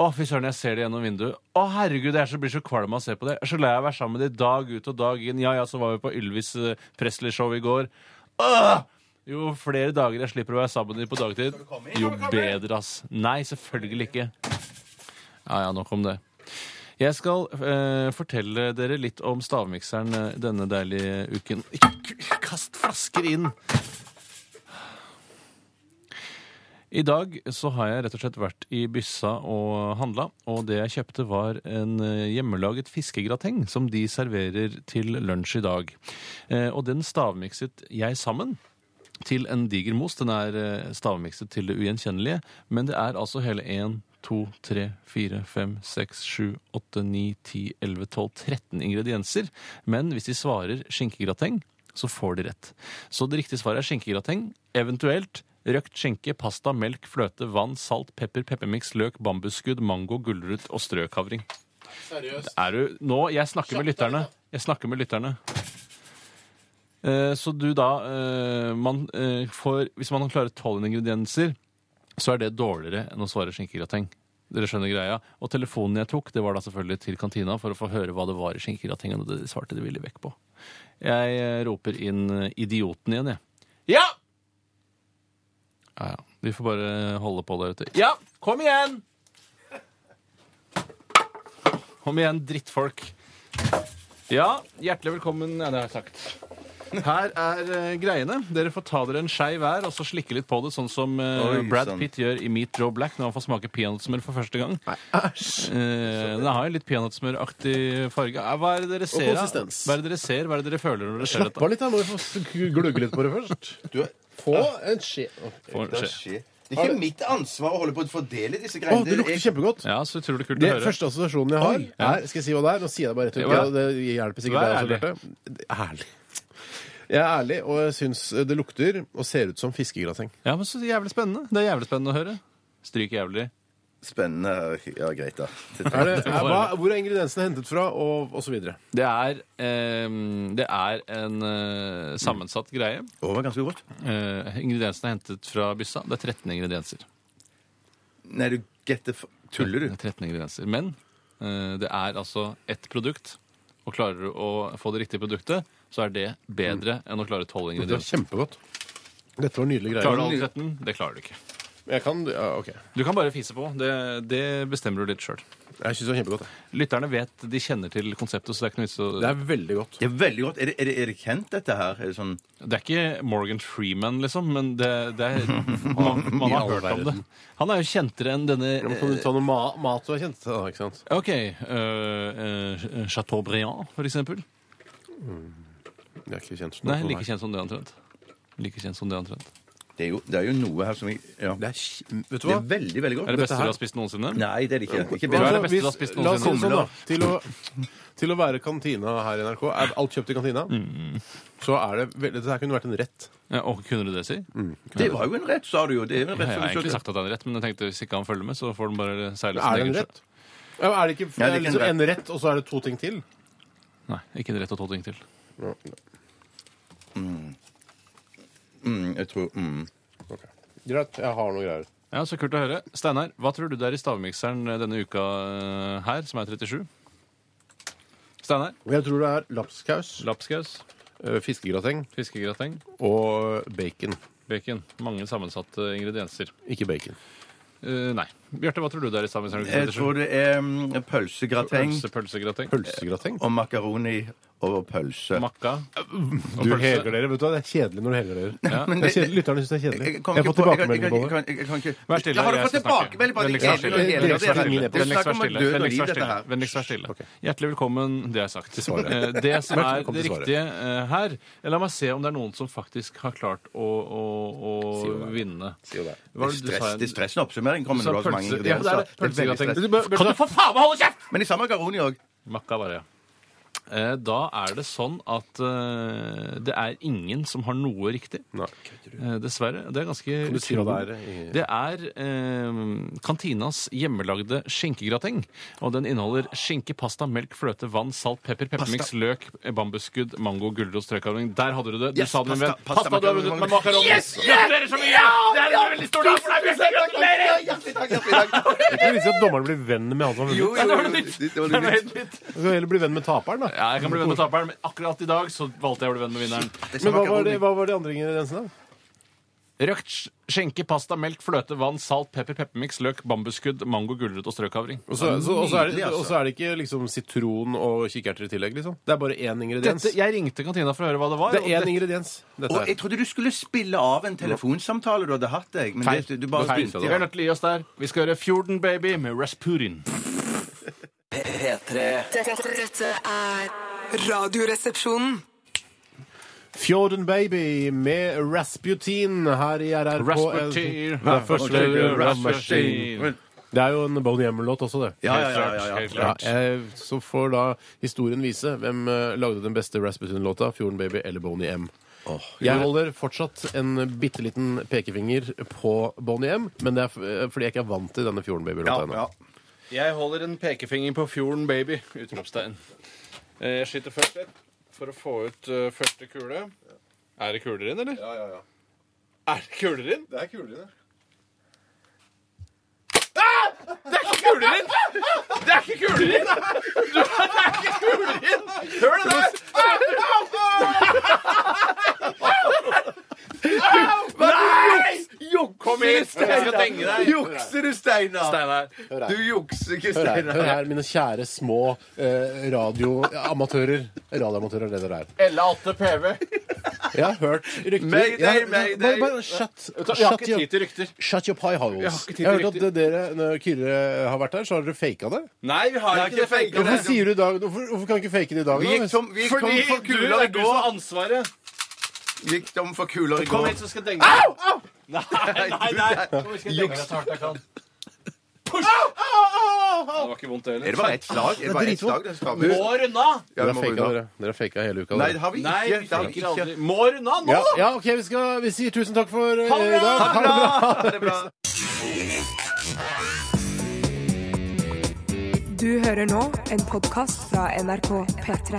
E: Å, fy søren, jeg ser det gjennom vinduet. Å, herregud, jeg er så, blir så kvalm av å se på det. Jeg er så lei av å være sammen med de dag ut og dag inn. Ja, ja, så var vi på Ylvis eh, Presley-show i går. Åh! Jo flere dager jeg slipper å være sammen med de på dagtid, jo bedre, ass. Nei, selvfølgelig ikke. Ja, ja, nok om det. Jeg skal eh, fortelle dere litt om stavmikseren eh, denne deilige uken. Ikke k- kast flasker inn! I dag så har jeg rett og slett vært i byssa og handla, og det jeg kjøpte var en eh, hjemmelaget fiskegrateng som de serverer til lunsj i dag. Eh, og den stavmikset jeg sammen til en diger mos. Den er eh, stavmikset til det ugjenkjennelige, men det er altså hele 1, 2, 3, 4, 5, 6, 7, 8, 9, 10, 11, 12, 13 ingredienser. Men hvis de svarer skinkegrateng, så får de rett. Så det riktige svaret er skinkegrateng, eventuelt Røkt skinke, pasta, melk, fløte, vann, salt, pepper, peppermiks, løk, bambusskudd, mango, gulrot og strøkavring. Seriøst? Er du, nå, jeg snakker med lytterne. Jeg snakker med lytterne. Eh, Så du da eh, man eh, får, Hvis man klarer tolv ingredienser, så er det dårligere enn å svare skinkegrateng. Dere skjønner greia. Og telefonen jeg tok, det var da selvfølgelig til kantina for å få høre hva det var i skinkegratengen, og det svarte de ville vekk på. Jeg eh, roper inn eh, idioten igjen, jeg. Ja! Ja, ja. Vi får bare holde på der ute. Ja, kom igjen! Kom igjen, drittfolk. Ja, hjertelig velkommen. Ja, det har jeg sagt. Her er eh, greiene. Dere får ta dere en skei hver og så slikke litt på det, sånn som eh,
D: Oi,
E: Brad
D: sann.
E: Pitt gjør i Meat Joe Black når han får smake peanøttsmør for første gang. Nei, æsj! Den har jo litt peanøttsmøraktig farge. Eh, Hva er det dere ser? da?
C: konsistens.
E: Hva er det dere ser? Hva er det dere føler når dere ser
C: Slapp
E: dette?
C: av litt, da. Må vi få glugge litt på det først. Få en skje. Å,
E: Får
D: Det
E: skje.
D: er skje. Det er ikke mitt ansvar å holde på å fordele disse greiene.
C: det lukter kjempegodt.
E: Ja, så utrolig kult
C: Det
E: å høre.
C: første assosiasjonen jeg har,
E: Ja.
C: er Skal jeg si hva det er? Nå sier jeg det bare rett ut.
E: Ja.
C: og Det hjelper sikkert
E: Vær
C: deg også, Bjarte. Ærlig. Jeg er ærlig, og jeg syns det lukter og ser ut som fiskegrateng.
E: Ja, men så jævlig spennende. Det er jævlig spennende å høre. Stryk jævlig.
D: Spennende. Ja, greit, da.
C: Er det, er, hva, hvor er ingrediensene hentet fra, og, og så videre?
E: Det er, ehm, det er en eh, sammensatt greie.
D: Det var ganske godt.
E: Eh, ingrediensene er hentet fra byssa. Det er 13 ingredienser.
D: Nei, du getter f- Tuller
E: Det
D: du?
E: er 13 ingredienser. Men eh, det er altså ett produkt. Og klarer du å få det riktige produktet, så er det bedre enn å klare 12
C: Det var
E: ingredienser.
C: kjempegodt. Dette var nydelige
E: Klarer du
C: greier.
E: alle 13? Det klarer du ikke.
C: Jeg kan ja, OK.
E: Du kan bare fise på. Det, det bestemmer du litt sjøl.
C: Jeg syns det var kjempegodt. jeg.
E: Lytterne vet de kjenner til konseptet, så det er ikke noe vits å
C: Det er veldig godt.
D: Det er veldig godt. Er det, er det, er det kjent, dette her? Er det sånn
E: Det er ikke Morgan Freeman, liksom, men det, det er, man, man har hørt om det. Han er jo kjentere enn denne
C: Nå Kan du ta noe ma mat du har kjent? Da, ikke sant?
E: eh, OK. Uh, Chateaubriand, for eksempel.
C: Jeg er ikke kjent for noe
E: Nei,
C: for
E: like
C: meg.
E: kjent som det omtrent. Like kjent som det omtrent.
D: det er, jo, det er jo noe her som jeg ja.
C: Det er, kj- vet du
D: Det
C: hva?
D: er veldig, veldig
E: Er
D: godt.
E: det
C: Dette
E: beste
C: her-
E: du har spist noensinne?
D: Nei, det er det ikke. ikke
E: Hva er
D: bedre.
E: det beste du har spist
C: Altså, la oss si det
E: noensinne?
C: sånn, da. Til å, til å være kantina her i NRK, er alt kjøpt i kantina, så er det veldig Dette her kunne vært en rett.
E: Ja, og kunne du det si?
D: Det var jo en rett, sa du jo. Det er jo en
E: Jeg
D: rett
E: har
D: som du
E: egentlig
D: så-
E: sagt at det er en rett, men jeg tenkte hvis ikke han følger med, så får den bare seile
C: Er det en
E: sjø.
C: rett? Ja, men er det ikke, for
D: Nei,
C: det er liksom en rett, og så er det to ting til?
E: Nei, ikke en rett og to ting til.
D: mm, Jeg tror mm.
C: Greit, jeg har noe greier.
E: Ja, Så kult å høre. Steinar, hva tror du det er i stavmikseren denne uka eh, her, som er 37? Steinar?
C: Jeg tror det er lapskaus,
E: Lapskaus?
C: eh, fiskegrateng
E: Fiskegrateng?
C: og bacon.
E: Bacon. Mange sammensatte ingredienser.
C: Ikke bacon.
E: Eh, nei. Bjarte, hva tror du det er i stavmikseren?
D: Jeg tror det er mm, pølsegrateng
E: Pølse, pølsegrateng.
C: Pølsegrateng?
D: og makaroni over pølse.
E: Makka.
C: Du heger dere, vet du hva. Det er kjedelig når du heger dere.
E: Ja.
D: Men
C: Det er kjedelig. Lytterne syns det er kjedelig.
D: Jeg kom
C: Jeg
D: ikke på- jeg
C: får
D: kan-
C: tilbakemelding på
D: jeg
C: det.
D: kan- jeg kan ikke-
E: Vær stille,
D: Jeg har fått
E: jeg skal snakke.
D: tilbakemelding på at
E: Vennligst
D: jeg
E: vær
D: ikke
E: liksom stille.
D: er enig i
C: Vennligst
D: det
C: vær
D: her.
C: stille.
D: Det er snakk om død og liv,
E: Vennligst vær
D: dette her.
E: stille. Vennligst vær stille. Hjertelig velkommen, det er sagt. Eh, Det som er
C: Velkommen
E: det
C: til svaret.
E: riktige eh, her La meg se om det er noen som faktisk har klart å, å, å vinne.
D: Det er stress- Det er stressende oppsummering. Kommer når du har så mange
E: Pølse- ja, det er
D: ingredienser.
E: det. Pølsegrateng.
D: Det er veldig stress.
E: Kan du for faen meg holde kjeft?!
D: Men de samme makaroni òg.
E: Makka bare, ja. Eh, Da er det sånn at eh, det er ingen som har noe riktig. Eh, Dessverre. Det er ganske
C: Kan du si hva
E: utrolig.
C: det er i-
E: Det er eh, kantinas hjemmelagde skinkegrateng. Og den inneholder skinke, pasta, melk, fløte, vann, salt, pepper, peppermiks, løk, bambusskudd, mango, gulrot, strøkavling. Der hadde du det! Du
D: Yes,
E: sa det, min
D: pasta,
E: venn.
D: pasta,
E: Pasta, du har
D: makaroni,
E: vunnet med
D: mango.
E: makaroni!
D: Yes,
E: Gratulerer så mye! Det er en veldig stor dag for deg! Bjørte. Gratulerer!
D: Hjertelig takk, hjertelig takk.
C: Det er ikke viktig at dommeren blir venn med han som har vunnet.
E: Ja, det var noe nytt.
D: Det var
E: Det
D: noe nytt.
E: var helt nytt.
C: Du kan heller bli venn med taperen, da.
E: Ja, jeg kan bli venn med taperen, men akkurat i dag så valgte jeg å bli venn med vinneren.
D: Det er
C: Men hva
D: makaroni.
C: var, det, hva var de andre ingrediensene? da?
E: Røkt sk- skjenke, pasta, melk, fløte, vann, salt, pepper, peppermiks, løk, bambusskudd, mango, gulrøtt og strøkavring.
C: Og så- så- og så er, det-
D: Nydelig, altså.
C: og så er det ikke liksom sitron og kikerter i tillegg, liksom? Det er bare én ingrediens.
E: Dette, jeg ringte kantina for å høre hva det var.
C: Det
E: og
C: er én ingrediens. Dette
D: Og
C: her.
D: jeg trodde du skulle spille av en telefonsamtale du hadde hatt, jeg. Men
E: Feil.
D: det, du bare
E: Feil.
D: begynte
E: Vi er nødt til å gi oss der. Vi skal høre Fjorden Baby med Rasputin.
B: P3
F: Dette, dette er Radioresepsjonen.
C: Fjorden Baby med Rasputin her i RR på
E: Rasputin.
C: Det er første
E: Rasputin.
C: Det er jo en Bonnie Yammer-låt også, det.
D: Ja, ja, ja, ja, ja.
E: Helt
C: Ja,
E: klart.
C: eh, så får da historien vise hvem eh, lagde den beste Rasputin-låta, Fjorden Baby eller Boney M. jeg holder fortsatt en bitte liten pekefinger på Boney M, men det er f- eh, fordi jeg ikke er vant til denne Fjorden Baby-låta ennå.
D: Ja,
E: Jeg holder en pekefinger på Fjorden Baby! Utropstegn. Eh, Jeg skyter først ett for å få ut eh, første kule. Er det kuler inn, eller?
D: Ja, ja, ja.
E: Er det kuler inn?
D: Det er kulere.
E: Ah! Kuler inn! Det er ikke kuler inn! Du, Det er ikke kuler inn! Hør det der! Kom hit! Jeg skal denge deg.
D: Jukser du, Steinar?
E: Steinar.
D: Du jukser ikke,
C: Hør her, hør
D: Steinar.
C: her, mine kjære små eh, radioamatører. Radioamatører er det dere er.
J: Eller Atte PV.
C: Jeg har hørt rykter
D: Mayday,
C: Jeg har-
D: mayday.
C: Bare, bare shut,
J: Jeg har
C: shut,
J: ikke
C: your,
J: tid til rykter.
C: shut your pie holes.
E: Jeg har ikke tid til
C: Jeg har hørt at
E: rykter.
C: dere, når Kyrre har vært her, så har dere faka det.
E: Nei, vi har
D: Jeg har
E: ikke det.
D: ikke
C: Hvorfor
D: faket det.
C: sier du i dag Hvorfor, hvorfor kan du ikke fake det i dag?
D: Vi
C: da?
D: gikk tom, vi gikk tom
E: Fordi
D: for
E: du
D: kuler
E: er
D: i
E: du som har
D: går.
E: ansvaret.
D: Vi gikk tom for kuler i
E: Kom
D: går.
E: hit, så skal jeg denge deg. Nei, nei, nei. Kom, vi skal denge deg.
J: Så hardt jeg kan.
E: Det var ikke vondt, det
D: Er det
E: heller.
D: bare ett slag? Er det bare ett slag? Det skal vi-
E: Må runde av!
D: Ja, vi
C: Dere har
D: må
C: faka
D: runde av.
C: dere. Dere har faka hele uka.
D: Nei,
C: dere.
D: det har vi
E: Nei,
D: ikke.
E: vi
D: Det har vi
E: fikk
D: ikke.
E: aldri. Må runde av nå,
C: ja,
E: da!
C: ja, OK, vi, skal, vi sier tusen takk for eh,
E: Ha
C: i
E: det bra!
C: dag.
D: Ha det bra! Ha det bra.
A: Du hører nå en podkast fra NRK P3.